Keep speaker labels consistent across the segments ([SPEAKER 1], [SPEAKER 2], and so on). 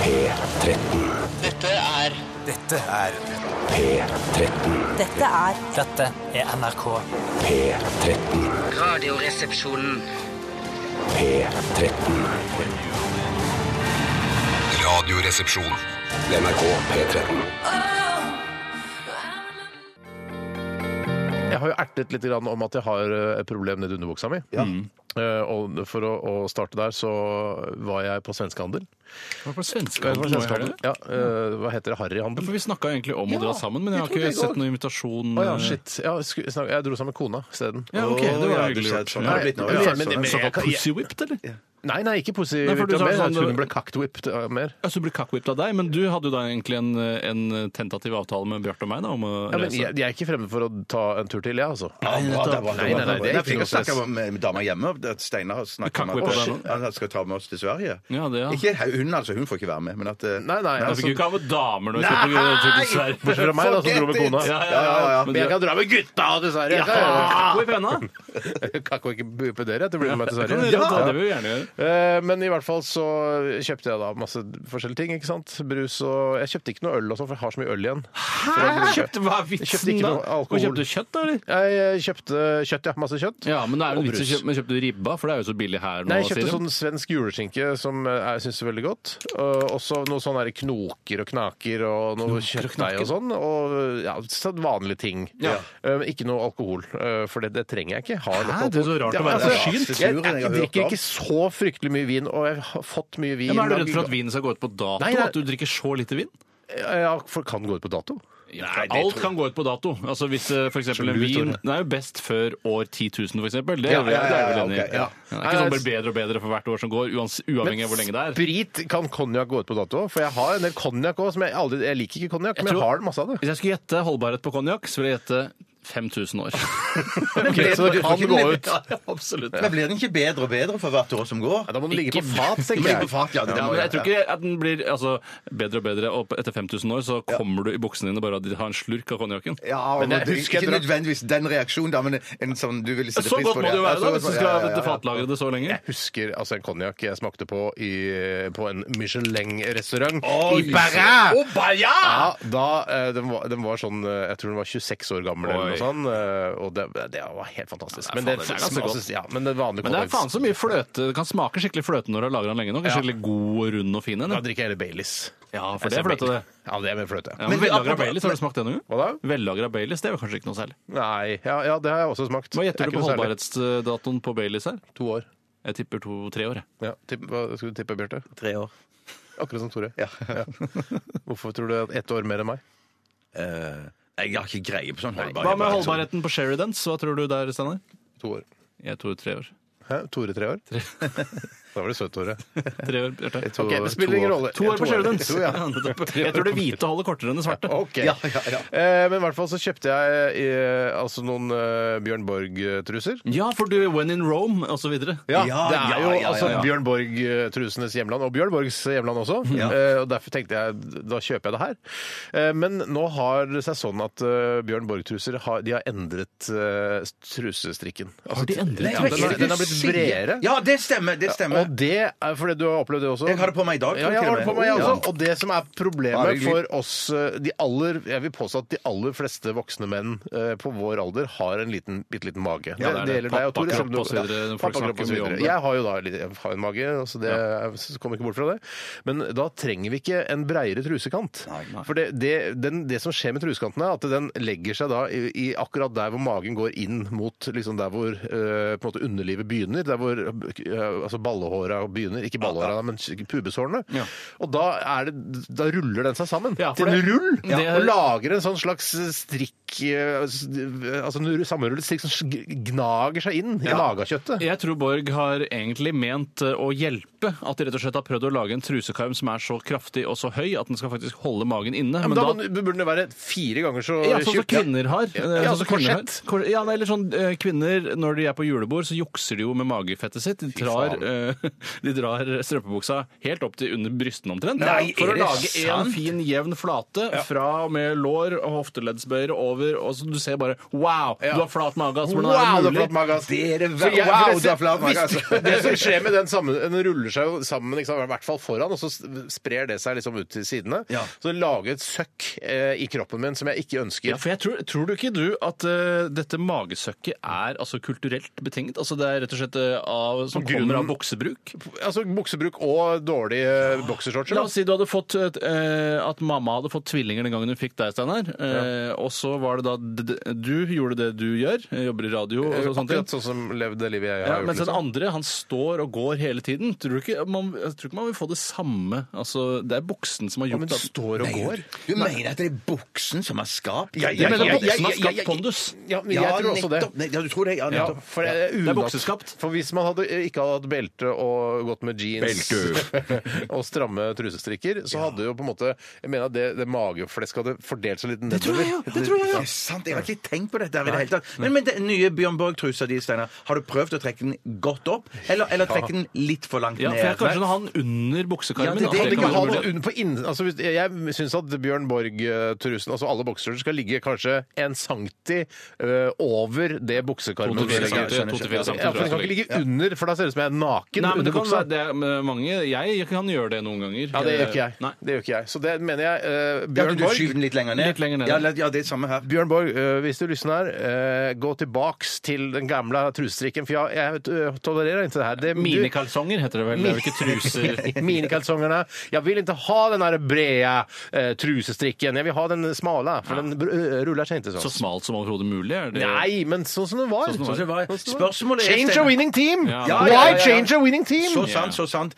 [SPEAKER 1] P13.
[SPEAKER 2] Dette er
[SPEAKER 3] Dette er
[SPEAKER 1] P13.
[SPEAKER 4] Dette er
[SPEAKER 5] Dette er NRK.
[SPEAKER 1] P13.
[SPEAKER 2] Radioresepsjonen.
[SPEAKER 1] P13.
[SPEAKER 6] Radioresepsjon.
[SPEAKER 1] NRK P13.
[SPEAKER 7] Jeg har jo ertet litt grann om at jeg har eh, et problem nedi underbuksa mi.
[SPEAKER 8] Mm.
[SPEAKER 7] Eh, Og for å, å starte der, så var jeg på svenskehandel.
[SPEAKER 8] Hva for
[SPEAKER 7] Jeg var på
[SPEAKER 8] svenskehandel? må jeg gjøre
[SPEAKER 7] svenskehandel.
[SPEAKER 8] det?
[SPEAKER 7] Ja, eh, hva heter det?
[SPEAKER 8] Ja,
[SPEAKER 7] Harryhandel?
[SPEAKER 8] For vi snakka egentlig om å dra sammen, men
[SPEAKER 7] vi
[SPEAKER 8] jeg har
[SPEAKER 7] trodde
[SPEAKER 8] ikke
[SPEAKER 7] det går.
[SPEAKER 8] sett noen invitasjon.
[SPEAKER 7] Å ja,
[SPEAKER 8] eh,
[SPEAKER 7] shit. Ja, jeg skulle snakke- jeg dro sammen med kona isteden.
[SPEAKER 8] Ja, ok,
[SPEAKER 3] Å,
[SPEAKER 8] det var
[SPEAKER 3] ja, du
[SPEAKER 8] hyggelig
[SPEAKER 3] sa
[SPEAKER 8] gjort.
[SPEAKER 3] sånn.
[SPEAKER 7] Nei,
[SPEAKER 3] Ja,
[SPEAKER 7] men-
[SPEAKER 3] sånn,
[SPEAKER 7] men- men-
[SPEAKER 3] ja, sånn.
[SPEAKER 7] men-
[SPEAKER 8] Såkalt
[SPEAKER 7] jeg-
[SPEAKER 8] pussy whipped, eller?
[SPEAKER 7] Nei, nei, ikke pussy.
[SPEAKER 8] Nei, for du
[SPEAKER 7] whipped
[SPEAKER 8] sa
[SPEAKER 7] mer.
[SPEAKER 8] sånn-
[SPEAKER 7] Jeg tror hun ble cackwhipped eh, mer.
[SPEAKER 8] Altså, du ble kakkwhippet av deg, men du hadde jo da egentlig en, en tentativ avtale med Bjarte og meg da, om å
[SPEAKER 7] Ja, men
[SPEAKER 8] reise.
[SPEAKER 7] jeg, jeg er ikke fremmed for å ta en tur til, jeg, altså. Nei,
[SPEAKER 3] Nei,
[SPEAKER 7] nei, nei, det er
[SPEAKER 3] jeg
[SPEAKER 7] ikke noe
[SPEAKER 3] fikk å snakke
[SPEAKER 7] stress.
[SPEAKER 3] med, med dama hjemme. at Steinar har snakket
[SPEAKER 8] Kan
[SPEAKER 3] om
[SPEAKER 8] ikke vi på
[SPEAKER 3] at Å,
[SPEAKER 8] den
[SPEAKER 3] shit, han skal ta med oss til Sverige.
[SPEAKER 8] Ja, det, ja.
[SPEAKER 3] Ikke hun, altså. Hun får ikke være med. Men at eh,
[SPEAKER 7] Nei,
[SPEAKER 8] Jeg
[SPEAKER 7] nei.
[SPEAKER 8] fikk jo
[SPEAKER 7] Altså,
[SPEAKER 8] ikke av damer når jeg
[SPEAKER 3] Nei!
[SPEAKER 8] kjøpte tur til Sverige.
[SPEAKER 7] bortsett fra meg, da, som dro med
[SPEAKER 3] Forget
[SPEAKER 7] kona.
[SPEAKER 3] it!
[SPEAKER 8] Ja, ja,
[SPEAKER 3] Ja, ja, ja.
[SPEAKER 7] Men jeg kan dra med gutta, dessverre.
[SPEAKER 8] Ah,
[SPEAKER 7] Jeg kan-
[SPEAKER 8] Whip henda!
[SPEAKER 7] Jeg kan ikke bupe dere etter å bli med meg til
[SPEAKER 8] Det kan
[SPEAKER 7] Sverige.
[SPEAKER 8] dere gjøre, da. Det vil vi gjerne gjøre.
[SPEAKER 7] Eh, Men i hvert fall så kjøpte jeg da masse forskjellige ting. ikke sant? Brus og Jeg kjøpte ikke noe øl og sånn, for jeg har så mye øl igjen.
[SPEAKER 8] Hæ? Kjøpte, hva er
[SPEAKER 7] Kjøpte
[SPEAKER 8] vitsen
[SPEAKER 7] ikke
[SPEAKER 8] da?
[SPEAKER 7] noe alkohol.
[SPEAKER 8] Og kjøpte kjøtt da, eller?
[SPEAKER 7] Jeg eh, kjøpte kjøtt, ja. Masse kjøtt.
[SPEAKER 8] Ja, men det er jo
[SPEAKER 7] Og
[SPEAKER 8] en vits i
[SPEAKER 7] brus.
[SPEAKER 8] kjøp- men kjøpte du ribba, for det er jo så billig her nå.
[SPEAKER 7] Nei, jeg kjøpte
[SPEAKER 8] sier de.
[SPEAKER 7] sånn svensk juleskinke som eh, jeg syns er veldig godt. Og også noen sånne der knoker og knaker og noe kjøttdeig og sånn. Og ja, så vanlige ting.
[SPEAKER 8] Ja.
[SPEAKER 7] Eh, men ikke noe alkohol, eh, for det, det trenger jeg ikke. Har nok
[SPEAKER 8] Hæ, det er så rart å være
[SPEAKER 7] altså,
[SPEAKER 3] så skynt.
[SPEAKER 7] Jeg, jeg,
[SPEAKER 3] Jeg har hørt
[SPEAKER 7] drikker
[SPEAKER 3] om.
[SPEAKER 7] ikke så fryktelig mye vin, og jeg har fått mye vin.
[SPEAKER 8] Ja, men er du redd for at vinen skal gå ut på dato?
[SPEAKER 7] Nei, nei.
[SPEAKER 8] At du drikker så lite vin?
[SPEAKER 7] Ja, for kan gå ut på dato.
[SPEAKER 8] Nei, Alt kan gå ut på dato. Altså Hvis eh, for eksempel en
[SPEAKER 7] lurt,
[SPEAKER 8] vin
[SPEAKER 7] Tore.
[SPEAKER 8] Det er jo best før år 10 000, for eksempel. Det
[SPEAKER 7] Ja,
[SPEAKER 8] er vi- det
[SPEAKER 7] ja,
[SPEAKER 8] er vi
[SPEAKER 3] ja,
[SPEAKER 8] vel enig
[SPEAKER 3] ja, ok,
[SPEAKER 8] i.
[SPEAKER 3] ja.
[SPEAKER 8] Det er ikke sånn det blir bedre og bedre for hvert år som går, uans uavhengig av hvor lenge det er.
[SPEAKER 7] Sprit kan konjakk gå ut på dato, for jeg har en del konjakk òg. Jeg, aldri- jeg liker ikke konjakk, men
[SPEAKER 8] tror-
[SPEAKER 7] jeg har masse av det.
[SPEAKER 8] Hvis jeg skulle gjette holdbarhet på konjakk, så ville jeg gjette 5000 år.
[SPEAKER 7] Ok, så det kan
[SPEAKER 3] kan
[SPEAKER 7] gå
[SPEAKER 3] bli-
[SPEAKER 7] ut.
[SPEAKER 3] Ja,
[SPEAKER 8] Absolutt.
[SPEAKER 3] Men blir den ikke bedre og bedre for hvert år som går?
[SPEAKER 7] Da må den ligge
[SPEAKER 8] Ikke-
[SPEAKER 7] på fat,
[SPEAKER 3] Den
[SPEAKER 7] tenker
[SPEAKER 3] ligger
[SPEAKER 7] jeg.
[SPEAKER 3] på fat, ja, det
[SPEAKER 8] Ja,
[SPEAKER 3] må
[SPEAKER 8] men jeg
[SPEAKER 3] jeg-
[SPEAKER 8] tror ikke at den blir altså, bedre og bedre, og etter 5000 år så kommer du i buksene dine bare av å ha en slurk av konjakken.
[SPEAKER 3] Ja, men
[SPEAKER 7] jeg
[SPEAKER 3] det,
[SPEAKER 7] husker
[SPEAKER 3] ikke
[SPEAKER 7] jeg drakk-
[SPEAKER 3] nødvendigvis den reaksjonen, da, men en sånn du ville sette
[SPEAKER 8] Så
[SPEAKER 3] pris
[SPEAKER 8] godt
[SPEAKER 3] på.
[SPEAKER 8] må det jo være,
[SPEAKER 3] ja. Ja,
[SPEAKER 8] da,
[SPEAKER 3] så
[SPEAKER 8] hvis du
[SPEAKER 3] godt-
[SPEAKER 8] skal
[SPEAKER 3] ja, ja,
[SPEAKER 8] ha
[SPEAKER 3] ja.
[SPEAKER 8] fatlagre det så lenge.
[SPEAKER 7] husker altså en konjakk jeg smakte på i, på en Michelin-restaurant
[SPEAKER 8] Oi.
[SPEAKER 7] i Paris.
[SPEAKER 8] Å, Paris! Ah!
[SPEAKER 7] Ja, da, eh, den, var, den var sånn eh, Jeg tror den var 26 år gammel eller
[SPEAKER 8] Oi.
[SPEAKER 7] noe sånt. eh, Og det, det var helt fantastisk.
[SPEAKER 8] Ja, det er
[SPEAKER 7] men, det,
[SPEAKER 8] faen, det er ganske
[SPEAKER 7] altså, ja, men det vanlige
[SPEAKER 8] Men det er faen
[SPEAKER 7] konjakk
[SPEAKER 8] så mye fløte. Det kan smake skikkelig fløte når du har lagra den lenge nok.
[SPEAKER 7] Ja.
[SPEAKER 8] Skikkelig god og rund og fin en.
[SPEAKER 7] Da drikker jeg heller Baileys.
[SPEAKER 8] Ja, for det er fløte, det.
[SPEAKER 7] Ja, det er mer fløte.
[SPEAKER 8] Ja, men
[SPEAKER 3] Men-
[SPEAKER 8] Vellagra Baileys, har du smakt det noen gang?
[SPEAKER 7] Hva da?
[SPEAKER 8] Vellagra Baileys, det er jo kanskje ikke noe særlig.
[SPEAKER 7] Nei, ja, ja, det har jeg også
[SPEAKER 8] Hva
[SPEAKER 7] smakt. Det er
[SPEAKER 8] gjetter du på
[SPEAKER 7] ikke noe særlig.
[SPEAKER 8] holdbarhetsdatoen på Baileys her?
[SPEAKER 7] To år.
[SPEAKER 8] Jeg tipper to-tre år. jeg.
[SPEAKER 7] Ja, tipp, hva skulle du tippe, Bjarte?
[SPEAKER 3] Tre år.
[SPEAKER 7] Akkurat som Tore.
[SPEAKER 3] Ja.
[SPEAKER 7] Hvorfor tror du at ett år mer enn meg?
[SPEAKER 3] Eh, jeg har ikke greie på sånn holdbarhet.
[SPEAKER 8] Hva med holdbarheten på Sheridans? Hva tror du der, Steinar?
[SPEAKER 7] To år.
[SPEAKER 8] Jeg tror tre år.
[SPEAKER 7] Hæ? Tore tre år? da var det søtt, Tore.
[SPEAKER 8] Tre år, Bjarte.
[SPEAKER 7] Ok, det spiller ingen rolle.
[SPEAKER 8] To år på Sheridans!
[SPEAKER 7] To, ja.
[SPEAKER 8] Ja, nettopp. Jeg tror det hvite holder kortere enn det svarte.
[SPEAKER 7] Ok.
[SPEAKER 3] Ja, ja, ja.
[SPEAKER 7] Eh, men i hvert fall så kjøpte jeg eh, altså noen eh, Bjørn Borg-truser.
[SPEAKER 8] Ja, for du When in Rome og så videre.
[SPEAKER 3] Ja,
[SPEAKER 7] det er
[SPEAKER 3] ja,
[SPEAKER 7] jo
[SPEAKER 3] ja, ja,
[SPEAKER 7] altså
[SPEAKER 3] ja. Mm.
[SPEAKER 7] Bjørn Borg-trusenes hjemland, og Bjørn Borgs hjemland også. Eh, og Derfor tenkte jeg da kjøper jeg det her. Eh, men nå har det seg sånn at eh, Bjørn Borg-truser har, de har endret eh, trusestrikken. Altså,
[SPEAKER 8] Har de endret?
[SPEAKER 7] ja, den, har, den har blitt bredere.
[SPEAKER 3] Ja, det stemmer. Det stemmer.
[SPEAKER 7] Og det er fordi du har opplevd det også.
[SPEAKER 3] Jeg har det på meg i dag,
[SPEAKER 7] Ja,
[SPEAKER 3] til
[SPEAKER 7] jeg
[SPEAKER 3] og
[SPEAKER 7] har det på
[SPEAKER 3] med.
[SPEAKER 7] meg
[SPEAKER 3] Ja.
[SPEAKER 7] også. Og det som er
[SPEAKER 3] Ja,
[SPEAKER 7] problemet
[SPEAKER 3] det er
[SPEAKER 7] for oss eh, de aller, Jeg vil påstå at de aller fleste voksne menn eh, på vår alder har en liten, bitte liten mage.
[SPEAKER 8] Ja, det er det.
[SPEAKER 7] gjelder deg og Tore. selv om du-
[SPEAKER 8] Pappakropp og så videre,
[SPEAKER 7] Ja,
[SPEAKER 8] folk snakker
[SPEAKER 7] pappakropp og så
[SPEAKER 8] mye om
[SPEAKER 7] videre.
[SPEAKER 8] det.
[SPEAKER 7] Jeg har jo da litt, jeg har en mage, så det jeg kommer ikke bort fra det. Men da trenger vi ikke en breiere trusekant. For det, det, den, det som skjer med trusekanten, er at den legger seg da i, i akkurat der hvor magen går inn mot liksom der hvor eh, på en måte underlivet begynner. Der hvor eh, altså ballehåra begynner. Ikke ballehåra, men pubeshårene.
[SPEAKER 8] Ja.
[SPEAKER 7] Og da, er det, da ruller den seg sammen
[SPEAKER 8] Ja, for
[SPEAKER 7] til en
[SPEAKER 8] det-
[SPEAKER 7] rull!
[SPEAKER 8] Ja. det-
[SPEAKER 7] Og lager en sånn slags strikk eh, Altså en sammenrullet strikk som gnager seg inn i magekjøttet.
[SPEAKER 8] Jeg tror Borg har egentlig ment eh, å hjelpe. At de rett og slett har prøvd å lage en trusekarm som er så kraftig og så høy at den skal faktisk holde magen inne.
[SPEAKER 7] Ja, men da, må den- burde den være fire ganger så
[SPEAKER 8] ja, sånn som
[SPEAKER 7] tjukk.
[SPEAKER 8] kvinner har.
[SPEAKER 7] Ja,
[SPEAKER 8] Eh,
[SPEAKER 7] ja,
[SPEAKER 8] sånn som
[SPEAKER 7] altså
[SPEAKER 8] kvinner har.
[SPEAKER 7] korsett.
[SPEAKER 8] Kor- Ja, nei, eller sånn eh, Kvinner, når de er på julebord, så jukser de jo med magefettet sitt. De drar, eh, de drar strømpebuksa helt opp til under brystene omtrent.
[SPEAKER 3] Nei,
[SPEAKER 8] for
[SPEAKER 3] er
[SPEAKER 8] å
[SPEAKER 3] det
[SPEAKER 8] lage en
[SPEAKER 3] sant?
[SPEAKER 8] fin, jevn flate fra og med lår og hofteleddsbøyer over nedover, og så du ser bare Wow, du har flat mage! Altså, hvordan
[SPEAKER 7] Wow,
[SPEAKER 8] er det
[SPEAKER 7] du har
[SPEAKER 8] mulig?
[SPEAKER 7] flatt mage, ass.
[SPEAKER 3] Dere
[SPEAKER 7] Så jeg-
[SPEAKER 3] wow,
[SPEAKER 7] for det-
[SPEAKER 3] du har flatt altså. mage, ass.
[SPEAKER 7] Visst, altså. Det som skjer med den sammen, den ruller seg jo sammen, ikke sant, i hvert fall foran, og så s- sprer det seg liksom ut til sidene.
[SPEAKER 3] Ja.
[SPEAKER 7] Så det lager et søkk eh, i kroppen min som jeg ikke ønsker.
[SPEAKER 8] Ja, for jeg tror, tror du ikke du at eh, dette magesøkket er altså, kulturelt betinget? Altså det er rett og slett eh, av, som
[SPEAKER 7] Grunnen-
[SPEAKER 8] kommer av boksebruk?
[SPEAKER 7] Altså buksebruk og dårlige eh, boksershortser.
[SPEAKER 8] La
[SPEAKER 7] da.
[SPEAKER 8] oss si du hadde fått et, eh, at mamma hadde fått tvillinger den gangen hun fikk deg, Steinar. Eh, Og så var det da d- d- du gjorde det du gjør, eh, jobber i radio og så- sånne ting.
[SPEAKER 7] Akkurat sånn som levde det livet jeg har
[SPEAKER 8] Ja,
[SPEAKER 7] gjort.
[SPEAKER 8] mens den
[SPEAKER 7] liksom.
[SPEAKER 8] andre han står og går hele tiden. Tror du ikke man, jeg tror ikke man vil få det samme? Altså, det er boksen som har
[SPEAKER 7] Ja, men
[SPEAKER 8] gjort
[SPEAKER 7] du
[SPEAKER 8] at
[SPEAKER 7] står og går.
[SPEAKER 3] Du mener at det er buksen som har skapt
[SPEAKER 7] Ja, ja,
[SPEAKER 8] Jeg mener
[SPEAKER 7] ja, ja,
[SPEAKER 8] boksen har
[SPEAKER 7] ja, ja,
[SPEAKER 8] skapt
[SPEAKER 7] ja.
[SPEAKER 8] pondus.
[SPEAKER 7] Ja, men jeg tror også det.
[SPEAKER 3] nettopp. Nei, Ja, du tror det? Ja,
[SPEAKER 7] Ja,
[SPEAKER 3] nettopp.
[SPEAKER 7] for det er, unat-
[SPEAKER 8] er bokseskapt.
[SPEAKER 7] For hvis man hadde, eh, ikke hadde hatt belte og gått med jeans og stramme trusestrikker, så hadde jo på en måte Jeg mener at det, det mageflesket hadde fordelt seg litt nedover.
[SPEAKER 3] Det er sant, Jeg har ikke tenkt på dette her i det hele tatt. Men, men den nye Bjørn Borg-trusa di, Steinar, har du prøvd å trekke den godt opp, eller, eller trekke den litt for langt
[SPEAKER 8] Ja,
[SPEAKER 3] ned?
[SPEAKER 8] for jeg er kanskje sånn han under buksekarmen.
[SPEAKER 3] Ja, det-
[SPEAKER 8] da.
[SPEAKER 3] det-
[SPEAKER 8] At
[SPEAKER 7] Kan
[SPEAKER 8] det
[SPEAKER 7] vi
[SPEAKER 8] kan
[SPEAKER 7] ikke ha
[SPEAKER 8] være
[SPEAKER 7] noe
[SPEAKER 8] mulig.
[SPEAKER 7] under på inn... Altså, hvis- jeg syns at Bjørn Borg-trusen, altså alle bokseshorter, skal ligge kanskje en centi ø, over det buksekarmen.
[SPEAKER 8] To til fire
[SPEAKER 7] legger.
[SPEAKER 8] centi, to til fire centi,
[SPEAKER 7] Ja, for Den
[SPEAKER 8] tror
[SPEAKER 7] kan
[SPEAKER 8] jeg.
[SPEAKER 7] ikke ligge under, for da ser det ut som jeg er naken
[SPEAKER 8] Nei, men det
[SPEAKER 7] under
[SPEAKER 8] kan
[SPEAKER 7] buksa.
[SPEAKER 8] være det er mange. Jeg kan gjøre det noen ganger.
[SPEAKER 7] Ja, det gjør ikke jeg.
[SPEAKER 8] Nei.
[SPEAKER 7] Det gjør ikke jeg. Så det mener jeg. ø,
[SPEAKER 3] Ja, kan
[SPEAKER 7] Bjørn
[SPEAKER 3] du
[SPEAKER 7] Borg
[SPEAKER 3] skyver den litt lenger ned?
[SPEAKER 8] Litt lenger ned,
[SPEAKER 3] Ja,
[SPEAKER 8] ja.
[SPEAKER 3] la- ja, det er samme her.
[SPEAKER 7] Bjørn Borg, øh, hvis du lysner, øh, gå tilbaks til den gamle trusestrikken, for jeg, jeg øh, tolererer ikke det her. Det,
[SPEAKER 8] Minikalsonger heter det vel. Det er vel ikke truser.
[SPEAKER 7] du- Minikalsongene. Jeg vil ikke ha den der brede øh, trusestrikken. Jeg vil ha den smale, for den øh, ruller seg ikke sånn.
[SPEAKER 8] Så smalt som overhodet mulig? Er det
[SPEAKER 7] Nei, men sånn som den var.
[SPEAKER 8] Sånn som den
[SPEAKER 3] var. Spørsmålet er,
[SPEAKER 7] Change a
[SPEAKER 3] Steinar-
[SPEAKER 7] winning team!
[SPEAKER 8] Ja.
[SPEAKER 3] Ja,
[SPEAKER 7] Why
[SPEAKER 3] ja, ja, ja.
[SPEAKER 7] change a winning
[SPEAKER 3] Så
[SPEAKER 7] team?
[SPEAKER 3] sant, så sant.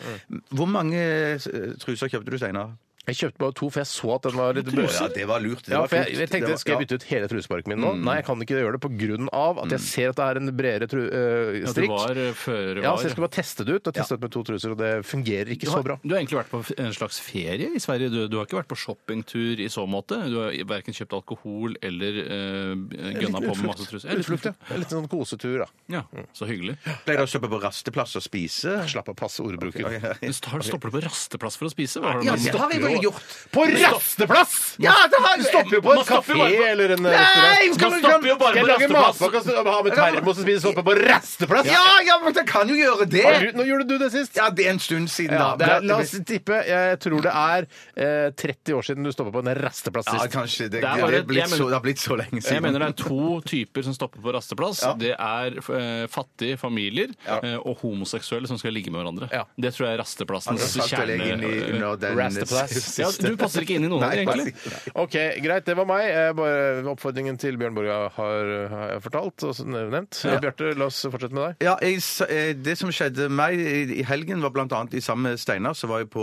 [SPEAKER 3] Hvor mange eh, truser kjøpte du, Steinar?
[SPEAKER 7] Jeg kjøpte bare to, for jeg så at den var litt
[SPEAKER 3] Å, Ja, det var lurt. Det
[SPEAKER 7] Ja,
[SPEAKER 3] var
[SPEAKER 7] for jeg,
[SPEAKER 3] klokt.
[SPEAKER 7] jeg
[SPEAKER 3] Det
[SPEAKER 7] tenkte,
[SPEAKER 3] var-
[SPEAKER 7] Skal jeg bytte ut hele truseparken min nå? Nei, jeg kan ikke gjøre det pga. at jeg ser at det er en bredere tru, øh,
[SPEAKER 8] Ja, det
[SPEAKER 7] strikk.
[SPEAKER 8] var eh, føre
[SPEAKER 7] Ja, så jeg
[SPEAKER 8] var.
[SPEAKER 7] skulle bare teste det ut. Jeg testet det med to truser, og det fungerer ikke så bra.
[SPEAKER 8] Du har egentlig vært på en slags ferie i Sverige. Du, du har ikke vært på shoppingtur i så måte. Du har verken kjøpt alkohol eller uh, gønna på med masse truser. Ja, litt
[SPEAKER 7] Utflukt, ja. En liten sånn kosetur, da.
[SPEAKER 8] Ja, så hyggelig.
[SPEAKER 3] Ja. Pleier du å stoppe på rasteplass og spise?
[SPEAKER 7] Slapp av, passe ordbruken.
[SPEAKER 8] Men Star stopper du på rasteplass for å spise? Hva har du
[SPEAKER 3] Ja,
[SPEAKER 8] med-
[SPEAKER 3] det har jeg vel gjort.
[SPEAKER 7] På rasteplass! Ja, det har Du stopper jo på en kafé eller en
[SPEAKER 3] Nei,
[SPEAKER 7] restaurant.
[SPEAKER 3] skal
[SPEAKER 8] Man
[SPEAKER 3] du
[SPEAKER 8] stopper jo bare
[SPEAKER 7] Skal jeg
[SPEAKER 8] på
[SPEAKER 7] lage
[SPEAKER 8] rasteplass.
[SPEAKER 7] matpakke og så ha med termos og spise soppe på rasteplass?
[SPEAKER 3] Ja, ja, men jeg kan jo gjøre
[SPEAKER 7] Har
[SPEAKER 3] det!
[SPEAKER 7] du- Nå gjorde du det sist.
[SPEAKER 3] Ja, det er en stund siden,
[SPEAKER 7] Ja,
[SPEAKER 3] da.
[SPEAKER 7] det er, la oss tippe. Jeg tror det er eh, 30 år siden du stoppa på en rasteplass
[SPEAKER 3] Ja,
[SPEAKER 7] sist.
[SPEAKER 3] kanskje. Det,
[SPEAKER 8] Det
[SPEAKER 3] det,
[SPEAKER 8] er bare-
[SPEAKER 3] er blitt
[SPEAKER 8] jeg mener-
[SPEAKER 3] så, det har blitt så lenge siden.
[SPEAKER 8] Jeg mener det er to typer som stopper på rasteplass.
[SPEAKER 3] Ja.
[SPEAKER 8] Det er eh, fattige familier eh, og homoseksuelle som skal ligge med hverandre.
[SPEAKER 7] Ja.
[SPEAKER 8] Det tror jeg er rasteplassen.
[SPEAKER 3] Altså, satt vel jeg inn i under den
[SPEAKER 7] Rasteplass.
[SPEAKER 3] siste-
[SPEAKER 8] ja, du passer ikke inn i noen av
[SPEAKER 3] Nei,
[SPEAKER 8] de, egentlig.
[SPEAKER 7] OK, greit. Det var meg. Eh, Bare oppfordringen til Bjørn Borga har, har jeg fortalt og nevnt. Bjarte, la oss fortsette med deg.
[SPEAKER 3] Ja, jeg, sa- eh, Det som skjedde meg i i helgen, var blant annet i sammen med Steinar, så var jeg på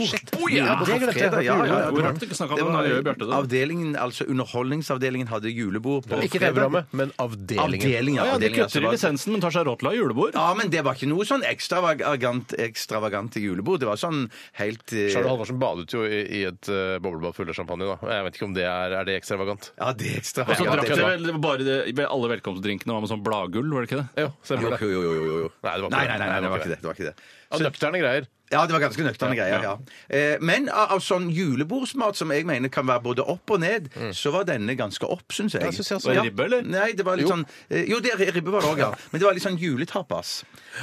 [SPEAKER 7] Å, ja, shit.
[SPEAKER 3] Julebord
[SPEAKER 8] ja,
[SPEAKER 3] på
[SPEAKER 7] det glemte jeg.
[SPEAKER 3] fredag, Ja, ja, ja,
[SPEAKER 8] Vi rakk ikke snakke om det, men nå gjør Bjarte det.
[SPEAKER 3] Avdelingen, altså Underholdningsavdelingen hadde julebord på
[SPEAKER 7] Ikke
[SPEAKER 3] fredag.
[SPEAKER 7] TV-programmet, men avdelingen.
[SPEAKER 3] Avdelingen,
[SPEAKER 8] Ja, ja, de
[SPEAKER 3] avdelingen, altså,
[SPEAKER 8] kutter i
[SPEAKER 3] var-
[SPEAKER 8] lisensen, men tar seg råd til å ha julebord.
[SPEAKER 3] Ja, men det var ikke noe sånn ekstravagant, ekstravagant til julebord. Det var sånn helt eh,
[SPEAKER 7] Charlotte Halvorsen badet jo i, i et eh, boblebad full av champagne. da. Jeg vet ikke om det er, er det ekstravagant.
[SPEAKER 3] Ja, det er
[SPEAKER 8] Og så
[SPEAKER 3] ekstravagant.
[SPEAKER 8] drakk
[SPEAKER 3] det
[SPEAKER 8] dere
[SPEAKER 3] var-
[SPEAKER 8] vel bare det, ved alle velkomstdrinkene var med sånn bladgull, var det ikke det?
[SPEAKER 7] Jo, stemmer det.
[SPEAKER 3] Jo, jo, jo, jo, jo, jo.
[SPEAKER 7] Nei, det var ikke
[SPEAKER 3] nei,
[SPEAKER 7] det.
[SPEAKER 3] nei, nei, nei, det var ikke det. det, var ikke det.
[SPEAKER 7] Ja, Nøkterne greier.
[SPEAKER 3] Ja, det var ganske nøkterne greier. ja. Eh, Men av av sånn julebordsmat som jeg mener kan være både opp og ned, så var denne ganske opp, syns jeg.
[SPEAKER 7] Ja, synes jeg også.
[SPEAKER 8] Var det ribbe, eller?
[SPEAKER 3] Nei, det var litt sånn eh, Jo, det, ribbe var det òg, ja. Men det var litt sånn juletapas.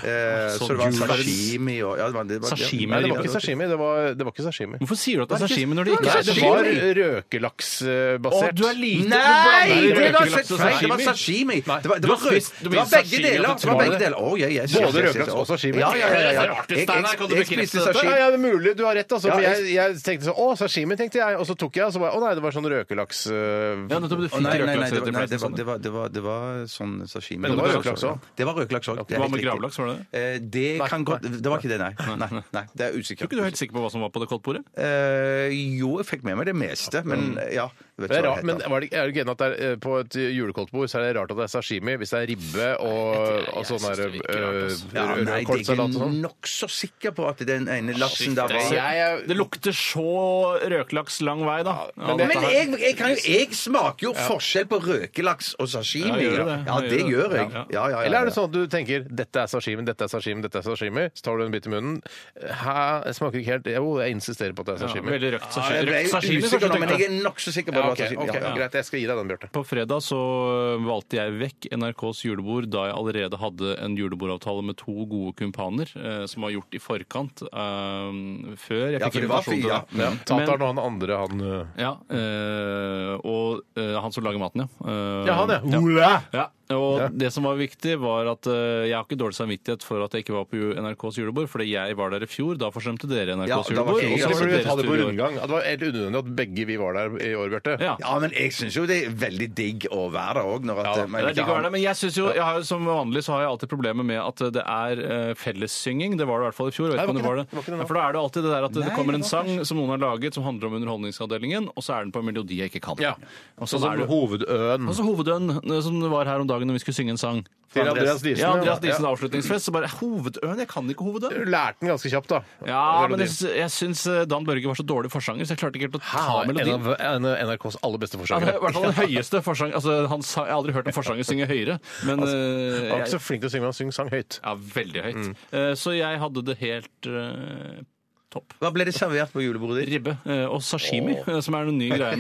[SPEAKER 3] Eh,
[SPEAKER 8] Sånn
[SPEAKER 3] så det var
[SPEAKER 8] juleverdens-
[SPEAKER 3] sashimi og ja, det var, det var,
[SPEAKER 8] Sashimi
[SPEAKER 3] Ja.
[SPEAKER 7] Nei, det var ikke sashimi. Det var, det var ikke sashimi.
[SPEAKER 8] Hvorfor sier du at det
[SPEAKER 3] Var
[SPEAKER 8] er
[SPEAKER 3] det ikke-
[SPEAKER 8] sashimi når det ikke
[SPEAKER 7] Nei,
[SPEAKER 8] er
[SPEAKER 7] det
[SPEAKER 8] sashimi?
[SPEAKER 7] var
[SPEAKER 8] Å,
[SPEAKER 7] røkelaks-basert.
[SPEAKER 8] du er lite du
[SPEAKER 3] Nei!
[SPEAKER 8] blander
[SPEAKER 3] Det var
[SPEAKER 8] røkelaks og
[SPEAKER 3] feil! Det var
[SPEAKER 8] sashimi.
[SPEAKER 3] sashimi. Det var,
[SPEAKER 8] Du har
[SPEAKER 3] det var, rød-
[SPEAKER 8] spist- du
[SPEAKER 3] det var
[SPEAKER 8] mener
[SPEAKER 3] begge
[SPEAKER 8] sashimi,
[SPEAKER 3] deler.
[SPEAKER 8] at det
[SPEAKER 3] Det var
[SPEAKER 8] var
[SPEAKER 3] begge
[SPEAKER 8] det?
[SPEAKER 3] deler. Å, yes, yes,
[SPEAKER 7] Både
[SPEAKER 3] yes, yes, yes,
[SPEAKER 7] røkelaks
[SPEAKER 3] yes.
[SPEAKER 7] og sashimi.
[SPEAKER 3] Ja, ja, ja, ja,
[SPEAKER 8] Det er
[SPEAKER 3] ja.
[SPEAKER 8] rart,
[SPEAKER 3] Jeg,
[SPEAKER 8] Steinar, kan du
[SPEAKER 3] jeg, jeg
[SPEAKER 8] bekrefte
[SPEAKER 3] spiste
[SPEAKER 8] dette?
[SPEAKER 7] Ja,
[SPEAKER 3] sashimi.
[SPEAKER 7] ja, det er mulig. Du har rett. altså.
[SPEAKER 3] Ja,
[SPEAKER 7] Men jeg, jeg tenkte sånn Å, sashimi, tenkte jeg. Og så tok jeg, og så var jeg Å nei, det var sånn røkelaks... øh,
[SPEAKER 8] Ja, nettopp, du
[SPEAKER 3] Å,
[SPEAKER 8] fikk
[SPEAKER 3] nei, nei, nei,
[SPEAKER 8] røkelaks
[SPEAKER 3] det
[SPEAKER 8] rett i
[SPEAKER 3] var, nei det, var,
[SPEAKER 8] fleisen.
[SPEAKER 3] det, var, det, var, det var sånn sashimi.
[SPEAKER 7] Men det var røkelaks også.
[SPEAKER 3] Det var røkelaks òg.
[SPEAKER 8] Hva med gravlaks, var det det?
[SPEAKER 3] Eh, det
[SPEAKER 7] Nei,
[SPEAKER 3] kan godt
[SPEAKER 7] nei.
[SPEAKER 3] Det var ikke det, nei. Nei, nei, det er
[SPEAKER 8] Tror
[SPEAKER 3] usikkert.
[SPEAKER 8] ikke du er helt sikker på hva som var på det koldtbordet?
[SPEAKER 3] Eh, jo, jeg fikk med meg det meste, men ja jeg vet
[SPEAKER 7] Det er
[SPEAKER 3] ikke hva
[SPEAKER 7] rart, men
[SPEAKER 3] heter.
[SPEAKER 7] var det, ikke- er du ikke enig at det er, eh, på et julekoltbord så er det rart at det er sashimi hvis det er ribbe og,
[SPEAKER 8] jeg
[SPEAKER 7] og sånn
[SPEAKER 8] synes
[SPEAKER 7] der
[SPEAKER 8] det virker rart, altså.
[SPEAKER 7] øh,
[SPEAKER 3] ja, nei, jeg
[SPEAKER 7] rødkålsalat og
[SPEAKER 3] er
[SPEAKER 7] sånn?
[SPEAKER 3] nokså sikker på at kjøpte den ene laksen der.
[SPEAKER 7] Shit,
[SPEAKER 3] Var.
[SPEAKER 7] jeg- er-
[SPEAKER 8] Det lukter så røklaks lang vei, da.
[SPEAKER 7] men
[SPEAKER 8] Ja,
[SPEAKER 7] det-
[SPEAKER 3] Men jeg, jeg, kan jo, jeg smaker jo forskjell på røkelaks og
[SPEAKER 8] Ja,
[SPEAKER 3] sashimi.
[SPEAKER 8] gjør du
[SPEAKER 3] Ja,
[SPEAKER 8] det? Ja,
[SPEAKER 3] det
[SPEAKER 8] gjør
[SPEAKER 3] gjør
[SPEAKER 8] du
[SPEAKER 3] jeg.
[SPEAKER 8] det?
[SPEAKER 3] Ja, ja, ja, ja.
[SPEAKER 7] Eller er det sånn at du tenker 'dette er sashimi, dette er sashimi, dette er sashimi', så tar du en bit i munnen Hæ, det smaker ikke helt Jo, jeg insisterer på at det er sashimi.
[SPEAKER 8] veldig røkt
[SPEAKER 3] Ja, jeg
[SPEAKER 8] sashimi.
[SPEAKER 3] ble
[SPEAKER 8] Røkt sashimi,
[SPEAKER 3] usikker nå,
[SPEAKER 8] kanskje,
[SPEAKER 3] men
[SPEAKER 8] tenkte
[SPEAKER 3] jeg
[SPEAKER 8] jeg.
[SPEAKER 3] er nokså sikker på at
[SPEAKER 7] Ja,
[SPEAKER 3] det
[SPEAKER 7] ok,
[SPEAKER 3] var sashimi.
[SPEAKER 7] ok,
[SPEAKER 3] Ja, ja.
[SPEAKER 7] Greit, jeg skal gi deg den, Bjarte.
[SPEAKER 8] På fredag så valgte jeg vekk NRKs julebord da jeg allerede hadde en julebordavtale med to gode kumpaner eh, som var gjort i forkant. eh, før jeg
[SPEAKER 3] Ja,
[SPEAKER 8] fikk
[SPEAKER 3] for det var
[SPEAKER 8] invitasjon til
[SPEAKER 3] fire,
[SPEAKER 8] det.
[SPEAKER 3] ja.
[SPEAKER 7] Tataren og han andre, han øh,
[SPEAKER 8] Ja, eh, og eh, han som lager maten, ja. Eh,
[SPEAKER 7] Ja, han, ja. Ola!
[SPEAKER 8] Ja, og det som var viktig var at eh, jeg har ikke dårlig samvittighet for at jeg ikke var på ju- NRKs julebord, fordi jeg var der i fjor, da forsømte dere
[SPEAKER 3] Ja,
[SPEAKER 8] NRKs
[SPEAKER 3] da var
[SPEAKER 8] julebord.
[SPEAKER 3] ikke jeg-
[SPEAKER 8] og så var
[SPEAKER 7] Egentlig burde vi ta det
[SPEAKER 8] deres
[SPEAKER 7] på
[SPEAKER 8] tur i år.
[SPEAKER 7] rundgang. At Det var helt unødvendig at begge vi var der i år, Bjarte.
[SPEAKER 8] Ja.
[SPEAKER 3] Ja, men jeg syns jo det er veldig digg å være der òg.
[SPEAKER 8] Det
[SPEAKER 7] Ja,
[SPEAKER 8] er digg å være der, men jeg synes jo, jeg har, jo- som vanlig så har jeg alltid problemer med at det er eh, fellessynging. Det var det i hvert fall i fjor. Jeg vet
[SPEAKER 7] Nei,
[SPEAKER 8] ikke om det var
[SPEAKER 7] var
[SPEAKER 8] det.
[SPEAKER 7] ikke det. Det var ikke
[SPEAKER 8] ja,
[SPEAKER 7] det nå.
[SPEAKER 8] for da er det alltid det der at det
[SPEAKER 3] Nei,
[SPEAKER 8] kommer
[SPEAKER 3] det
[SPEAKER 8] en
[SPEAKER 3] var
[SPEAKER 8] sang som noen har laget som handler om underholdningsavdelingen, og så er den på en melodi jeg ikke kan.
[SPEAKER 7] Ja.
[SPEAKER 8] Og så
[SPEAKER 7] Sånn som
[SPEAKER 8] er det
[SPEAKER 7] hovedøen
[SPEAKER 8] og så hovedøen, eh, som det var her om dagen når vi skulle synge en sang.
[SPEAKER 7] til Andreas Diesen.
[SPEAKER 8] Ja, Andreas Diesen
[SPEAKER 7] Ja.
[SPEAKER 8] avslutningsfest, så bare Hovedøen? Jeg kan ikke hovedøen.
[SPEAKER 7] Du lærte den ganske kjapt, da.
[SPEAKER 8] Ja, men
[SPEAKER 7] Melodien.
[SPEAKER 8] jeg, syns- jeg syns eh, Dan Børge var så dårlig forsanger, så jeg klarte ikke helt å ta
[SPEAKER 7] Han er
[SPEAKER 8] melodien.
[SPEAKER 7] En av NRKs aller beste
[SPEAKER 8] Han er
[SPEAKER 7] forsangere.
[SPEAKER 8] i hvert fall den høyeste forsanger altså, han sa, Jeg har aldri hørt en forsanger synge høyere,
[SPEAKER 7] Altså,
[SPEAKER 8] men eh,
[SPEAKER 7] Han er ikke
[SPEAKER 8] jeg,
[SPEAKER 7] så flink til å synge, men han synger sang høyt.
[SPEAKER 8] Ja, veldig høyt.
[SPEAKER 7] Mm.
[SPEAKER 8] Eh, så jeg hadde det helt eh, topp.
[SPEAKER 3] Hva ble det servert på julebordet ditt?
[SPEAKER 8] Ribbe eh, og sashimi, eh, som er den nye greia.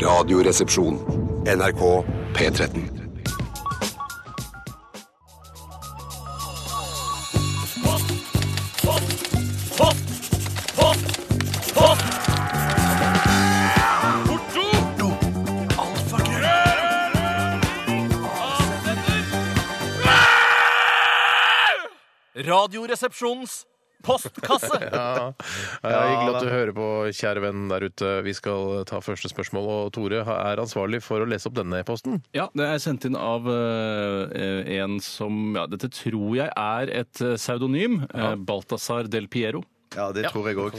[SPEAKER 6] Radioresepsjon. NRK P13.
[SPEAKER 4] Radioresepsjonens postkasse.
[SPEAKER 7] Ja, ja, Hyggelig at du hører på, kjære venn der ute. Vi skal ta første spørsmål, og Tore er ansvarlig for å lese opp denne e-posten.
[SPEAKER 8] Ja, det er sendt inn av eh, en som ja, Dette tror jeg er et eh, pseudonym. eh, Balthazar del Piero.
[SPEAKER 3] Ja, det tror jeg òg.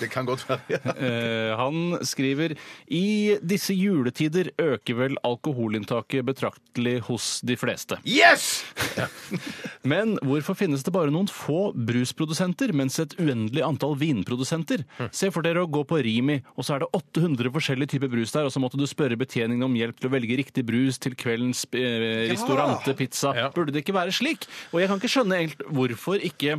[SPEAKER 3] Det kan godt være. ja.
[SPEAKER 8] Eh, han skriver I disse juletider øker vel alkoholinntaket betraktelig hos de fleste.
[SPEAKER 3] Yes!
[SPEAKER 8] Men hvorfor finnes det bare noen få brusprodusenter, mens et uendelig antall vinprodusenter?
[SPEAKER 7] Hm.
[SPEAKER 8] Se for dere å gå på Rimi, og så er det 800 forskjellige typer brus der, og så måtte du spørre betjeningen om hjelp til å velge riktig brus til kveldens eh, restaurante, pizza.
[SPEAKER 7] Ja.
[SPEAKER 8] Burde det ikke være slik? Og jeg kan ikke skjønne helt hvorfor ikke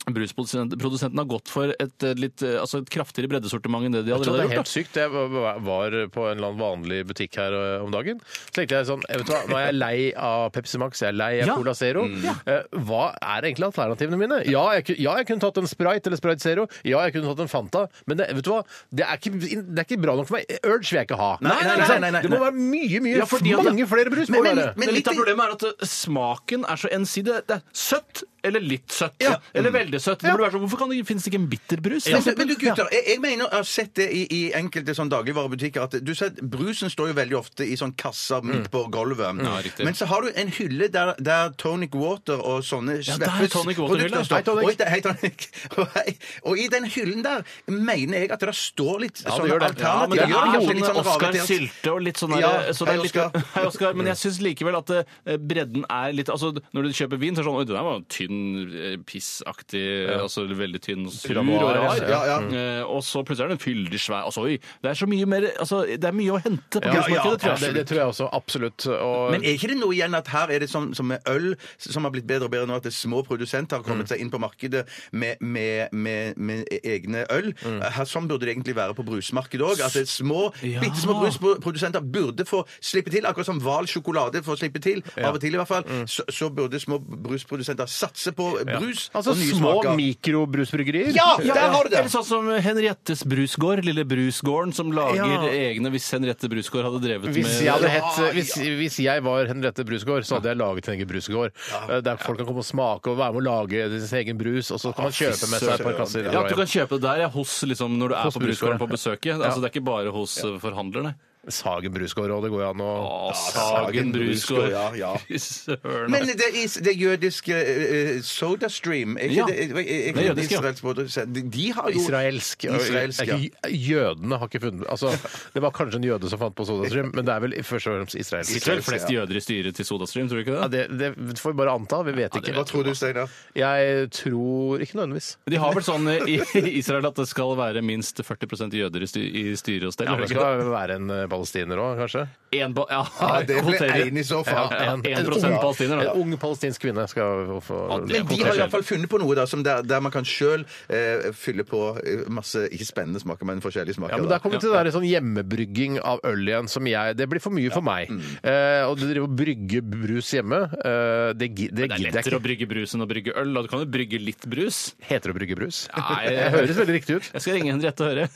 [SPEAKER 8] Brusprodusenten har gått for et, eh, litt, eh, altså et kraftigere breddesortiment enn det de
[SPEAKER 7] Jeg tror
[SPEAKER 8] allerede har
[SPEAKER 7] det er
[SPEAKER 8] gjort. da.
[SPEAKER 7] helt sykt. Jeg var var på en eller annen vanlig butikk her ø, om dagen. Så tenkte jeg sånn, vet du hva, nå er jeg lei av Pepsi Max, jeg er lei av
[SPEAKER 8] Ja.
[SPEAKER 7] Cola Zero.
[SPEAKER 8] Ja.
[SPEAKER 7] Eh, Hva er egentlig alternativene mine? Ja jeg, ku- ja, jeg kunne tatt en Sprite eller Sprite Zero. Ja, jeg kunne tatt en Fanta. Men det, vet du hva, det er, ikke, det er ikke bra nok for meg. Urge vil jeg ikke ha.
[SPEAKER 3] Nei, nei,
[SPEAKER 7] Ikke sant?
[SPEAKER 3] nei, nei, nei.
[SPEAKER 7] Det må være mye, mye,
[SPEAKER 8] Ja, fordi at-
[SPEAKER 7] mange flere brus. må
[SPEAKER 3] Men-
[SPEAKER 7] det være.
[SPEAKER 3] men-
[SPEAKER 8] Men litt
[SPEAKER 3] litt
[SPEAKER 8] av problemet er at eh, smaken er så ensidig. Det er søtt eller litt søtt.
[SPEAKER 3] Ja.
[SPEAKER 8] Eller veldig søtt. Det burde være sånn, Hvorfor kan det, finnes det ikke en bitterbrus?
[SPEAKER 3] Men, men du gutter, jeg, jeg mener jeg har sett det i, i enkelte sånn dagligvarebutikker at du ser, at brusen står jo veldig ofte i sånn kasser midt på gulvet.
[SPEAKER 8] Mm. Ja, riktig.
[SPEAKER 3] men så har du en hylle der, der tonic water og sånne
[SPEAKER 8] Ja, der er tonic water-hylla.
[SPEAKER 3] står.
[SPEAKER 8] Hei, tonic.
[SPEAKER 3] Og, i den- hei, tonic. Og, hei, og i den hyllen der mener jeg at det står litt
[SPEAKER 7] det
[SPEAKER 3] sånne
[SPEAKER 7] gjør det.
[SPEAKER 8] Ja, men det
[SPEAKER 3] alternativer.
[SPEAKER 8] er
[SPEAKER 3] Kanskje
[SPEAKER 8] noen
[SPEAKER 3] litt sånn
[SPEAKER 8] Oscar
[SPEAKER 3] ravet-
[SPEAKER 8] Sylte og litt sånn der,
[SPEAKER 3] Ja,
[SPEAKER 8] så det er
[SPEAKER 3] hei,
[SPEAKER 8] litt,
[SPEAKER 3] Oscar. Mm.
[SPEAKER 8] Hei, Oscar. Men jeg syns likevel at eh, bredden er litt Altså, når du kjøper vin, så er det sånn Oi, den der var tynn, eh, pissaktig Altså veldig tynn og sur og
[SPEAKER 7] Noir,
[SPEAKER 8] rar.
[SPEAKER 3] ja, ja.
[SPEAKER 8] Eh, Og så plutselig er den fyldig svær. Altså, oi. Det er så mye mer Altså, det er mye å hente på
[SPEAKER 7] Ja, ja,
[SPEAKER 8] brusmarkedet, tror jeg.
[SPEAKER 7] det, det tror jeg også. Absolutt. Og,
[SPEAKER 3] Men er ikke det noe igjen at her er det som, som med øl, som har blitt bedre og bedre nå, at det er små produsenter har
[SPEAKER 8] Mm.
[SPEAKER 3] kommet seg inn på markedet med, med, med, med e-, egne øl?
[SPEAKER 8] Mm.
[SPEAKER 3] Her, sånn burde det egentlig være på brusmarkedet òg. At det er små,
[SPEAKER 8] Ja.
[SPEAKER 3] bitte små brusprodusenter burde få slippe til. Akkurat som Hval sjokolade får slippe til, av og til i hvert fall,
[SPEAKER 8] Mm.
[SPEAKER 3] så, så burde små brusprodusenter satse på brus.
[SPEAKER 7] altså
[SPEAKER 3] og nye
[SPEAKER 7] små
[SPEAKER 3] smaker.
[SPEAKER 7] mikrobrusbryggerier.
[SPEAKER 3] Ja, der har du det!
[SPEAKER 8] Eller sånn som Henriettes Brusgård, Lille Brusgården, som lager
[SPEAKER 7] Ja.
[SPEAKER 8] egne hvis Henriette Brusgård hadde drevet
[SPEAKER 7] Hvis
[SPEAKER 8] med
[SPEAKER 7] jeg, hadde hett, hvis, hvis jeg var Henriette Brusgaard, så hadde jeg laget en egen brusgård. Eh, Der folk kan komme og smake og være med å lage sin egen brus, og så kan man kjøpe med seg et par kasser.
[SPEAKER 8] Ja, at du kan kjøpe det der ja, hos, liksom, når du er
[SPEAKER 7] Hos
[SPEAKER 8] på Brusgården
[SPEAKER 7] Brusgården.
[SPEAKER 8] på besøk. ja. Altså, det er ikke bare hos eh, forhandlerne.
[SPEAKER 7] Sagen Brusgård òg, det går jo an å
[SPEAKER 8] Sagen Brusgård.
[SPEAKER 3] Ja, ja.
[SPEAKER 8] Fy søren.
[SPEAKER 3] Men det, is, det jødiske eh, Soda Stream er ikke
[SPEAKER 8] Ja.
[SPEAKER 3] det, er- er- er
[SPEAKER 8] Det er
[SPEAKER 3] ikke det
[SPEAKER 8] jødiske, ja.
[SPEAKER 3] israelsk produsent? De, de har jo
[SPEAKER 7] Israelsk.
[SPEAKER 3] Israelsk, ja.
[SPEAKER 7] ja. Jødene har ikke funnet altså, Det var kanskje en jøde som fant på SodaStream, men det er vel først og fremst
[SPEAKER 8] Det
[SPEAKER 7] israelsk.
[SPEAKER 8] sitter vel flest jøder i styret til SodaStream, tror du ikke
[SPEAKER 7] Ja,
[SPEAKER 8] det?
[SPEAKER 7] det, det får vi bare anta. Vi vet
[SPEAKER 8] det
[SPEAKER 7] ikke.
[SPEAKER 3] Hva tror du, Steinar?
[SPEAKER 7] Jeg tror ikke nødvendigvis.
[SPEAKER 8] De har vel sånn i i Israel at det skal være minst 40 jøder i sty- i styre og stell?
[SPEAKER 7] Ja,
[SPEAKER 8] er
[SPEAKER 7] det
[SPEAKER 8] det ikke
[SPEAKER 7] skal være en eh, palestiner òg, kanskje.
[SPEAKER 8] det? En ba- ja,
[SPEAKER 3] Ja, det ble
[SPEAKER 8] kvoterer.
[SPEAKER 3] en i så fall.
[SPEAKER 8] Ja, en, en prosent
[SPEAKER 7] ung-
[SPEAKER 8] palestiner, da.
[SPEAKER 7] En ung palestinsk kvinne skal få
[SPEAKER 8] Ja, det
[SPEAKER 3] Men de har i
[SPEAKER 8] potensielt.
[SPEAKER 3] hvert fall funnet på noe da, som der, der man kan sjøl eh, fylle på eh, masse ikke spennende smaker, men forskjellige smaker.
[SPEAKER 7] Ja, men
[SPEAKER 3] da.
[SPEAKER 7] Der kommer vi til det der sånn hjemmebrygging av øl igjen. som jeg, Det blir for mye for meg.
[SPEAKER 8] Mm.
[SPEAKER 7] Eh, og du driver og brygger brus hjemme. Eh, det gi- det
[SPEAKER 8] Det er
[SPEAKER 7] gidder jeg
[SPEAKER 8] lettere å
[SPEAKER 7] ikke.
[SPEAKER 8] brygge brus enn å brygge øl. Da. Du kan jo brygge litt brus.
[SPEAKER 7] Heter det å brygge brus?
[SPEAKER 8] Nei,
[SPEAKER 7] det høres veldig riktig ut.
[SPEAKER 8] Jeg skal ringe Henriette og høre.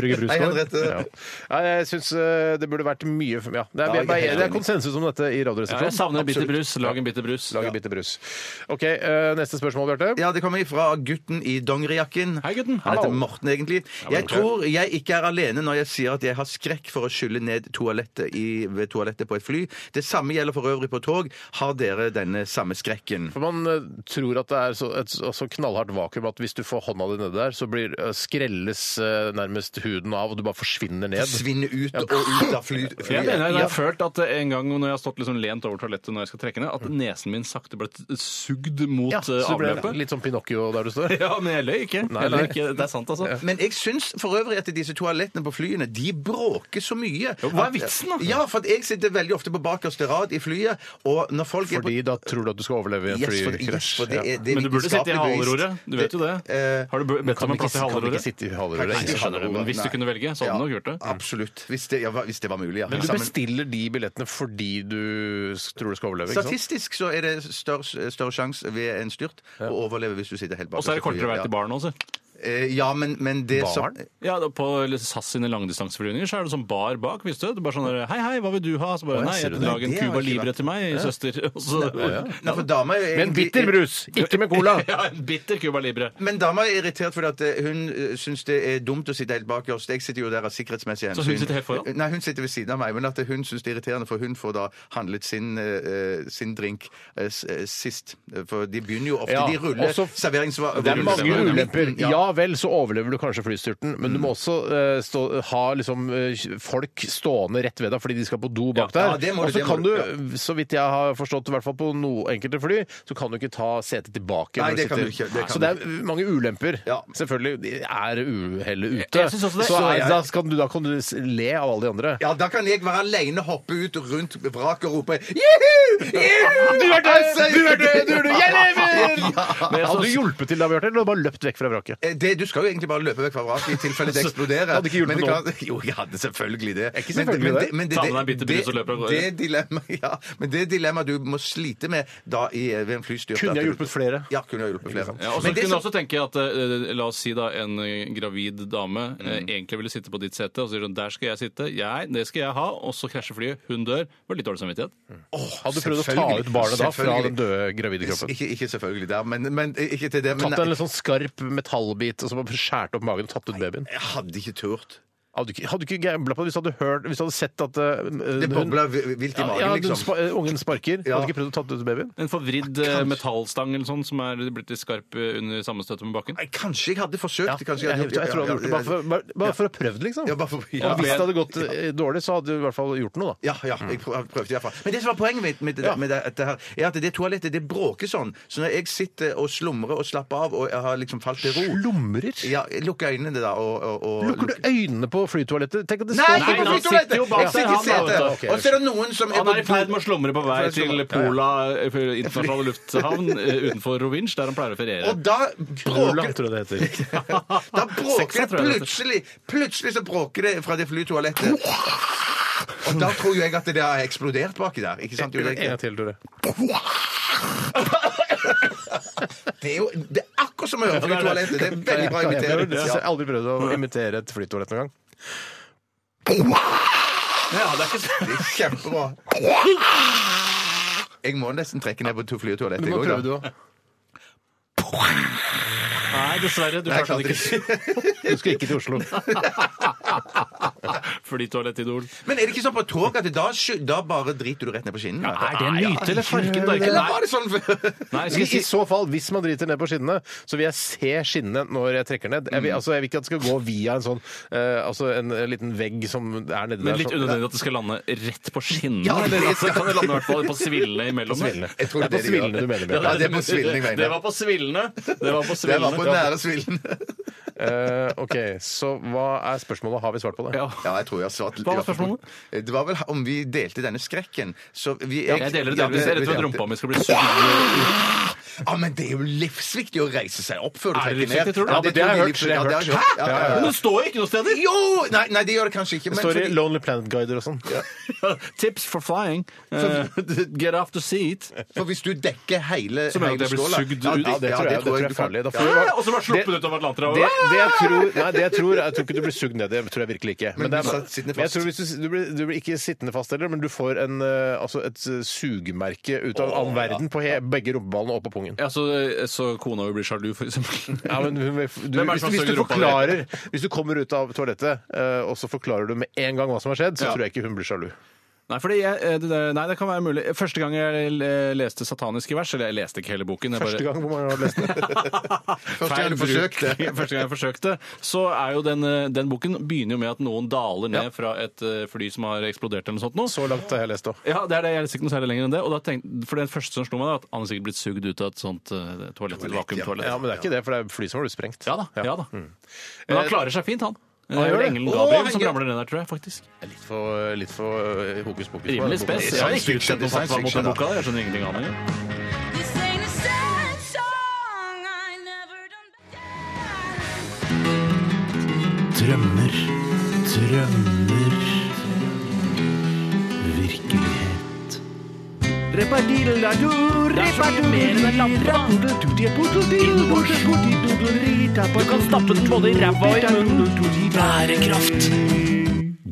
[SPEAKER 7] Brygge brus
[SPEAKER 3] Nei,
[SPEAKER 7] nå.
[SPEAKER 3] Henriette.
[SPEAKER 7] Ja. Nei, jeg syns eh, det burde vært mye for, ja. det, er,
[SPEAKER 3] Ja, jeg er
[SPEAKER 7] bare-
[SPEAKER 3] helt
[SPEAKER 7] det er
[SPEAKER 3] enig.
[SPEAKER 7] konsensus om dette i
[SPEAKER 8] Ja,
[SPEAKER 7] Radioresepsjonen.
[SPEAKER 8] jeg savner en bitter
[SPEAKER 7] Absolutt.
[SPEAKER 8] brus. Lag en bitter brus.
[SPEAKER 7] Lag en bitte brus. OK, eh, neste spørsmål, Bjarte.
[SPEAKER 3] Ja, det kommer fra gutten i dongerijakken.
[SPEAKER 8] Hei, gutten.
[SPEAKER 3] Han heter
[SPEAKER 8] Hallo.
[SPEAKER 3] Morten, egentlig. Jeg tror jeg ikke er alene når jeg sier at jeg har skrekk for å skylle ned toalettet i, ved toalettet på et fly. Det samme gjelder for øvrig på tog. Har dere denne samme skrekken?
[SPEAKER 7] For Man eh, tror at det er så, et så- så knallhardt vakuum at hvis du får hånda di nedi der, så blir, eh, skrelles eh, nærmest huden av, og du bare forsvinner ned.
[SPEAKER 3] Svinne ut og ut av fly,
[SPEAKER 8] Jeg
[SPEAKER 3] flyet.
[SPEAKER 8] mener jeg har følt at en gang når jeg har stått liksom lent over toalettet når jeg skal trekke ned, at nesen min sakte ble t- sugd mot
[SPEAKER 7] Ja,
[SPEAKER 8] eh,
[SPEAKER 7] så du ble
[SPEAKER 8] avløpet.
[SPEAKER 7] litt sånn Pinocchio der du står.
[SPEAKER 8] Ja, men jeg løy ikke.
[SPEAKER 7] Nei,
[SPEAKER 8] Jeg løy
[SPEAKER 7] nei.
[SPEAKER 8] ikke. Det er sant, altså.
[SPEAKER 3] Men jeg syns for øvrig at disse toalettene på flyene de bråker så mye.
[SPEAKER 8] hva er
[SPEAKER 3] at-
[SPEAKER 8] vitsen da?
[SPEAKER 3] Ja, for at jeg sitter veldig ofte på bakerste rad i flyet, og når folk er på
[SPEAKER 7] Fordi da tror du at du skal overleve i en
[SPEAKER 3] Yes, for, det- yes,
[SPEAKER 7] flykrasj.
[SPEAKER 3] for det er,
[SPEAKER 7] Ja.
[SPEAKER 3] det er
[SPEAKER 8] Men du burde sitte i
[SPEAKER 3] vitenskapelig bevist.
[SPEAKER 8] halvroret. Du vet jo det.
[SPEAKER 3] eh,
[SPEAKER 8] Har du bedt
[SPEAKER 7] Kan
[SPEAKER 8] om en
[SPEAKER 7] vi
[SPEAKER 8] plass i
[SPEAKER 7] ikke, kan vi ikke
[SPEAKER 8] halvroret?
[SPEAKER 7] sitte i halvrøret?
[SPEAKER 8] Nei, jeg
[SPEAKER 7] Nei.
[SPEAKER 8] skjønner det, men hvis du
[SPEAKER 3] Nei.
[SPEAKER 8] kunne velge, så hadde du nok gjort det.
[SPEAKER 3] Absolutt. Hvis det, ja, hvis det var mulig, ja.
[SPEAKER 7] Men du
[SPEAKER 3] Sammen-
[SPEAKER 7] bestiller de billettene fordi du s- tror du skal overleve? ikke sant?
[SPEAKER 3] Statistisk så er det større, større sjanse ved en styrt å overleve hvis du sitter helt bak.
[SPEAKER 8] Og så er det kortere vei til baren også.
[SPEAKER 3] Eh, Ja, men, men det som
[SPEAKER 7] Barn?
[SPEAKER 8] Ja, da På SAS sine langdistanseflyvninger så er det sånn bar bak. visste du? Det er bare sånn der, Hei, hei, hva vil du ha? Så bare,
[SPEAKER 7] Å, jeg
[SPEAKER 8] Nei,
[SPEAKER 7] ser
[SPEAKER 8] jeg
[SPEAKER 7] det.
[SPEAKER 8] lag en
[SPEAKER 3] Det har
[SPEAKER 8] Cuba
[SPEAKER 3] jeg ikke
[SPEAKER 8] Libre til meg, søster. Og så,
[SPEAKER 3] Nei, for dama er jo
[SPEAKER 7] Men
[SPEAKER 3] egentlig-
[SPEAKER 7] bitter brus! Ikke med cola!
[SPEAKER 8] ja, en bitter Cuba Libre.
[SPEAKER 3] Men dama er irritert fordi at eh, hun eh, syns det er dumt å sitte helt bak oss. Jeg sitter jo der av sikkerhetsmessige
[SPEAKER 8] Så
[SPEAKER 3] hensyn.
[SPEAKER 8] hun sitter helt foran?
[SPEAKER 3] Nei, hun sitter ved siden av meg. Men at hun syns det er irriterende, for hun får da handlet sin, eh, sin drink eh, s- eh, sist. For de begynner jo ofte
[SPEAKER 7] Ja,
[SPEAKER 3] De ruller
[SPEAKER 7] også-
[SPEAKER 3] serveringsvarer
[SPEAKER 7] Det er mange
[SPEAKER 3] ruller-
[SPEAKER 7] ulemper.
[SPEAKER 3] Ja. Mm.
[SPEAKER 7] Ja vel, så overlever du kanskje flystyrten, men du må også eh, stå, ha liksom, eh, folk stående rett ved deg fordi de skal på do bak
[SPEAKER 3] Ja,
[SPEAKER 7] der.
[SPEAKER 3] ja, det må du,
[SPEAKER 7] og så
[SPEAKER 3] det må
[SPEAKER 7] kan du,
[SPEAKER 3] du,
[SPEAKER 7] så vidt jeg har forstått, i hvert fall på noen enkelte fly, så kan du ikke ta setet tilbake.
[SPEAKER 3] Nei,
[SPEAKER 7] når
[SPEAKER 3] det kan
[SPEAKER 7] sitter.
[SPEAKER 3] du ikke, det kan
[SPEAKER 7] så det er mange ulemper.
[SPEAKER 3] Ja.
[SPEAKER 7] Selvfølgelig de er uhellet ute.
[SPEAKER 8] Jeg- jeg synes også det.
[SPEAKER 7] Så
[SPEAKER 8] Så
[SPEAKER 7] er,
[SPEAKER 8] jeg-
[SPEAKER 7] da, kan du, da kan du s- le av alle de andre.
[SPEAKER 3] Ja, da kan jeg være aleine, hoppe ut rundt vraket og rope Juhu! Juhu!
[SPEAKER 7] Du er død! Du er død! Du er død! Jeg lever!
[SPEAKER 8] Men jeg
[SPEAKER 7] Hadde du
[SPEAKER 8] synes-
[SPEAKER 7] hjulpet til da, Bjarte, eller hadde du bare løpt vekk fra vraket?
[SPEAKER 3] Eh, Det, du skal jo egentlig bare løpe vekk fra vraket i tilfelle det eksploderer.
[SPEAKER 7] Hadde ikke hjulpet
[SPEAKER 3] Men det kan- Jo, jeg hadde selvfølgelig det.
[SPEAKER 7] ikke selvfølgelig det.
[SPEAKER 8] Ta med deg en bitte brus og løp av gårde.
[SPEAKER 3] det dilemmaet ja, men det dilemmaet du må slite med da i, eh, ved en flystyrt
[SPEAKER 7] Kunne
[SPEAKER 3] at
[SPEAKER 7] jeg
[SPEAKER 3] du-
[SPEAKER 7] hjulpet flere?
[SPEAKER 3] Ja, kunne jeg hjulpet flere.
[SPEAKER 8] Ja, og så
[SPEAKER 3] Men det
[SPEAKER 8] kunne jeg
[SPEAKER 3] som-
[SPEAKER 8] også tenke at eh, La oss si da en eh, gravid dame eh, egentlig ville sitte på ditt sete, og så sier hun der skal jeg sitte, jeg, det skal jeg ha, og så krasjer flyet, hun dør. Det var litt dårlig samvittighet.
[SPEAKER 7] Hadde du prøvd å ta ut barnet da fra
[SPEAKER 3] Selvfølgelig.
[SPEAKER 7] den døde gravide kroppen?
[SPEAKER 3] Ikke, ikke selvfølgelig der, men, men ikke til det. Men
[SPEAKER 7] Tatt en litt sånn skarp metallbit og så bare skåret opp magen og tatt ut babyen?
[SPEAKER 3] jeg hadde ikke turt.
[SPEAKER 7] Hadde du ikke, hadde du ikke gambla på det hvis du hadde hørt Hvis du hadde sett at eh,
[SPEAKER 3] Det
[SPEAKER 7] hun-
[SPEAKER 3] bobla vi- vilt i
[SPEAKER 7] ja,
[SPEAKER 3] magen,
[SPEAKER 7] ja, den
[SPEAKER 3] liksom.
[SPEAKER 7] spa, eh, ungen sparker.
[SPEAKER 3] Ja.
[SPEAKER 7] Hadde du ikke prøvd å tatt ut babyen?
[SPEAKER 8] En forvridd eh, metallstang eller sånn som er blitt litt skarp eh, under sammenstøtet med bakken.
[SPEAKER 3] Nei, Kanskje jeg hadde forsøkt.
[SPEAKER 7] jeg,
[SPEAKER 3] kanskje
[SPEAKER 7] jeg,
[SPEAKER 3] hadde gjort-
[SPEAKER 7] tror jeg hadde gjort det. Bare for, bare, bare for å prøve det, liksom.
[SPEAKER 3] Ja, bare for-
[SPEAKER 7] Og hvis det hadde gått eh, dårlig, så hadde du i hvert fall gjort noe, da.
[SPEAKER 3] Ja, ja, jeg prøv- jeg prøvde i hvert fall. Men det som var poenget mitt med, det- med det, dette her, er at det toalettet det bråker sånn. Så når jeg sitter og slumrer og slapper av og jeg har liksom falt til ro
[SPEAKER 7] Slumrer?
[SPEAKER 3] ja, jeg Lukker øynene da og, og, og
[SPEAKER 7] Lukker du øynene på flytoalettet? Tenk at det
[SPEAKER 3] Nei,
[SPEAKER 7] står
[SPEAKER 3] ikke på
[SPEAKER 8] han sitter
[SPEAKER 3] flytoalettet!
[SPEAKER 8] jo bak
[SPEAKER 3] Jeg sitter
[SPEAKER 8] der,
[SPEAKER 3] i
[SPEAKER 8] han,
[SPEAKER 3] setet.
[SPEAKER 8] da,
[SPEAKER 7] vet du.
[SPEAKER 3] Og så er det noen som
[SPEAKER 8] Han er i ferd med å slumre på vei
[SPEAKER 3] Ja, ja.
[SPEAKER 8] til Pola, eh, internasjonale lufthavn, eh, utenfor Rovinj, der han pleier å feriere.
[SPEAKER 3] Og da
[SPEAKER 7] Rulla,
[SPEAKER 3] bråker
[SPEAKER 7] tror jeg det heter.
[SPEAKER 3] Da bråker
[SPEAKER 8] Seksa, tror
[SPEAKER 3] det
[SPEAKER 8] jeg det heter.
[SPEAKER 3] plutselig Plutselig så bråker det fra det flytoalettet. Og da tror jo jeg at det har eksplodert baki der. Ikke sant?
[SPEAKER 7] En gang
[SPEAKER 3] Ulrikke?
[SPEAKER 7] til, Tore.
[SPEAKER 3] Det er jo det er akkurat som å høre
[SPEAKER 8] det er det.
[SPEAKER 3] flytoalettet. Det er
[SPEAKER 7] Kan jeg
[SPEAKER 3] veldig bra
[SPEAKER 7] prøve
[SPEAKER 3] imitert.
[SPEAKER 7] det? Jeg har
[SPEAKER 3] Ja.
[SPEAKER 7] aldri prøvd å imitere et flytoalett noen gang.
[SPEAKER 8] Ja, det er ikke så...
[SPEAKER 3] Det er Kjempebra. Jeg må nesten trekke ned på to fly og toalett. jeg også, da.
[SPEAKER 7] òg.
[SPEAKER 8] Nei, dessverre. Du klarte det ikke.
[SPEAKER 7] Du skal ikke til Oslo.
[SPEAKER 8] Flytoalettidol.
[SPEAKER 3] Men er det ikke sånn på tog at da, sky- da bare driter du rett ned på skinnen?
[SPEAKER 8] Er det en myte, eller farken? da? Ikke-
[SPEAKER 3] Eller
[SPEAKER 8] Nei,
[SPEAKER 3] var det sånn
[SPEAKER 8] nei, skal
[SPEAKER 7] I,
[SPEAKER 8] jeg si
[SPEAKER 7] I så fall, hvis man driter ned på skinnene, så vil jeg se skinnene når jeg trekker ned.
[SPEAKER 3] Mm.
[SPEAKER 7] Jeg vil, altså, jeg vil ikke at det skal gå via en sånn eh, altså en, en liten vegg som er nedi
[SPEAKER 8] Men
[SPEAKER 7] der.
[SPEAKER 8] litt
[SPEAKER 7] sånn.
[SPEAKER 8] unødvendig at det skal lande rett på skinnene.
[SPEAKER 3] Ja, det
[SPEAKER 8] eller at det
[SPEAKER 3] skal-
[SPEAKER 8] kan lande i hvert fall på svillene
[SPEAKER 7] På
[SPEAKER 8] imellom.
[SPEAKER 7] svillene.
[SPEAKER 3] Jeg tror
[SPEAKER 7] det er på
[SPEAKER 3] det er det de
[SPEAKER 7] svillene
[SPEAKER 3] gjør.
[SPEAKER 7] du mener.
[SPEAKER 3] Ja,
[SPEAKER 7] Bjørn.
[SPEAKER 3] det er på svillene, jeg mener.
[SPEAKER 8] Det var på svillene. Det var på
[SPEAKER 3] Det var på
[SPEAKER 8] svillene.
[SPEAKER 3] nære svillen.
[SPEAKER 7] Eh, OK, så hva er spørsmålet? Har vi svart på det?
[SPEAKER 8] Ja.
[SPEAKER 3] Ja, jeg tror jeg har svart
[SPEAKER 8] Hva var spørsmålet?
[SPEAKER 3] Det var vel om vi delte denne skrekken. Så vi
[SPEAKER 8] Jeg deler det delvis. Jeg er redd for at rumpa mi skal bli sur.
[SPEAKER 3] Ja, men det er jo livsviktig å reise seg opp før du
[SPEAKER 8] Er det
[SPEAKER 3] trekker ned.
[SPEAKER 8] livsviktig, tror du?
[SPEAKER 3] Ja,
[SPEAKER 8] Ja,
[SPEAKER 7] men det har jeg
[SPEAKER 3] tror
[SPEAKER 7] hørt, det har jeg
[SPEAKER 3] livsviktig. Ja, det har jeg hørt. Ja, ja,
[SPEAKER 8] Men
[SPEAKER 3] ja.
[SPEAKER 8] det står ikke noe sted!
[SPEAKER 3] Jo! Nei, nei, det gjør det kanskje
[SPEAKER 7] Det
[SPEAKER 3] ikke. Men
[SPEAKER 7] står i
[SPEAKER 3] fordi-
[SPEAKER 7] Lonely Planet-guider og sånn.
[SPEAKER 8] Tips for flying. Eh, get off the seat.
[SPEAKER 3] for hvis du dekker hele
[SPEAKER 8] Så mener du at jeg blir
[SPEAKER 3] hele skåla-
[SPEAKER 8] sugd
[SPEAKER 3] Ja,
[SPEAKER 8] ut?
[SPEAKER 7] Ja, det tror jeg, det tror jeg
[SPEAKER 3] du
[SPEAKER 7] er
[SPEAKER 3] kan-
[SPEAKER 7] farlig. Da får
[SPEAKER 8] Ja,
[SPEAKER 7] vi bare-
[SPEAKER 8] og så bare sluppet
[SPEAKER 7] Det-
[SPEAKER 8] ut av Atlanterhavet.
[SPEAKER 7] Det, det jeg tror, nei, det jeg tror Jeg tror ikke du blir sugd ned. Det tror jeg virkelig ikke.
[SPEAKER 3] Men
[SPEAKER 7] det
[SPEAKER 3] du
[SPEAKER 7] er,
[SPEAKER 3] satt sittende
[SPEAKER 7] men jeg
[SPEAKER 3] fast.
[SPEAKER 7] tror hvis du, du, blir, du blir ikke sittende fast heller, men du får en, eh, altså et eh, sugemerke ut av all verden på he, begge rumpeballene og på pungen.
[SPEAKER 8] Ja, så, eh, så kona vil bli sjalu, for eksempel.
[SPEAKER 7] Ja, men hun- du,
[SPEAKER 8] Hvem er det
[SPEAKER 7] hvis,
[SPEAKER 8] som
[SPEAKER 7] hvis,
[SPEAKER 8] suger
[SPEAKER 7] du
[SPEAKER 8] rumpa di?
[SPEAKER 7] forklarer, hvis du kommer ut av toalettet eh, og så forklarer du med en gang hva som har skjedd, så
[SPEAKER 8] Ja.
[SPEAKER 7] tror jeg ikke hun blir sjalu.
[SPEAKER 8] Nei, fordi jeg, eh, det, der- nei, det kan være mulig. Første gang jeg eh, leste sataniske vers, eller jeg leste ikke hele boken jeg bare-
[SPEAKER 7] Første gang hvor mange har lest den.
[SPEAKER 3] Første gang du
[SPEAKER 8] Feil bruk.
[SPEAKER 3] forsøkte.
[SPEAKER 8] Første gang jeg forsøkte, så er jo den, eh, den boken begynner jo med at noen daler ned fra et eh, fly som har eksplodert eller noe sånt nå.
[SPEAKER 7] Så langt eh. har jeg lest òg.
[SPEAKER 8] Ja, det er det. Jeg er ikke noe særlig lenger enn det. Og da tenkte, for det første som slo meg, da, at han er sikkert blitt sugd ut av et sånt eh, toalett, et vakuumtoalett.
[SPEAKER 7] Ja, men det er ikke det, for det er fly som har blitt sprengt.
[SPEAKER 8] Ja da. ja da. Men han klarer seg fint, han. Det er
[SPEAKER 7] gjør
[SPEAKER 8] vel
[SPEAKER 7] det.
[SPEAKER 8] engelen
[SPEAKER 7] Å,
[SPEAKER 8] Gabriel
[SPEAKER 7] han
[SPEAKER 8] som
[SPEAKER 7] gjør-
[SPEAKER 8] ramler ned der, tror jeg. faktisk.
[SPEAKER 7] Litt for, litt for eh, hokus pokus.
[SPEAKER 8] Rimelig spes. Jeg har ikke utsett noe fatwa mot den boka. der. Jeg skjønner ingenting av den. jeg.
[SPEAKER 5] This ain't a sad song. I never done bad.
[SPEAKER 9] Drømmer, drømmer Virkelighet
[SPEAKER 4] Du kan stappe den både i ræva og i munnen.
[SPEAKER 9] Bærekraft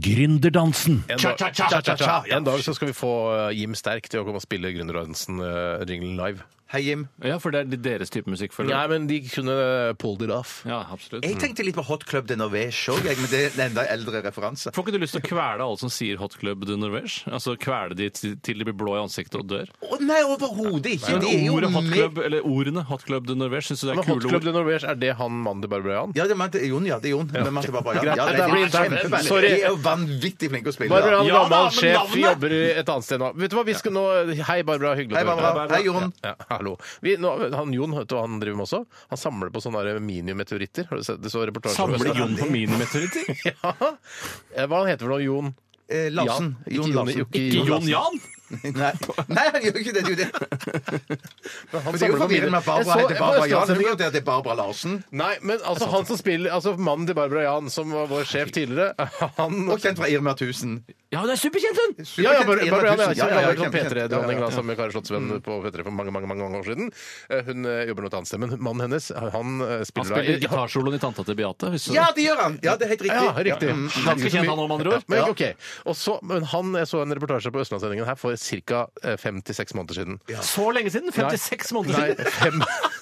[SPEAKER 9] Gründerdansen
[SPEAKER 7] En dag, Cha-cha-cha. En dag så skal vi få eh, Jim Sterk til å komme og spille Gründerdansen-jinglen live.
[SPEAKER 3] Hei, Jim.
[SPEAKER 8] Ja, for det er deres type musikk, føler
[SPEAKER 7] Nei,
[SPEAKER 8] jeg.
[SPEAKER 7] men de kunne pulled it off.
[SPEAKER 8] Ja, absolutt.
[SPEAKER 3] Jeg tenkte litt på Hot Club de Norvège òg, men det er en enda eldre referanse.
[SPEAKER 8] Får ikke du lyst til å kvele alle som sier Hot Club de Norvège? Altså kvele de til til de blir blå i ansiktet og dør?
[SPEAKER 3] Å nei, overhodet ikke!
[SPEAKER 8] Men
[SPEAKER 3] De er jo
[SPEAKER 8] ordet Hot
[SPEAKER 3] med-
[SPEAKER 8] Club, eller ordene Hot Club de Norvège, syns du det
[SPEAKER 7] Men
[SPEAKER 8] er
[SPEAKER 7] Hot
[SPEAKER 8] kule
[SPEAKER 7] Club
[SPEAKER 8] ord?
[SPEAKER 7] de Norvège, er det han mannen til Barbara Jan?
[SPEAKER 3] Ja, det er Mante Jon, ja. Det er Jon. Men Mante Barbara, ja.
[SPEAKER 7] Greit,
[SPEAKER 3] ja det
[SPEAKER 7] dette
[SPEAKER 3] er
[SPEAKER 7] blir
[SPEAKER 3] kjempe-
[SPEAKER 7] internt.
[SPEAKER 3] veldig-
[SPEAKER 7] Sorry.
[SPEAKER 3] De er jo vanvittig flinke å spille.
[SPEAKER 7] Barbara
[SPEAKER 3] da.
[SPEAKER 7] Jan,
[SPEAKER 8] Ja da,
[SPEAKER 7] gammel
[SPEAKER 8] men
[SPEAKER 7] sjef,
[SPEAKER 8] navnet!
[SPEAKER 7] jobber i et annet sted nå. Vet du hva, vi skal nå Hei, Barbara. Hyggelig
[SPEAKER 3] Hei,
[SPEAKER 7] å møte
[SPEAKER 3] Barbara.
[SPEAKER 7] deg.
[SPEAKER 3] Hei, Jon.
[SPEAKER 7] Ja, ja, hallo. Vi, nå, han Jon, vet du hva han driver med også? Han samler på sånne der minimeteoritter. Har du sett det så reportasje om
[SPEAKER 8] Samler
[SPEAKER 7] det?
[SPEAKER 8] Jon på minimeteoritter?
[SPEAKER 7] Ja. Eh, Hva han heter for noe? Jon?
[SPEAKER 3] Eh, Larsen.
[SPEAKER 7] Jan.
[SPEAKER 3] Jon
[SPEAKER 7] Ikke
[SPEAKER 3] Larsen.
[SPEAKER 8] Ikke Jon Jan?
[SPEAKER 3] Nei. Nei, han gjør ikke det. Det er jo det.
[SPEAKER 7] Han
[SPEAKER 3] Men det er jo
[SPEAKER 7] samler på
[SPEAKER 3] forvirrende med at Barbara
[SPEAKER 7] Jeg så-
[SPEAKER 3] heter Barbara
[SPEAKER 7] jeg var i
[SPEAKER 3] Jan. Hun vet at det er Barbara Larsen.
[SPEAKER 7] Nei, men altså han som spiller Altså mannen til Barbara Jan, som var vår sjef tidligere, han
[SPEAKER 3] Og kjent fra Irma 1000.
[SPEAKER 8] Ja, hun er superkjent, hun!
[SPEAKER 7] ja, ja, Barbara,
[SPEAKER 3] Irma
[SPEAKER 7] Barbara Jan
[SPEAKER 3] 1000.
[SPEAKER 7] er
[SPEAKER 3] Ja, ja, ja,
[SPEAKER 7] som
[SPEAKER 3] kjempekjent.
[SPEAKER 7] P3-dronning
[SPEAKER 3] Ja, ja.
[SPEAKER 7] da, sammen med Kari Slottsvenn på P3 for mange, mange mange, mange år siden. Eh, Hun eh, jobber noe annet sted, men mannen hennes, han eh,
[SPEAKER 8] Han
[SPEAKER 7] spiller da
[SPEAKER 8] spiller
[SPEAKER 7] i-
[SPEAKER 8] gitarsoloen i Tanta til Beate. Hvis du-
[SPEAKER 3] Ja, det gjør han! Ja, det er helt riktig.
[SPEAKER 7] Ja, riktig.
[SPEAKER 3] Ja, mm.
[SPEAKER 8] Ganske kjent han om andre ord.
[SPEAKER 7] Men, ok. Og så, men han, jeg så en reportasje på Østlandssendingen her for ca. fem til seks måneder siden.
[SPEAKER 8] Så lenge siden? 56 måneder
[SPEAKER 7] Nei,
[SPEAKER 8] siden?
[SPEAKER 7] fem,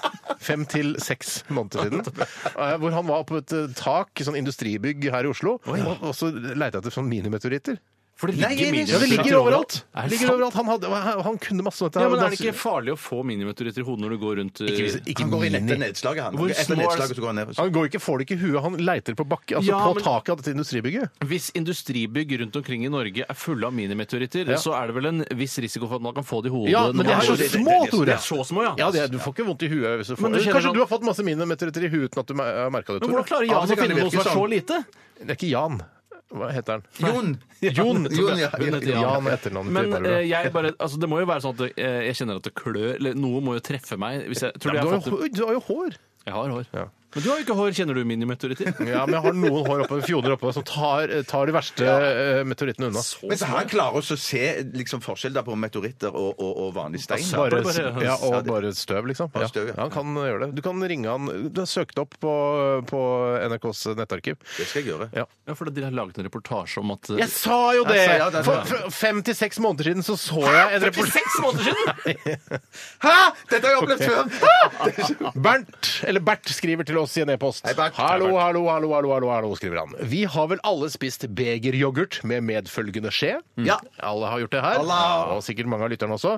[SPEAKER 7] fem til seks måneder siden. Eh, Hvor han var på et eh, tak i sånn industribygg her i Oslo, og, og så leita etter sånn minimeteoritter.
[SPEAKER 8] For det
[SPEAKER 3] Nei,
[SPEAKER 8] ligger
[SPEAKER 3] jeg vet ikke.
[SPEAKER 7] Ja, det ligger overalt!
[SPEAKER 8] Er det
[SPEAKER 7] Det ligger
[SPEAKER 8] sant?
[SPEAKER 7] overalt. Han, hadde, han kunne masse om dette.
[SPEAKER 8] Ja,
[SPEAKER 7] her,
[SPEAKER 8] men
[SPEAKER 7] og
[SPEAKER 8] Er det
[SPEAKER 7] da-
[SPEAKER 8] ikke farlig å få minimeteoritter i hodet når du går rundt eh,
[SPEAKER 7] Ikke hvis- ikke
[SPEAKER 3] Han går inn
[SPEAKER 7] mini.
[SPEAKER 3] etter nedslaget, han.
[SPEAKER 8] Hvor
[SPEAKER 3] etter
[SPEAKER 8] små er-
[SPEAKER 3] nedslaget så går han ned.
[SPEAKER 7] han går ikke, får det ikke i huet. Han leiter på bakke, altså
[SPEAKER 8] Ja,
[SPEAKER 7] på
[SPEAKER 8] men-
[SPEAKER 7] taket av dette industribygget.
[SPEAKER 8] eh, Hvis industribygg rundt omkring i Norge er fulle av minimeteoritter,
[SPEAKER 7] Ja.
[SPEAKER 8] så er det vel en viss risiko for at man kan få det i hodet?
[SPEAKER 7] Ja,
[SPEAKER 8] når
[SPEAKER 7] men de
[SPEAKER 8] man
[SPEAKER 7] er så
[SPEAKER 8] går-
[SPEAKER 7] små,
[SPEAKER 8] De
[SPEAKER 7] Tore!
[SPEAKER 8] er så små, ja.
[SPEAKER 7] Ja, det, du får ikke vondt i huet. Hvis du får.
[SPEAKER 8] Men du kjenner
[SPEAKER 7] Kanskje
[SPEAKER 8] sånn-
[SPEAKER 7] du har fått masse minimeteoritter i huet uten at du mer- har merka det,
[SPEAKER 8] Men
[SPEAKER 7] sånn. Tore?
[SPEAKER 8] hvordan klarer
[SPEAKER 3] Ja,
[SPEAKER 8] Jan å
[SPEAKER 3] det kan
[SPEAKER 8] finne
[SPEAKER 3] det
[SPEAKER 8] noe som
[SPEAKER 3] virke
[SPEAKER 8] er så lite?
[SPEAKER 7] Det er ikke Jan. Hva heter han?
[SPEAKER 3] Jon!
[SPEAKER 7] Jon.
[SPEAKER 3] Jon, ja.
[SPEAKER 8] Hun heter
[SPEAKER 7] Jan
[SPEAKER 8] Jan.
[SPEAKER 7] er etternavnet til
[SPEAKER 8] Men
[SPEAKER 7] Barbara.
[SPEAKER 8] eh, jeg bare, altså, det må jo være sånn at det, eh, jeg kjenner at det klør eller Noe må jo treffe meg. Hvis jeg,
[SPEAKER 7] Ja,
[SPEAKER 8] tror du
[SPEAKER 7] men du,
[SPEAKER 8] jeg,
[SPEAKER 7] har
[SPEAKER 8] har
[SPEAKER 7] jo,
[SPEAKER 8] fått,
[SPEAKER 7] hår- du har jo hår.
[SPEAKER 8] det? jeg har hår.
[SPEAKER 7] Ja.
[SPEAKER 8] Men du har jo ikke hår. Kjenner du minimeteoritter?
[SPEAKER 7] Ja, men jeg har noen hår oppå, fjoner oppå som tar, tar de verste eh, meteorittene unna.
[SPEAKER 3] Men så han klarer også å se liksom, forskjell da på meteoritter og, og, og vanlig stein.
[SPEAKER 7] Bare,
[SPEAKER 8] Altså, bare-
[SPEAKER 7] ja, og bare støv, liksom. Ja.
[SPEAKER 3] støv, ja.
[SPEAKER 7] Ja, han kan gjøre det. Du kan ringe han Du har søkt opp på, på NRKs nettarkiv.
[SPEAKER 3] Det skal jeg gjøre.
[SPEAKER 8] Ja, for de har laget en reportasje om at eh,
[SPEAKER 7] Jeg sa jo det!
[SPEAKER 3] Jeg sa ja, det er
[SPEAKER 7] For,
[SPEAKER 3] sant.
[SPEAKER 7] for fem til seks måneder siden så så jeg en reportasje
[SPEAKER 8] Seks måneder siden!
[SPEAKER 3] Hæ?! Dette har jeg opplevd før!
[SPEAKER 7] Bernt eller Bert skriver til oss i en e-post.
[SPEAKER 3] Hei, Bert.
[SPEAKER 7] Hallo,
[SPEAKER 3] Hei, Bert.
[SPEAKER 7] hallo, hallo, hallo, hallo, hallo, skriver han. Vi har vel alle spist begeryoghurt med medfølgende skje?
[SPEAKER 3] Ja.
[SPEAKER 7] Alle har gjort det her. Og sikkert mange av lytterne også.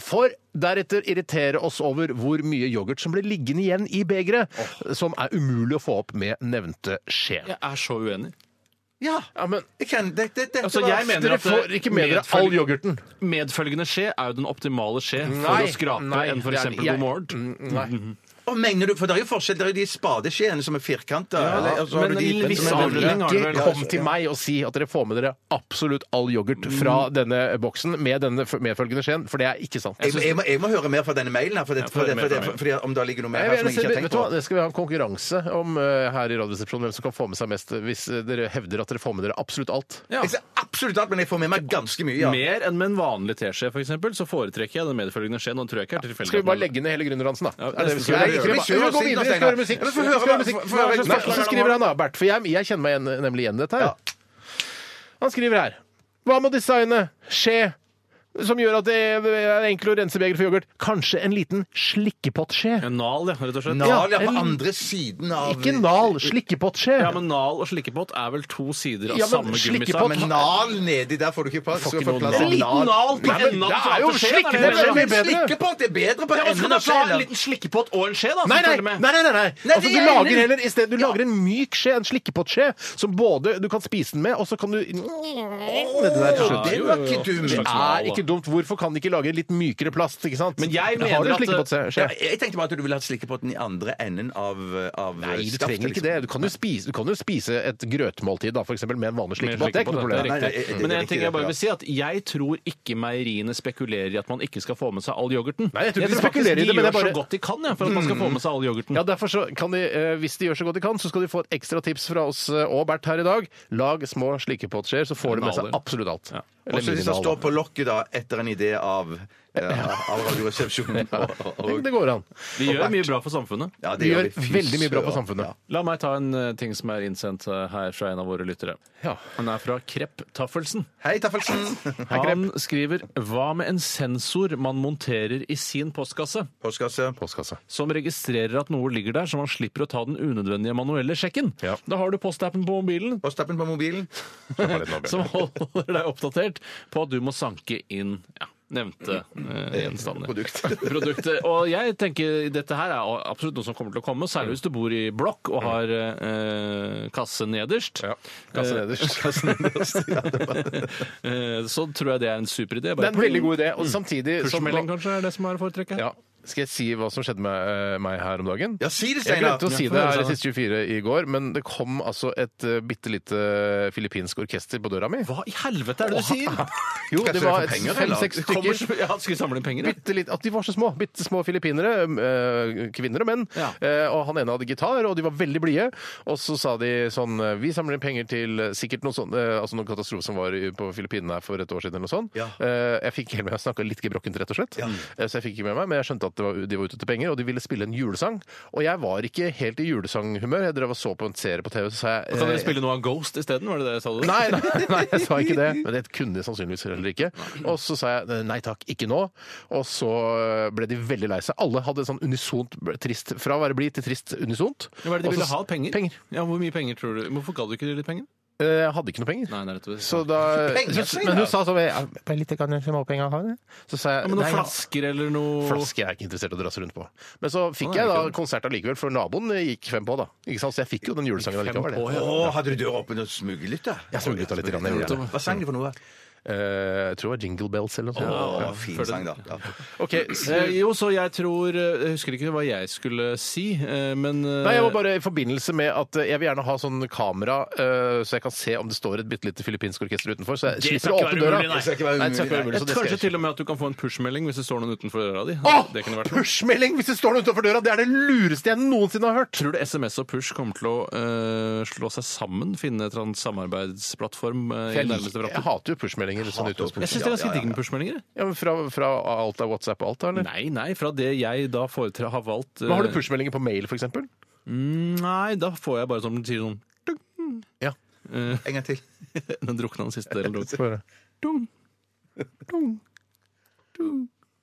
[SPEAKER 7] For deretter irritere oss over hvor mye yoghurt som blir liggende igjen i begeret, som er umulig å få opp med nevnte skje.
[SPEAKER 8] Jeg er så uenig.
[SPEAKER 3] Ja,
[SPEAKER 7] Ja, men
[SPEAKER 3] jeg kan, det, det, dette
[SPEAKER 8] Altså,
[SPEAKER 3] var-
[SPEAKER 8] jeg mener
[SPEAKER 7] dere
[SPEAKER 8] at
[SPEAKER 7] får ikke med dere all yoghurten.
[SPEAKER 8] Medfølgende skje er jo den optimale skje for å skrape enn for
[SPEAKER 7] det er-
[SPEAKER 8] eksempel
[SPEAKER 7] jeg-
[SPEAKER 8] God morgen.
[SPEAKER 7] Mm, Nei.
[SPEAKER 3] Og mener du, for det er jo forskjell, det er jo de spadeskjeene som er firkanta. eller- og så har
[SPEAKER 8] men
[SPEAKER 3] du
[SPEAKER 8] en viss
[SPEAKER 3] som er veldig-
[SPEAKER 8] avlønning har du vel?
[SPEAKER 7] Ikke kom til meg og si at dere får med dere absolutt all yoghurt fra denne boksen med denne f- medfølgende skjeen, for det er ikke sant.
[SPEAKER 3] Jeg, må- jeg, må, jeg må høre mer fra denne mailen her, for, det,
[SPEAKER 8] Ja, få
[SPEAKER 3] for, det,
[SPEAKER 8] høre mer
[SPEAKER 3] for, det,
[SPEAKER 8] fra
[SPEAKER 3] for, fordi om det ligger noe mer
[SPEAKER 7] Jeg
[SPEAKER 3] her
[SPEAKER 7] vil
[SPEAKER 3] som jeg
[SPEAKER 7] gjerne
[SPEAKER 3] ikke
[SPEAKER 7] se,
[SPEAKER 3] har
[SPEAKER 7] vet
[SPEAKER 3] tenkt
[SPEAKER 7] du hva,
[SPEAKER 3] på.
[SPEAKER 7] det skal vi ha en konkurranse om eh, her i Radioresepsjonen, hvem som kan få med seg mest hvis eh, dere hevder at dere får med dere absolutt alt.
[SPEAKER 8] Ja.
[SPEAKER 3] Jeg ser absolutt alt, men jeg får med meg ganske mye. Ja.
[SPEAKER 8] Mer enn med en vanlig teskje, for eksempel, så foretrekker jeg den medfølgende skjeen. og den tror jeg ikke er tilfeldig.
[SPEAKER 7] Skal vi bare legge ned hele Gründerdansen, da?
[SPEAKER 8] Ja,
[SPEAKER 7] er det
[SPEAKER 8] nesten
[SPEAKER 7] vi skal
[SPEAKER 8] skal
[SPEAKER 7] gjøre?
[SPEAKER 8] vi
[SPEAKER 7] Nei,
[SPEAKER 8] gjøre
[SPEAKER 7] skal vi,
[SPEAKER 3] det.
[SPEAKER 7] skal vi gå videre? Vi skal høre musikk.
[SPEAKER 3] Ja, men få
[SPEAKER 7] Vi
[SPEAKER 3] høre
[SPEAKER 7] skal høre
[SPEAKER 3] hva-
[SPEAKER 7] musikk.
[SPEAKER 3] få- få høre hva slags
[SPEAKER 7] Nei,
[SPEAKER 3] forslag
[SPEAKER 7] Så
[SPEAKER 3] er det nå?
[SPEAKER 7] skriver han da, Bert, for jeg, jeg kjenner meg igjen, nemlig igjen i dette her. Han skriver her Hva med å designe skje som gjør at det er enkelt å rense beger for yoghurt? Kanskje en liten slikkepottskje?
[SPEAKER 8] En nal, ja, rett og slett.
[SPEAKER 3] Nal, ja, på
[SPEAKER 7] eller-
[SPEAKER 3] andre siden av
[SPEAKER 7] Ikke nal, slikkepottskje.
[SPEAKER 8] Ja, men nal og slikkepott er vel to sider av
[SPEAKER 7] Ja,
[SPEAKER 8] samme
[SPEAKER 7] men slikkepott-
[SPEAKER 8] gummisak.
[SPEAKER 3] Men nal nedi der får du ikke plass.
[SPEAKER 8] Får
[SPEAKER 3] så
[SPEAKER 8] ikke
[SPEAKER 3] får
[SPEAKER 8] noe
[SPEAKER 3] plass
[SPEAKER 8] nal.
[SPEAKER 3] til
[SPEAKER 8] En liten nal på
[SPEAKER 7] Nei, men
[SPEAKER 8] enden av
[SPEAKER 7] det
[SPEAKER 8] den
[SPEAKER 7] er jo
[SPEAKER 8] flate skjeen,
[SPEAKER 7] slikke-
[SPEAKER 8] er det
[SPEAKER 7] det er
[SPEAKER 8] det
[SPEAKER 7] vel
[SPEAKER 8] du
[SPEAKER 7] mye
[SPEAKER 8] mener?
[SPEAKER 7] bedre.
[SPEAKER 3] Slikkepott er bedre på
[SPEAKER 8] Ja, men skal du
[SPEAKER 3] enden av
[SPEAKER 8] ikke ha en
[SPEAKER 3] skjeen.
[SPEAKER 8] liten slikkepott og en skje, da? som
[SPEAKER 7] Nei, nei,
[SPEAKER 8] følger
[SPEAKER 7] nei,
[SPEAKER 8] med?
[SPEAKER 7] nei, nei, nei.
[SPEAKER 3] Nei,
[SPEAKER 7] Altså, du
[SPEAKER 3] de er
[SPEAKER 7] lager
[SPEAKER 3] enig.
[SPEAKER 7] heller i stedet, du lager en myk skje, en slikkepottskje, som både du kan spise den med, og så kan du Det der,
[SPEAKER 3] Så
[SPEAKER 7] skjønner du.
[SPEAKER 3] det var ikke dumt.
[SPEAKER 7] Det
[SPEAKER 8] nal,
[SPEAKER 7] er
[SPEAKER 8] da.
[SPEAKER 7] ikke dumt. Hvorfor kan de ikke lage litt mykere plast? ikke sant?
[SPEAKER 8] Men jeg
[SPEAKER 7] har
[SPEAKER 8] mener
[SPEAKER 7] du
[SPEAKER 8] at-
[SPEAKER 7] slikkepottskje?
[SPEAKER 3] Ja, jeg tenkte bare at du ville hatt slikkepotten i andre enden av, av
[SPEAKER 7] Nei, du
[SPEAKER 3] skaftet,
[SPEAKER 7] trenger ikke
[SPEAKER 3] liksom.
[SPEAKER 7] det. Du kan jo spise, du kan jo spise et grøtmåltid da, for eksempel, med en vanlig
[SPEAKER 8] Med
[SPEAKER 7] slikkepott. Det er ikke noe
[SPEAKER 8] slikkepott,
[SPEAKER 7] problem.
[SPEAKER 3] Nei, nei, det-
[SPEAKER 8] riktig.
[SPEAKER 3] det-
[SPEAKER 8] Men
[SPEAKER 3] det er
[SPEAKER 8] en ting
[SPEAKER 3] riktig,
[SPEAKER 8] jeg bare
[SPEAKER 3] ja.
[SPEAKER 8] vil si, er at jeg tror ikke meieriene spekulerer i at man ikke skal få med seg all yoghurten.
[SPEAKER 7] Nei, jeg tror ikke de
[SPEAKER 8] faktisk
[SPEAKER 7] spekulerer i det, men
[SPEAKER 8] gjør
[SPEAKER 7] jeg bare- Mm.
[SPEAKER 8] så godt de kan ja, for at man skal få med seg all yoghurten.
[SPEAKER 7] Ja, derfor så kan de, eh, Hvis de gjør så godt de kan, så skal de få et ekstra tips fra oss eh, og Bert her i dag. Lag små slikkepottskjer, så får de med seg
[SPEAKER 8] Naler.
[SPEAKER 7] absolutt alt.
[SPEAKER 8] Ja.
[SPEAKER 7] Eller
[SPEAKER 3] Og så hvis
[SPEAKER 7] minimal,
[SPEAKER 3] det står
[SPEAKER 7] da.
[SPEAKER 3] på lokket da, etter en idé av, ja, av Radioresepsjonen og,
[SPEAKER 7] Tenk,
[SPEAKER 3] og
[SPEAKER 7] Det går an.
[SPEAKER 8] De gjør mye bra for samfunnet.
[SPEAKER 3] ja,
[SPEAKER 7] De gjør
[SPEAKER 3] vi. Fy
[SPEAKER 7] veldig mye bra på
[SPEAKER 3] søren.
[SPEAKER 7] samfunnet.
[SPEAKER 8] La meg ta en eh, ting som er innsendt eh, her fra en av våre lyttere.
[SPEAKER 7] Ja.
[SPEAKER 8] Han er fra Krepp Taffelsen.
[SPEAKER 3] Hei, Taffelsen.
[SPEAKER 8] Han skriver Hva med en sensor man monterer i sin postkasse,
[SPEAKER 3] Postkasse.
[SPEAKER 7] Postkasse.
[SPEAKER 8] som registrerer at noe ligger der, så man slipper å ta den unødvendige manuelle sjekken?
[SPEAKER 7] Ja.
[SPEAKER 8] Da har du postappen på mobilen,
[SPEAKER 3] Postappen på mobilen.
[SPEAKER 8] som holder deg oppdatert på at du må sanke inn ja, nevnte eh, gjenstander.
[SPEAKER 3] Produkt.
[SPEAKER 8] Produktet. Og jeg tenker dette her er absolutt noe som kommer til å komme, særlig hvis du bor i blokk og har eh, kasse nederst.
[SPEAKER 7] Ja. Kasse nederst.
[SPEAKER 8] Eh, så tror jeg det er en super idé.
[SPEAKER 7] Det er en veldig god idé. Og samtidig som
[SPEAKER 8] Pushmelding kanskje er det som er å foretrekke?
[SPEAKER 7] ja. Skal jeg si hva som skjedde med eh, meg her om dagen?
[SPEAKER 3] Ja, si det,
[SPEAKER 7] Jeg
[SPEAKER 3] Steinar.
[SPEAKER 7] glemte å si
[SPEAKER 8] Ja, få
[SPEAKER 7] det
[SPEAKER 8] høre,
[SPEAKER 7] her i
[SPEAKER 8] Steinar.
[SPEAKER 7] Siste 24 i går, men det kom altså et uh, bitte lite filippinsk orkester på døra mi.
[SPEAKER 8] Hva i helvete er det du sier?
[SPEAKER 7] Jo,
[SPEAKER 3] Skal jeg
[SPEAKER 7] det
[SPEAKER 3] sørge
[SPEAKER 7] var
[SPEAKER 3] for penger, eller?
[SPEAKER 7] fem-seks
[SPEAKER 8] Det kommer
[SPEAKER 7] stykker.
[SPEAKER 8] så- Ja, skal vi samle inn penger? ja?
[SPEAKER 7] Bitte litt, at de var så små. Bitte små filippinere. eh, kvinner og menn.
[SPEAKER 8] Ja.
[SPEAKER 7] Eh, og han ene hadde gitar, og de var veldig blide. Og så sa de sånn eh, Vi samler inn penger til eh, sikkert noe sånn, eh, altså noen katastrofe som var i- på Filippinene her for et år siden eller noe sånt.
[SPEAKER 3] Ja.
[SPEAKER 7] Eh, jeg fikk helt med meg, jeg snakka litt gebrokkent, rett og slett. Eh, så jeg fikk ikke med meg, men jeg skjønte at det var, de var ute etter penger, og de ville spille en julesang. Og jeg var ikke helt i julesanghumør. Jeg drev og så på en serie på TV, så sa jeg
[SPEAKER 8] Kan dere
[SPEAKER 7] eh,
[SPEAKER 8] spille noe av Ghost isteden? Var det det jeg sa? du?
[SPEAKER 7] Nei, nei, nei, jeg sa ikke det. Men det kunne jeg sannsynligvis heller ikke. Og så sa jeg nei takk, ikke nå. Og så ble de veldig lei seg. Alle hadde sånn unisont trist Fra å være blid til trist unisont.
[SPEAKER 8] Hva er det de
[SPEAKER 7] Og så-
[SPEAKER 8] ville ha? Penger?
[SPEAKER 7] Penger.
[SPEAKER 8] Ja, Hvor mye penger tror du? Hvorfor ga du ikke de litt penger?
[SPEAKER 7] Eh, Jeg hadde ikke noe penger.
[SPEAKER 8] Nei, det er rett og slett.
[SPEAKER 7] Så da,
[SPEAKER 3] Penger,
[SPEAKER 7] så, men hun sa sånn ja, bare litt grann småpenger, har du?» Så sa jeg
[SPEAKER 8] Ja, men noen
[SPEAKER 7] «Nei, ja,
[SPEAKER 8] flasker eller noe
[SPEAKER 7] Flaske er jeg ikke interessert i å drasse rundt på. Men så fikk
[SPEAKER 8] Å, nei,
[SPEAKER 7] jeg
[SPEAKER 8] ikke
[SPEAKER 7] da
[SPEAKER 8] Sånn det.
[SPEAKER 7] konsert allikevel, for naboen eh, gikk fem på, da. Ikke sant? Så jeg fikk jo den julesangen allikevel.
[SPEAKER 8] på,
[SPEAKER 7] det.
[SPEAKER 8] ja.
[SPEAKER 3] Å, hadde du døra åpen og smuglet, da?
[SPEAKER 7] Jeg smuglet da litt. Grann, jeg, gjorde det.
[SPEAKER 3] Hva sang du for noe?
[SPEAKER 7] Eh, jeg tror det var Jingle Bells eller noe sånt.
[SPEAKER 3] Å, fin sang, da. Ja.
[SPEAKER 7] Ok, så-
[SPEAKER 8] Eh, jo, så jeg tror eh, Jeg husker ikke hva jeg skulle si, eh, men eh,
[SPEAKER 7] Nei, jeg var bare i forbindelse med at eh, jeg vil gjerne ha sånn kamera, eh, så jeg kan se om det står et bitte lite filippinsk orkester utenfor. Så jeg
[SPEAKER 8] Det
[SPEAKER 7] slipper
[SPEAKER 8] skal
[SPEAKER 7] å
[SPEAKER 8] ikke
[SPEAKER 7] åpne
[SPEAKER 8] være
[SPEAKER 7] døra.
[SPEAKER 8] umulig, nei.
[SPEAKER 7] Det skal ikke være umulig,
[SPEAKER 3] Nei, det skal ikke være
[SPEAKER 7] nei.
[SPEAKER 3] umulig,
[SPEAKER 7] Så det
[SPEAKER 8] Kanskje
[SPEAKER 7] skal jeg
[SPEAKER 8] til og med at du kan få en push-melding hvis det står noen utenfor øra di.
[SPEAKER 7] ikke.
[SPEAKER 8] Det kunne
[SPEAKER 7] Åh,
[SPEAKER 8] vært noe.
[SPEAKER 7] Pushmelding hvis det står noen utenfor døra! Det er det lureste jeg noensinne har hørt!
[SPEAKER 8] Tror du SMS og push kommer til å eh, slå seg sammen? Finne en samarbeidsplattform eh, i
[SPEAKER 7] Jeg,
[SPEAKER 8] nærmeste
[SPEAKER 7] liker- jeg
[SPEAKER 8] framtid?
[SPEAKER 7] hater jo pushmeldinger. Sånn
[SPEAKER 8] Jeg
[SPEAKER 7] utgangspunkt.
[SPEAKER 8] syns det er ganske digg med push-meldinger. jeg.
[SPEAKER 7] ja, men fra, fra alt av WhatsApp og alt, da? Eller?
[SPEAKER 8] Nei, nei, fra det jeg da foretre har valgt eh,
[SPEAKER 7] Men har du pushmeldinger på mail, f.eks.?
[SPEAKER 8] Nei, da får jeg bare som den sier sånn
[SPEAKER 7] Ja.
[SPEAKER 3] En gang til.
[SPEAKER 8] Den drukna den siste delen.
[SPEAKER 7] Få høre.
[SPEAKER 8] Dung.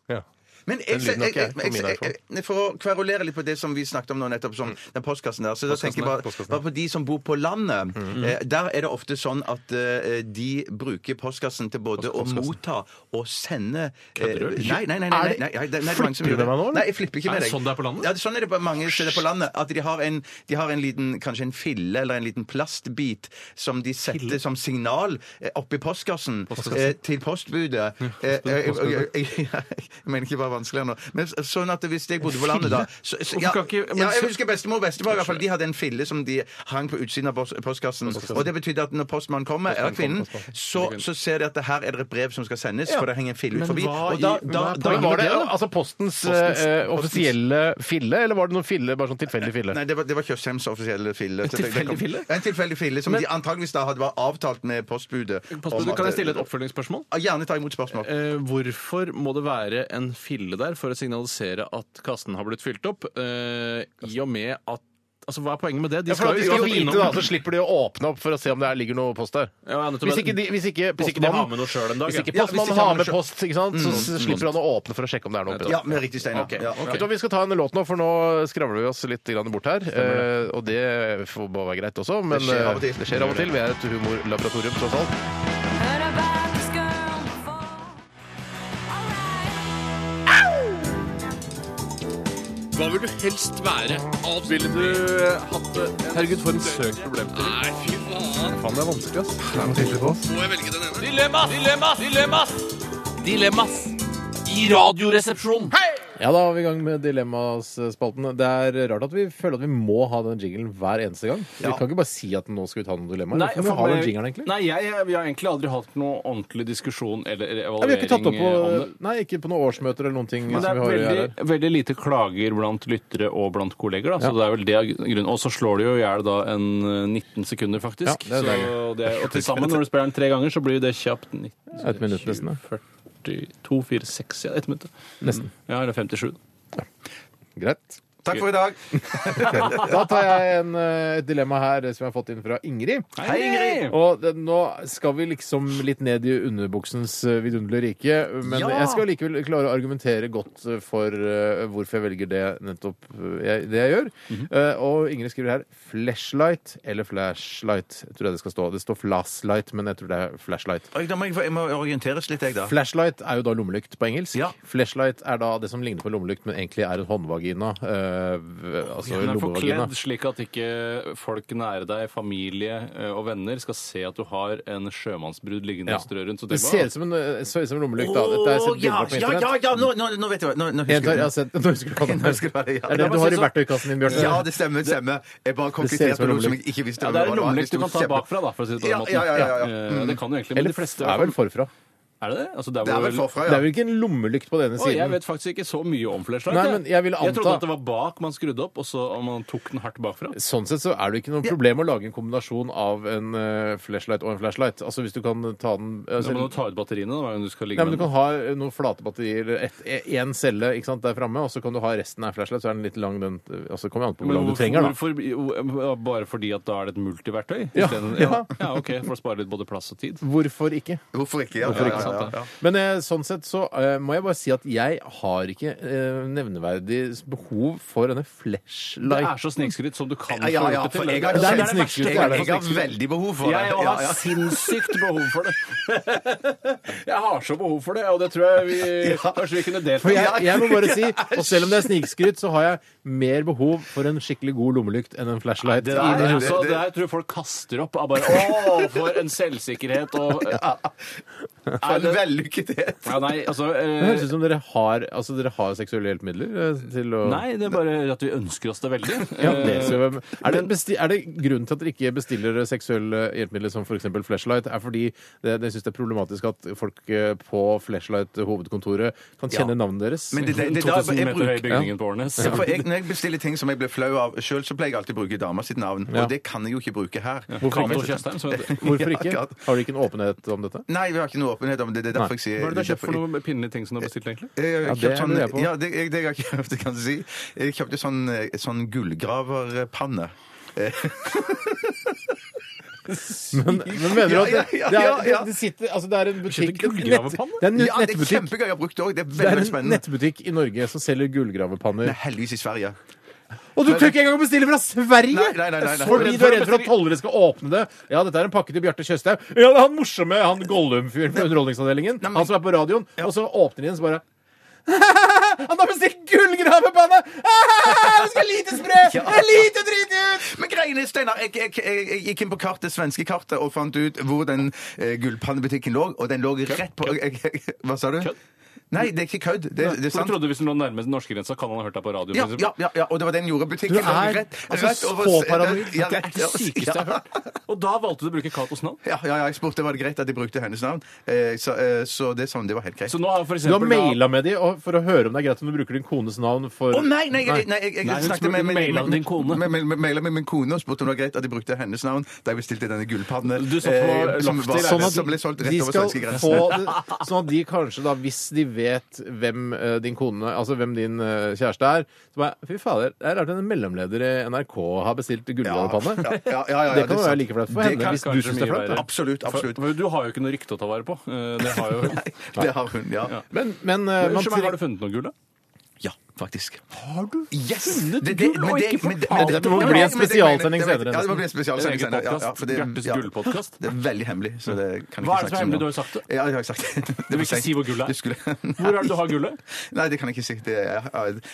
[SPEAKER 7] Ja.
[SPEAKER 3] Men
[SPEAKER 10] Den
[SPEAKER 3] jeg, jeg,
[SPEAKER 10] lyden er ikke jeg,
[SPEAKER 3] jeg,
[SPEAKER 10] for
[SPEAKER 3] jeg,
[SPEAKER 10] min
[SPEAKER 3] jeg,
[SPEAKER 10] iPhone.
[SPEAKER 3] jeg, For å kverulere litt på det som vi snakket om nå nettopp, som den postkassen der. Så da tenker jeg
[SPEAKER 10] der,
[SPEAKER 3] bare,
[SPEAKER 10] postkassen der.
[SPEAKER 3] bare på de som bor på landet. Eh, Der er det ofte sånn at eh, de bruker postkassen til både å motta og sende eh, Nei, nei, nei. nei, nei, nei, nei, det- nei, det er mange
[SPEAKER 10] Flipper
[SPEAKER 3] som gjør
[SPEAKER 10] du med
[SPEAKER 3] det.
[SPEAKER 10] meg nå, eller?
[SPEAKER 3] Nei, jeg flipper ikke
[SPEAKER 8] Er
[SPEAKER 3] med
[SPEAKER 8] det
[SPEAKER 3] deg.
[SPEAKER 8] sånn det er på landet?
[SPEAKER 3] Ja, det er sånn er det på mange steder på landet. At de har en, de har en liten, kanskje en fille eller en liten plastbit som de setter som signal eh, oppi postkassen eh, til postbudet. Eh, eh, eh, eh, Jeg mener ikke bare vanskeligere nå. Men s- sånn at hvis jeg bodde på landet da så, så, ja,
[SPEAKER 8] Hvorfor kan ikke- men
[SPEAKER 3] ja,
[SPEAKER 8] så-
[SPEAKER 3] Jeg husker bestemor og bestemor. i hvert fall, De hadde en fille som de hang på utsiden av post- postkassen. Og det betydde at når postmannen kommer, eller kvinnen, så, så ser de at det her er det et brev som skal sendes, for det henger en fille
[SPEAKER 8] Men
[SPEAKER 3] forbi.
[SPEAKER 8] hva
[SPEAKER 3] Og da,
[SPEAKER 8] Ah, i-
[SPEAKER 3] da,
[SPEAKER 8] hva er
[SPEAKER 3] da,
[SPEAKER 10] Men var det
[SPEAKER 8] da?
[SPEAKER 10] altså postens, eh, offisielle fille, eller var det noen fille, bare sånn tilfeldig fille?
[SPEAKER 3] Nei, det var, det var Tjøstheims offisielle fille. Så det- det kom-
[SPEAKER 8] tilfeldig fille?
[SPEAKER 3] Ja, En tilfeldig fille, som de antageligvis da hadde var avtalt med postbudet. om
[SPEAKER 8] Postbudet,
[SPEAKER 3] at-
[SPEAKER 8] Kan jeg stille et oppfølgingsspørsmål?
[SPEAKER 3] Ja, Gjerne ta imot spørsmål.
[SPEAKER 8] Eh, hvorfor må det være en fille der for å signalisere at kassen har blitt fylt opp? Eh, I og med at Altså, Hva er poenget med det?
[SPEAKER 10] Ja, for at de skal
[SPEAKER 8] uansett
[SPEAKER 10] vite
[SPEAKER 8] innom-
[SPEAKER 10] da,
[SPEAKER 7] altså.
[SPEAKER 10] Så slipper de å åpne opp for å se om det her ligger noe post der.
[SPEAKER 8] Ja, ja, nettopp.
[SPEAKER 10] Hvis ikke, de, hvis ikke
[SPEAKER 8] Hvis ikke de
[SPEAKER 10] postmannen-
[SPEAKER 8] har med noe selv en dag,
[SPEAKER 10] Hvis
[SPEAKER 8] ja.
[SPEAKER 10] ikke
[SPEAKER 3] Ja, hvis
[SPEAKER 10] postmannen
[SPEAKER 3] ikke han
[SPEAKER 10] har Mm. med
[SPEAKER 3] selv-
[SPEAKER 10] post, ikke sant? så s- slipper han å åpne for å sjekke om det er noe oppi der.
[SPEAKER 3] Ja, med riktig, Steinar.
[SPEAKER 8] Ok.
[SPEAKER 3] Ja,
[SPEAKER 10] Vet du hva, Vi skal ta en låt nå, for nå skravler vi oss litt grann bort her. Eh, og det får bare være greit også, men
[SPEAKER 3] Det skjer av og til.
[SPEAKER 10] eh, det skjer av og til. Vi er et humorlaboratorium, tross alt.
[SPEAKER 5] Heard about this girl before. Alright.
[SPEAKER 11] Hva vil du helst være? Ville du hatt det? Herregud, for en søk problemstilling. Nei, fy faen. Faen, det er vanskelig, ass. Må jeg velge den ene? Dilemmas! Dilemmas! Dilemmas! Dilemmas! I radioresepsjonen.
[SPEAKER 7] Ja, da er vi i gang med Dilemmaspalten. Det er rart at vi føler at vi må ha den jinglen hver eneste gang. Vi kan ikke bare si at nå skal vi ta noen dilemmaer. Hvorfor må vi ha den jinglen, egentlig?
[SPEAKER 8] Nei, jeg, vi har egentlig aldri hatt noe ordentlig diskusjon eller eller
[SPEAKER 7] Ja,
[SPEAKER 8] evaluering eh,
[SPEAKER 7] vi har ikke tatt opp på,
[SPEAKER 8] om det.
[SPEAKER 7] nei, ikke på noen årsmøter eller noen ting.
[SPEAKER 8] Men det
[SPEAKER 7] som
[SPEAKER 8] er
[SPEAKER 7] vi har
[SPEAKER 8] veldig,
[SPEAKER 7] her.
[SPEAKER 8] veldig lite klager blant lyttere og blant kolleger. Da. Så det er vel det er grunnen. Og så slår det jo i hjel da en eh, 19 sekunder, faktisk.
[SPEAKER 7] Ja, det er
[SPEAKER 8] så det er, og til sammen, når du spiller den tre ganger, så blir det kjapt 19,
[SPEAKER 7] Et minutt nesten, da.
[SPEAKER 8] 42, 4, 6, ja, ett minutt.
[SPEAKER 7] Nesten.
[SPEAKER 8] Ja, eller 57.
[SPEAKER 7] Greit.
[SPEAKER 3] Takk for i dag.
[SPEAKER 7] Da tar jeg en, eh, et dilemma her eh, som jeg har fått inn fra Ingrid.
[SPEAKER 8] Hei, Ingrid!
[SPEAKER 7] Og det, nå skal vi liksom litt ned i underbuksens eh, vidunderlige rike, men jeg skal likevel klare å argumentere godt eh, for eh, hvorfor jeg velger det nettopp eh, jeg, det jeg gjør.
[SPEAKER 8] Mhm.
[SPEAKER 7] Eh, og Ingrid skriver her 'flashlight' eller 'flashlight'. Jeg tror det det skal stå. Det står 'flashlight', men jeg tror det er 'flashlight'.
[SPEAKER 3] Oi, Da må jeg, få- jeg må orienteres litt, jeg, da.
[SPEAKER 7] Flashlight er jo da lommelykt på engelsk.
[SPEAKER 3] Ja.
[SPEAKER 7] Flashlight er da det som ligner på lommelykt, men egentlig er en håndvagina. eh, v- altså
[SPEAKER 8] Hun er
[SPEAKER 7] lommevagina.
[SPEAKER 8] forkledd slik at ikke folk nære deg, familie eh, og venner, skal se at du har en sjømannsbrud liggende og strø rundt. Så tenk
[SPEAKER 7] det ser
[SPEAKER 8] bare,
[SPEAKER 7] ut som en, eh, ser ut som en lommelykt. da. Dette har jeg
[SPEAKER 3] Å,
[SPEAKER 7] sett bilder
[SPEAKER 3] ja,
[SPEAKER 7] på
[SPEAKER 3] ja,
[SPEAKER 7] internett.
[SPEAKER 3] ja, ja, nå, nå, nå vet jeg hva. Nå, nå
[SPEAKER 7] Jeg
[SPEAKER 3] husker
[SPEAKER 7] tar, altså, jeg
[SPEAKER 3] jeg.
[SPEAKER 7] har sett, nå husker du hva den
[SPEAKER 3] Nå husker jeg hva det er.
[SPEAKER 7] Er det det du har i verktøykassen din, Bjørte?
[SPEAKER 3] Ja, det stemmer. det stemmer. Jeg
[SPEAKER 7] ser
[SPEAKER 3] bare
[SPEAKER 7] ut
[SPEAKER 3] kompletterte
[SPEAKER 7] som en
[SPEAKER 3] på noe som jeg
[SPEAKER 7] lommelykt.
[SPEAKER 3] ikke visste
[SPEAKER 8] ja,
[SPEAKER 3] hva
[SPEAKER 8] det er
[SPEAKER 3] var.
[SPEAKER 8] en lommelykt du
[SPEAKER 7] liksom
[SPEAKER 8] kan ta
[SPEAKER 3] Kjempe-
[SPEAKER 8] bakfra, da, for å si det på den
[SPEAKER 3] Ja,
[SPEAKER 8] måten.
[SPEAKER 3] ja, ja, ja, ja.
[SPEAKER 8] Eh, Det kan du egentlig, men
[SPEAKER 7] Mm. Eller
[SPEAKER 8] de fleste
[SPEAKER 7] det er vel forfra.
[SPEAKER 8] Er det det? Altså, der
[SPEAKER 3] Det er
[SPEAKER 8] hvor-
[SPEAKER 3] vel forfra,
[SPEAKER 7] Det
[SPEAKER 3] ja.
[SPEAKER 7] er vel ikke en lommelykt på denne
[SPEAKER 8] Å, jeg
[SPEAKER 7] siden?
[SPEAKER 8] vet faktisk ikke så mye om flashlight.
[SPEAKER 7] Nei, men jeg ville
[SPEAKER 8] trodde
[SPEAKER 7] anta-
[SPEAKER 8] at det var bak man skrudde opp, og så om man tok den hardt bakfra.
[SPEAKER 7] Sånn sett så er det ikke noe problem å lage en kombinasjon av en eh, flashlight og en flashlight. Altså hvis du kan ta den
[SPEAKER 8] Da
[SPEAKER 7] altså,
[SPEAKER 8] må du ta ut batteriene. da, hver gang du skal ligge
[SPEAKER 7] Nei, men Du
[SPEAKER 8] med
[SPEAKER 7] kan ha eh, noen flate batterier, én celle ikke sant, der framme, og så kan du ha resten av en flashlight. Så er den litt lang, den eh, altså, Kommer an på
[SPEAKER 8] den.
[SPEAKER 7] hvor lang du trenger, da.
[SPEAKER 8] hvorfor, hvorfor- bare fordi at da er det et multiverktøy?
[SPEAKER 7] Ja,
[SPEAKER 8] Isteden-
[SPEAKER 7] ja.
[SPEAKER 8] ja, OK. For å spare litt både plass og tid.
[SPEAKER 7] Hvorfor ikke?
[SPEAKER 3] Hvorfor ikke? Ja,
[SPEAKER 7] Hvorfor ikke, sant,
[SPEAKER 3] ja, ja, ja.
[SPEAKER 7] Men eh, sånn sett så eh, må jeg bare si at jeg har ikke eh, nevneverdig behov for denne
[SPEAKER 8] Det
[SPEAKER 7] flashlight.
[SPEAKER 8] er så snikskryt som du kan få
[SPEAKER 3] Ja, ja,
[SPEAKER 8] gjort det
[SPEAKER 3] for
[SPEAKER 8] til.
[SPEAKER 3] jeg
[SPEAKER 8] er
[SPEAKER 3] har,
[SPEAKER 7] Det er litt
[SPEAKER 3] jeg,
[SPEAKER 7] snikskryt,
[SPEAKER 3] jeg,
[SPEAKER 7] det er
[SPEAKER 3] jeg,
[SPEAKER 7] det.
[SPEAKER 3] har veldig behov for det.
[SPEAKER 8] Jeg har
[SPEAKER 3] Ja, ja.
[SPEAKER 8] sinnssykt behov for det. Jeg har så behov for det, og det tror jeg vi kanskje vi kunne delt.
[SPEAKER 7] For jeg, jeg må bare si, og selv om det er snikskryt, så har jeg mer behov for en skikkelig god lommelykt enn en flashlight.
[SPEAKER 8] Det der,
[SPEAKER 7] Nei,
[SPEAKER 8] altså, det der tror jeg folk kaster opp av bare Å, for en selvsikkerhet og
[SPEAKER 3] For
[SPEAKER 8] Nei,
[SPEAKER 3] en
[SPEAKER 8] det,
[SPEAKER 3] vellykkethet.
[SPEAKER 8] ja, nei, altså
[SPEAKER 7] Det høres ut
[SPEAKER 8] eh,
[SPEAKER 7] som dere har, altså dere har seksuelle hjelpemidler eh, til å
[SPEAKER 8] Nei, det er bare at vi ønsker oss det veldig.
[SPEAKER 7] Ja, det skal vi- er, det besti er det grunnen til at dere ikke bestiller seksuelle hjelpemidler som f.eks. flashlight, er fordi det, det syns det er problematisk at folk eh, på flashlight-hovedkontoret kan kjenne navnet deres?
[SPEAKER 3] Men det, det, det, er da
[SPEAKER 8] 2000
[SPEAKER 3] jeg
[SPEAKER 8] meter høy
[SPEAKER 3] bruker
[SPEAKER 8] bygningen på Årnes.
[SPEAKER 3] Ja, for jeg, når jeg bestiller ting som jeg blir flau av sjøl, så pleier jeg alltid å bruke dama sitt navn.
[SPEAKER 7] Ja.
[SPEAKER 3] Og det kan jeg jo ikke bruke her.
[SPEAKER 7] Hvorfor
[SPEAKER 8] Kato
[SPEAKER 7] ikke?
[SPEAKER 8] Tjøstheim, som heter det.
[SPEAKER 7] Hvorfor ikke?
[SPEAKER 3] Ja,
[SPEAKER 7] Har
[SPEAKER 3] akkurat.
[SPEAKER 7] dere ikke en åpenhet om dette?
[SPEAKER 3] Nei, vi har ikke noe åpenhet om det. Det er derfor jeg sier
[SPEAKER 8] Hva er det du har kjøpt for
[SPEAKER 3] derfor-
[SPEAKER 8] noen pinlige ting som du har bestilt, egentlig?
[SPEAKER 3] Jeg har
[SPEAKER 7] Ja, det
[SPEAKER 3] kjøpt sånn,
[SPEAKER 7] lurer jeg på.
[SPEAKER 3] ja, det, jeg, det jeg har kjøpt, kan jeg si. Jeg kjøpte sånn, eh, sånn gullgraverpanne.
[SPEAKER 7] Men, men mener du at det, det,
[SPEAKER 3] Ja, ja, ja,
[SPEAKER 7] er, det,
[SPEAKER 3] ja.
[SPEAKER 7] det sitter Altså, det er en butikk
[SPEAKER 3] Kjøpte gullgravepanne?
[SPEAKER 7] Det er en
[SPEAKER 3] Ja, det er
[SPEAKER 7] nettbutikk.
[SPEAKER 3] kjempegøy å ha brukt òg. Det er
[SPEAKER 7] Det
[SPEAKER 3] veldig,
[SPEAKER 7] er
[SPEAKER 3] veldig
[SPEAKER 7] en
[SPEAKER 3] spennende.
[SPEAKER 7] nettbutikk i Norge som selger gullgravepanner.
[SPEAKER 3] Nei, heldigvis i Sverige.
[SPEAKER 7] Og du tør ikke engang å bestille fra Sverige!
[SPEAKER 3] Nei, nei, nei, nei, nei.
[SPEAKER 7] Fordi du er redd for at tollere skal åpne det. Ja, dette er en pakke til Bjarte Tjøstheim. Ja, det er han morsomme, han Gollum-fyren fra Underholdningsavdelingen. Han som er på radioen. Og så åpner de den, så bare Han har bestilt gullgravepanne! Det skal lite spre! Det er lite drit ut!
[SPEAKER 3] Men greiene, Steinar, jeg, jeg, jeg, jeg gikk inn på kartet, det svenske kartet og fant ut hvor den eh, gullpannebutikken lå, og den lå rett på jeg, jeg, Hva sa du?
[SPEAKER 4] Kødd?
[SPEAKER 3] Nei, det er ikke kødd. Det, det er
[SPEAKER 4] For du
[SPEAKER 3] sant.
[SPEAKER 4] trodde hvis den lå nærmest norskegrensa, kan han ha hørt deg på radio?
[SPEAKER 3] Ja,
[SPEAKER 4] for eksempel?
[SPEAKER 3] ja, ja, ja, og det var den jordbutikken.
[SPEAKER 7] Du er altså så paranoid.
[SPEAKER 4] Det er det sykeste jeg har hørt. Og da valgte du å bruke Katos navn.
[SPEAKER 3] Ja, ja, ja, jeg spurte var det greit at de brukte hennes navn. Eh, så, eh, så det er sånn, det var helt greit.
[SPEAKER 4] Så nå har for
[SPEAKER 7] Du har
[SPEAKER 4] eksempel da-
[SPEAKER 7] maila med de og- for å høre om det er greit om du bruker din kones navn for
[SPEAKER 3] Å nei, nei, jeg, nei, jeg, jeg
[SPEAKER 4] Nei, hun
[SPEAKER 3] snakket
[SPEAKER 4] spurte
[SPEAKER 3] med, med,
[SPEAKER 4] maila
[SPEAKER 3] med,
[SPEAKER 4] din kone.
[SPEAKER 3] med, med, med, maila med min kone og spurte om det var greit at de brukte hennes navn da jeg bestilte denne gullpannen
[SPEAKER 4] Du satt på
[SPEAKER 3] som,
[SPEAKER 4] loftet i
[SPEAKER 3] var-
[SPEAKER 4] leiligheten.
[SPEAKER 3] som, ble solgt rett
[SPEAKER 7] de
[SPEAKER 3] over
[SPEAKER 7] skal
[SPEAKER 3] svenskegrensen.
[SPEAKER 7] få det, sånn at de kanskje da, hvis de vet hvem eh, din kone, altså hvem din eh, kjæreste er, så bare Fy fader, det er rart en mellomleder i NRK har bestilt gullgravepanne.
[SPEAKER 3] Ja, ja, ja, ja, ja,
[SPEAKER 7] det
[SPEAKER 3] er
[SPEAKER 7] kan jo
[SPEAKER 3] sant.
[SPEAKER 7] være like flaut for
[SPEAKER 3] Det
[SPEAKER 7] henne
[SPEAKER 3] kan
[SPEAKER 7] hvis du
[SPEAKER 4] kanskje
[SPEAKER 7] syns det er
[SPEAKER 4] mye
[SPEAKER 7] flaut.
[SPEAKER 4] være.
[SPEAKER 7] da.
[SPEAKER 3] Absolutt, absolutt.
[SPEAKER 4] For, for du har jo ikke noe rykte å ta vare på. Eh, Det har jo
[SPEAKER 3] Det har hun, ja.
[SPEAKER 7] Men, men eh, man
[SPEAKER 4] Unnskyld meg, Har
[SPEAKER 7] trenger
[SPEAKER 4] du funnet noe gull, da?
[SPEAKER 3] Ja, faktisk.
[SPEAKER 4] Har du
[SPEAKER 3] Yes!
[SPEAKER 4] funnet
[SPEAKER 3] Det- det-
[SPEAKER 4] gull
[SPEAKER 3] men
[SPEAKER 4] og
[SPEAKER 3] det-
[SPEAKER 4] ikke
[SPEAKER 3] men det-
[SPEAKER 4] fortalt
[SPEAKER 3] men det-
[SPEAKER 7] må
[SPEAKER 3] men
[SPEAKER 7] bli en
[SPEAKER 3] men det-
[SPEAKER 7] spesialsending
[SPEAKER 3] men det-
[SPEAKER 7] senere,
[SPEAKER 3] Ja, det må bli en
[SPEAKER 4] En
[SPEAKER 3] spesialsending
[SPEAKER 4] egen
[SPEAKER 3] senere. Ja, ja,
[SPEAKER 4] podkast?
[SPEAKER 3] for det-
[SPEAKER 4] Bjartes
[SPEAKER 3] ja.
[SPEAKER 4] gullpodkast?
[SPEAKER 3] Det er veldig hemmelig, så det kan jeg
[SPEAKER 4] Hva
[SPEAKER 3] ikke snakke
[SPEAKER 4] er det som er
[SPEAKER 3] så mye
[SPEAKER 4] hemmelig? Du
[SPEAKER 3] om.
[SPEAKER 4] har jo sagt det.
[SPEAKER 3] Ja, jeg har sagt det. det.
[SPEAKER 4] Du vil ikke
[SPEAKER 3] var
[SPEAKER 4] si hvor gullet er?
[SPEAKER 3] Du skulle...
[SPEAKER 4] Hvor er det du har gullet?
[SPEAKER 3] Nei, det kan jeg ikke si. Det er,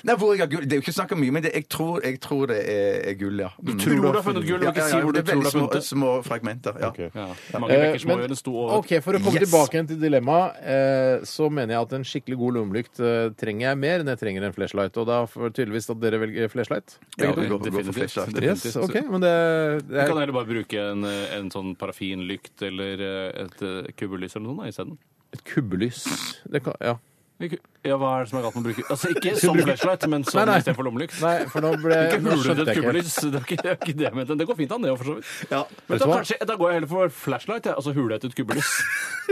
[SPEAKER 3] nei, hvor jeg har gull Det er jo ikke snakk om mye, men det, jeg, tror, jeg tror det er, er gull, ja. Mm.
[SPEAKER 4] tror du har funnet gull, men ikke si hvor du
[SPEAKER 3] det er
[SPEAKER 4] tror du
[SPEAKER 3] veldig
[SPEAKER 4] har funnet det.
[SPEAKER 3] Små, små fragmenter. ja.
[SPEAKER 4] Ja. Mange
[SPEAKER 7] Eh,
[SPEAKER 4] bekker små
[SPEAKER 7] men-
[SPEAKER 4] gjør en stor over.
[SPEAKER 7] OK, for å komme
[SPEAKER 3] Yes.
[SPEAKER 7] tilbake igjen til dilemmaet, eh, så mener jeg at en skikkelig god lommelykt eh, trenger jeg mer enn jeg trenger en flashlight. Og da får tydeligvis at dere velger flashlight.
[SPEAKER 3] Ja, vi
[SPEAKER 4] Begge
[SPEAKER 3] går,
[SPEAKER 4] to?
[SPEAKER 3] går for
[SPEAKER 4] Definitivt.
[SPEAKER 3] flashlight.
[SPEAKER 7] Yes,
[SPEAKER 4] Definitivt.
[SPEAKER 7] OK, men det,
[SPEAKER 4] Du
[SPEAKER 7] det
[SPEAKER 4] kan
[SPEAKER 7] er
[SPEAKER 4] heller bare bruke en, eh, en sånn parafinlykt eller eh, et eh, kubbelys eller noe sånt da, isteden.
[SPEAKER 7] et kubbelys. Det kan, ja.
[SPEAKER 4] Ikke- Ja, hva er det som er galt med å bruke Altså ikke som flashlight, men
[SPEAKER 7] Nei,
[SPEAKER 4] sånn
[SPEAKER 7] nei.
[SPEAKER 4] istedenfor lommelykt.
[SPEAKER 7] Nei, for nå ble
[SPEAKER 4] Ikke
[SPEAKER 7] nå skjønte
[SPEAKER 4] hule til et
[SPEAKER 7] jeg ikke.
[SPEAKER 4] kubbelys. Det er ikke, det er ikke det jeg mente. Det går fint an, det òg, for så vidt.
[SPEAKER 3] Ja.
[SPEAKER 4] Men
[SPEAKER 7] Vet
[SPEAKER 4] da,
[SPEAKER 7] du hva?
[SPEAKER 4] kanskje, da går jeg heller for flashlight, jeg. altså hule til et kubbelys.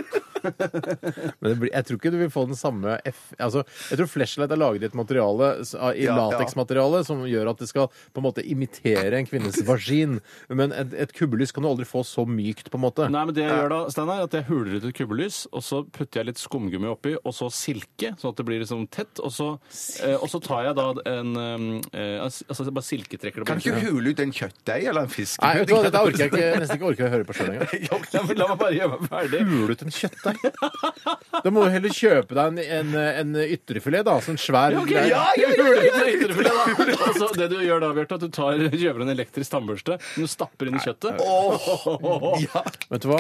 [SPEAKER 7] Men det blir, jeg tror ikke du vil få den samme F... Altså, jeg tror flashlight er laget i et materiale, s- i
[SPEAKER 3] Ja, ja.
[SPEAKER 7] lateksmateriale, som gjør at det skal på en måte imitere en kvinnes vagin. Men et, et kubbelys kan du aldri få så mykt, på en måte.
[SPEAKER 4] Nei, men det jeg gjør da, Steinar, er at jeg huler ut et kubbelys, og så putter jeg litt skumgummi oppi, og så silke, sånn at det blir liksom tett, og så, eh, og så tar jeg da en eh, eh, Altså bare silketrekker det
[SPEAKER 3] Kan ikke du hule ut en kjøttdeig eller en fisk?
[SPEAKER 7] Nei, vet du hva, dette orker jeg ikke, nesten ikke orker å høre på sjøl engang.
[SPEAKER 4] Ja, men La meg bare gjøre meg ferdig.
[SPEAKER 7] Puler ut en kjøttdeig? Da må du heller kjøpe deg en, en, en ytrefilet, da. Sånn svær
[SPEAKER 4] Ok,
[SPEAKER 7] greie.
[SPEAKER 4] ja, ja, ja, ja, ja, ja, ytrefilet, da. Altså, det du gjør da, Bjarte, er at du tar, kjøper en elektrisk tannbørste, men du stapper inn i kjøttet.
[SPEAKER 7] Vet du hva?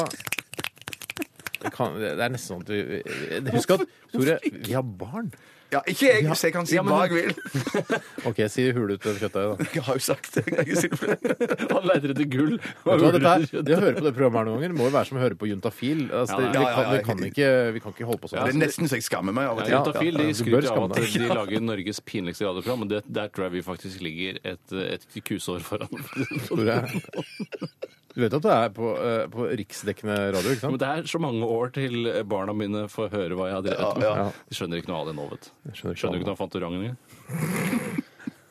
[SPEAKER 7] Det, kan, det er nesten sånn at vi Husk at Tore, vi har barn.
[SPEAKER 3] Ja, ikke jeg, så jeg kan si
[SPEAKER 7] Ja, men-
[SPEAKER 3] hva jeg vil.
[SPEAKER 7] OK, si hule ut det kjøttdeiget, da.
[SPEAKER 3] Jeg har jo sagt det. Jeg kan ikke si det flere.
[SPEAKER 4] Han leter etter gull.
[SPEAKER 7] Vet du
[SPEAKER 4] og
[SPEAKER 7] hva,
[SPEAKER 4] huler
[SPEAKER 7] dette
[SPEAKER 4] etter
[SPEAKER 7] her,
[SPEAKER 4] kjøttet.
[SPEAKER 7] det å høre på det programmet her noen ganger må jo være som å høre på juntafil. Altså, det,
[SPEAKER 4] Ja,
[SPEAKER 7] vi,
[SPEAKER 3] ja,
[SPEAKER 7] kan,
[SPEAKER 3] ja,
[SPEAKER 7] vi, kan ikke, vi kan ikke holde på
[SPEAKER 3] Det er
[SPEAKER 7] sånn.
[SPEAKER 3] nesten så jeg skammer meg av og til.
[SPEAKER 7] Ja.
[SPEAKER 4] Juntafil
[SPEAKER 7] du
[SPEAKER 4] de
[SPEAKER 7] bør
[SPEAKER 4] skryter av at
[SPEAKER 7] skamme deg.
[SPEAKER 4] de lager Norges pinligste radioprogram, men det, der tror jeg vi faktisk ligger et, et kusår foran.
[SPEAKER 7] Tore. Du vet at du er på, eh, på riksdekkende radio, ikke
[SPEAKER 4] Men
[SPEAKER 7] sant?
[SPEAKER 4] det er så mange år til barna mine får høre hva jeg har drevet med. De skjønner ikke noe av det nå, vet du.
[SPEAKER 7] skjønner ikke noe
[SPEAKER 4] Skjønner ikke noe av Fantorangen engang.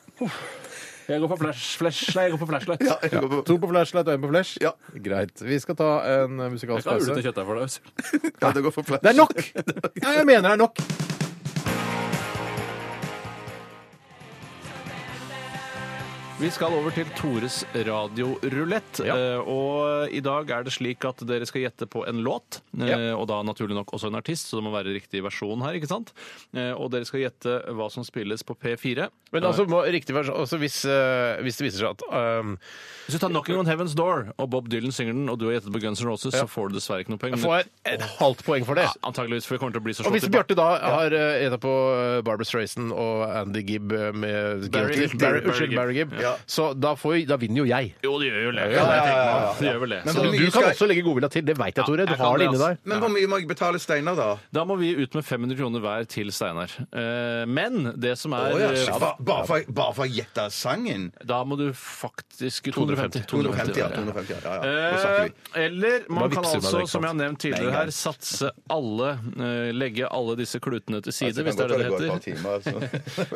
[SPEAKER 4] Jeg går for flash, flash, nei, jeg går for flashlight.
[SPEAKER 3] Ja, jeg går på-
[SPEAKER 7] To på flashlight og én på flash?
[SPEAKER 3] Ja.
[SPEAKER 7] Greit. Vi skal ta en eh,
[SPEAKER 4] Jeg
[SPEAKER 7] musikalsk
[SPEAKER 4] kan hule
[SPEAKER 7] pause.
[SPEAKER 4] til kjøttet for deg. altså.
[SPEAKER 3] ja, det går for flash.
[SPEAKER 7] Det er nok! Ja, jeg mener det er nok.
[SPEAKER 4] Vi skal over til Tores radiorulett. eh, Og i dag er det slik at dere skal gjette på en låt, eh, og da naturlig nok også en artist, så det må være riktig versjon her, ikke sant? Eh, Og dere skal gjette hva som spilles på P4.
[SPEAKER 8] Men altså, må, riktig vers, altså hvis, eh, hvis det viser seg at ehm,
[SPEAKER 4] Eh, Hvis du tar 'Knocking on Heaven's Door', og Bob Dylan synger den, og du har gjettet på Guns N' Roses, så får du dessverre ikke noe penger.
[SPEAKER 8] får jeg et halvt poeng for det.
[SPEAKER 4] Ja, antageligvis, for det kommer til å bli så
[SPEAKER 8] Og hvis
[SPEAKER 4] slått
[SPEAKER 8] Bjarte
[SPEAKER 4] i
[SPEAKER 8] da har eh, gjetta på eh, Barbra Strayson og Andy Gibb eh, med
[SPEAKER 4] Barry-
[SPEAKER 8] Guilty-
[SPEAKER 4] Barry-
[SPEAKER 8] Barry- Unnskyld, Barry Gibb,
[SPEAKER 3] Ja.
[SPEAKER 8] så da, får, da vinner jo jeg.
[SPEAKER 4] Jo, det gjør jo det.
[SPEAKER 3] ja, ja, ja, ja.
[SPEAKER 4] Det gjør vel det.
[SPEAKER 3] Men
[SPEAKER 4] Så
[SPEAKER 3] hvor
[SPEAKER 8] Du
[SPEAKER 3] mye
[SPEAKER 8] kan
[SPEAKER 3] skal jeg-
[SPEAKER 8] også legge godvilja til. Det veit jeg, Tore. Du
[SPEAKER 4] jeg kan
[SPEAKER 8] har det
[SPEAKER 4] det,
[SPEAKER 8] inni
[SPEAKER 4] altså.
[SPEAKER 8] deg.
[SPEAKER 3] Men hvor mye må jeg betale Steinar, da?
[SPEAKER 4] Da må vi ut med 500 kroner hver til Steinar. Eh, Men det som er
[SPEAKER 3] Å, ja, shit.
[SPEAKER 4] eh,
[SPEAKER 3] Ba- Bare for- bare for å gjette sangen?
[SPEAKER 4] Da må du faktisk 250.
[SPEAKER 3] 250, ja. 250, ja, ja, ja. Nå snakker
[SPEAKER 4] Eh,
[SPEAKER 3] vi.
[SPEAKER 4] Eller
[SPEAKER 8] Bare
[SPEAKER 4] man kan
[SPEAKER 8] vipser meg
[SPEAKER 4] altså,
[SPEAKER 8] vekk,
[SPEAKER 4] som jeg har nevnt tidligere
[SPEAKER 3] Nei,
[SPEAKER 4] her,
[SPEAKER 3] nei.
[SPEAKER 4] satse alle eh, Legge alle disse klutene til side, hvis det er det det heter.
[SPEAKER 3] heter.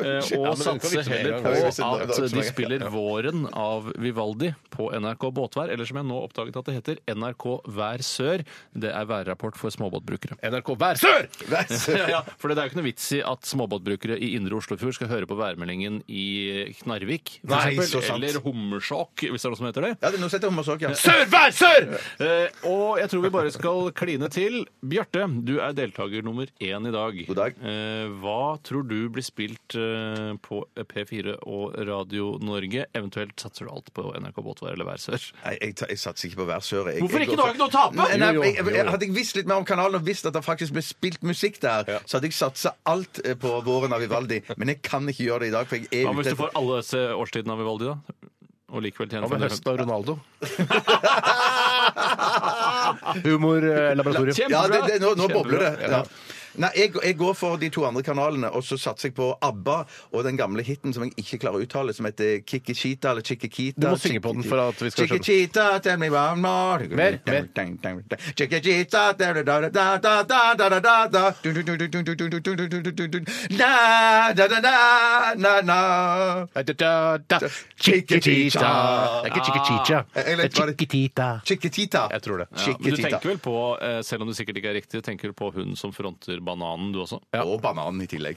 [SPEAKER 8] Ja,
[SPEAKER 4] Eh,
[SPEAKER 8] men
[SPEAKER 4] Og
[SPEAKER 8] du kan
[SPEAKER 4] satse
[SPEAKER 8] vipse med en
[SPEAKER 4] heller
[SPEAKER 8] gang.
[SPEAKER 4] på
[SPEAKER 3] Ja, vi vipser med en gang,
[SPEAKER 4] at
[SPEAKER 3] så
[SPEAKER 4] de
[SPEAKER 3] lenge.
[SPEAKER 4] spiller 'Våren' av Vivaldi på
[SPEAKER 8] på NRK Båtvær, eller som jeg nå oppdaget at det heter, NRK Vær Sør. Det er værrapport for småbåtbrukere.
[SPEAKER 7] NRK Vær Sør!
[SPEAKER 8] Ja, ja, for det er jo ikke noe vits i at småbåtbrukere i indre Oslofjord skal høre på værmeldingen i Knarvik, for
[SPEAKER 3] Nei, så
[SPEAKER 8] eksempel,
[SPEAKER 3] sant.
[SPEAKER 8] eller Hummersåk, hvis det er noe som heter det.
[SPEAKER 3] Ja, det, nå setter jeg hummersåk, ja.
[SPEAKER 7] Sør, Vær Sør!
[SPEAKER 8] Eh, og jeg tror vi bare skal kline til. Bjarte, du er deltaker nummer én i dag.
[SPEAKER 3] God dag.
[SPEAKER 8] Eh, hva tror du blir spilt eh, på P4 og Radio Norge? Eventuelt satser du alt på NRK Båtvær eller Vær Sør?
[SPEAKER 3] Nei, jeg, tar- jeg satser ikke på hver sør. Jeg,
[SPEAKER 8] Hvorfor
[SPEAKER 3] jeg
[SPEAKER 8] ikke?
[SPEAKER 3] går
[SPEAKER 8] Du har
[SPEAKER 3] for-
[SPEAKER 8] ikke noe å tape!
[SPEAKER 3] Nei, nei,
[SPEAKER 8] Jo, jo,
[SPEAKER 3] jeg, jeg,
[SPEAKER 8] jo, jo.
[SPEAKER 3] hadde jeg visst litt mer om kanalen og visst at det faktisk ble spilt musikk der, så hadde jeg satsa alt eh, på våren av Vivaldi. Men jeg kan ikke gjøre det i dag, for jeg er
[SPEAKER 8] Hva hvis
[SPEAKER 3] ute
[SPEAKER 8] du får alle disse årstidene av Vivaldi, da? Og likevel tjener
[SPEAKER 7] Hva
[SPEAKER 8] 550
[SPEAKER 7] med høsten av Ronaldo?
[SPEAKER 8] eh,
[SPEAKER 7] Humorlaboratorium.
[SPEAKER 3] Ja, det,
[SPEAKER 8] Kjempebra!
[SPEAKER 3] det, nå, nå
[SPEAKER 8] Kjempebra.
[SPEAKER 3] bobler det. Ja. Nei, jeg, jeg går for de to andre kanalene, og så satser jeg på ABBA og den gamle hiten som jeg ikke klarer å uttale, som heter Kikkichita eller Chikkikita.
[SPEAKER 7] Du må synge på den for at vi skal skjønne.
[SPEAKER 3] Chikkikita, tell me one more.
[SPEAKER 7] Mer, mer.
[SPEAKER 3] Chikkikita, tell me da da da da da da da da Du, du, du, du, du, du, du, du, du, du, du, du. Na, da da da na na
[SPEAKER 7] Chiquitita. Det er ikke chiquitita.
[SPEAKER 3] Jeg
[SPEAKER 7] Det er
[SPEAKER 3] vet bare-
[SPEAKER 7] chiquitita.
[SPEAKER 3] Chikkikita.
[SPEAKER 7] Jeg tror det.
[SPEAKER 8] Ja, men du
[SPEAKER 3] Chikkikita.
[SPEAKER 8] tenker vel på, eh, selv om det sikkert ikke er riktig, tenker du på hun som fronter bananen, du også?
[SPEAKER 3] Og bananen i tillegg.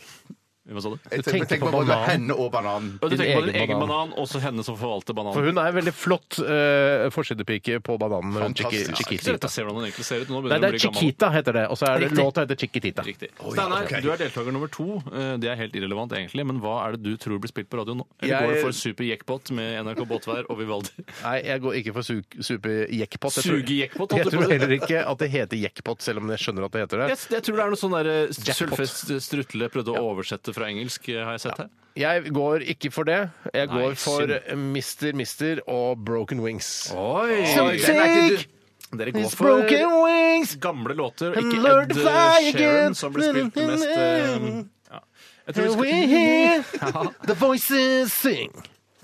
[SPEAKER 8] Hva sa du?
[SPEAKER 3] Jeg
[SPEAKER 7] Du tenker
[SPEAKER 3] tenker
[SPEAKER 7] på
[SPEAKER 3] på både
[SPEAKER 7] bananen.
[SPEAKER 3] henne og bananen.
[SPEAKER 8] Og Du
[SPEAKER 7] Din
[SPEAKER 8] tenker på din
[SPEAKER 7] egen
[SPEAKER 8] egen
[SPEAKER 7] banan.
[SPEAKER 8] banan, også henne som forvalter bananen.
[SPEAKER 7] For hun er en veldig flott eh, forsidepike på bananen. Hun chiqui-
[SPEAKER 8] Ikke
[SPEAKER 3] Fantastisk.
[SPEAKER 8] så lett
[SPEAKER 7] Chiquitita.
[SPEAKER 8] å se hvordan den egentlig ser ut. Nå begynner
[SPEAKER 7] Nei, det
[SPEAKER 8] hun å
[SPEAKER 7] er
[SPEAKER 8] bli gammel.
[SPEAKER 7] Chiquita heter det. Og så er det
[SPEAKER 8] Riktig.
[SPEAKER 7] låta heter Chiquitita.
[SPEAKER 8] Riktig.
[SPEAKER 3] Oi,
[SPEAKER 8] Steinar,
[SPEAKER 3] ok.
[SPEAKER 8] du er deltaker nummer to. Eh, Det er helt irrelevant, egentlig. Men hva er det du tror blir spilt på radio nå? Eller
[SPEAKER 7] Jeg-
[SPEAKER 8] går du for Super Jackpot med NRK Båtvær og Vivaldi?
[SPEAKER 7] Nei, jeg går ikke for su- super-jackpot. Jeg tror-
[SPEAKER 8] Sugejackpot, holdt
[SPEAKER 7] Jeg
[SPEAKER 8] du
[SPEAKER 7] tror
[SPEAKER 8] på å si.
[SPEAKER 7] heller ikke at det heter jackpot, selv om jeg skjønner at det heter det.
[SPEAKER 8] Jeg, jeg tror det er noe sånn der eh,
[SPEAKER 7] Jackpot.
[SPEAKER 8] Sølvfest Strutle prøvde å oversette fra engelsk, eh, har jeg sett her.
[SPEAKER 7] Jeg går ikke for det. Jeg
[SPEAKER 8] Nei,
[SPEAKER 7] går for
[SPEAKER 8] synd.
[SPEAKER 7] Mister Mister og Broken Wings.
[SPEAKER 8] Oi!
[SPEAKER 3] Den er ikke du-
[SPEAKER 8] Dere går
[SPEAKER 7] It's
[SPEAKER 8] for
[SPEAKER 7] broken wings!
[SPEAKER 8] gamle låter,
[SPEAKER 7] And
[SPEAKER 8] ikke
[SPEAKER 7] learn
[SPEAKER 8] Ed
[SPEAKER 7] to fly again.
[SPEAKER 8] Sheeran, som blir spilt mest
[SPEAKER 7] um,
[SPEAKER 8] eh, ja. Jeg tror vi
[SPEAKER 7] And
[SPEAKER 8] skal...
[SPEAKER 7] we hear the voices sing.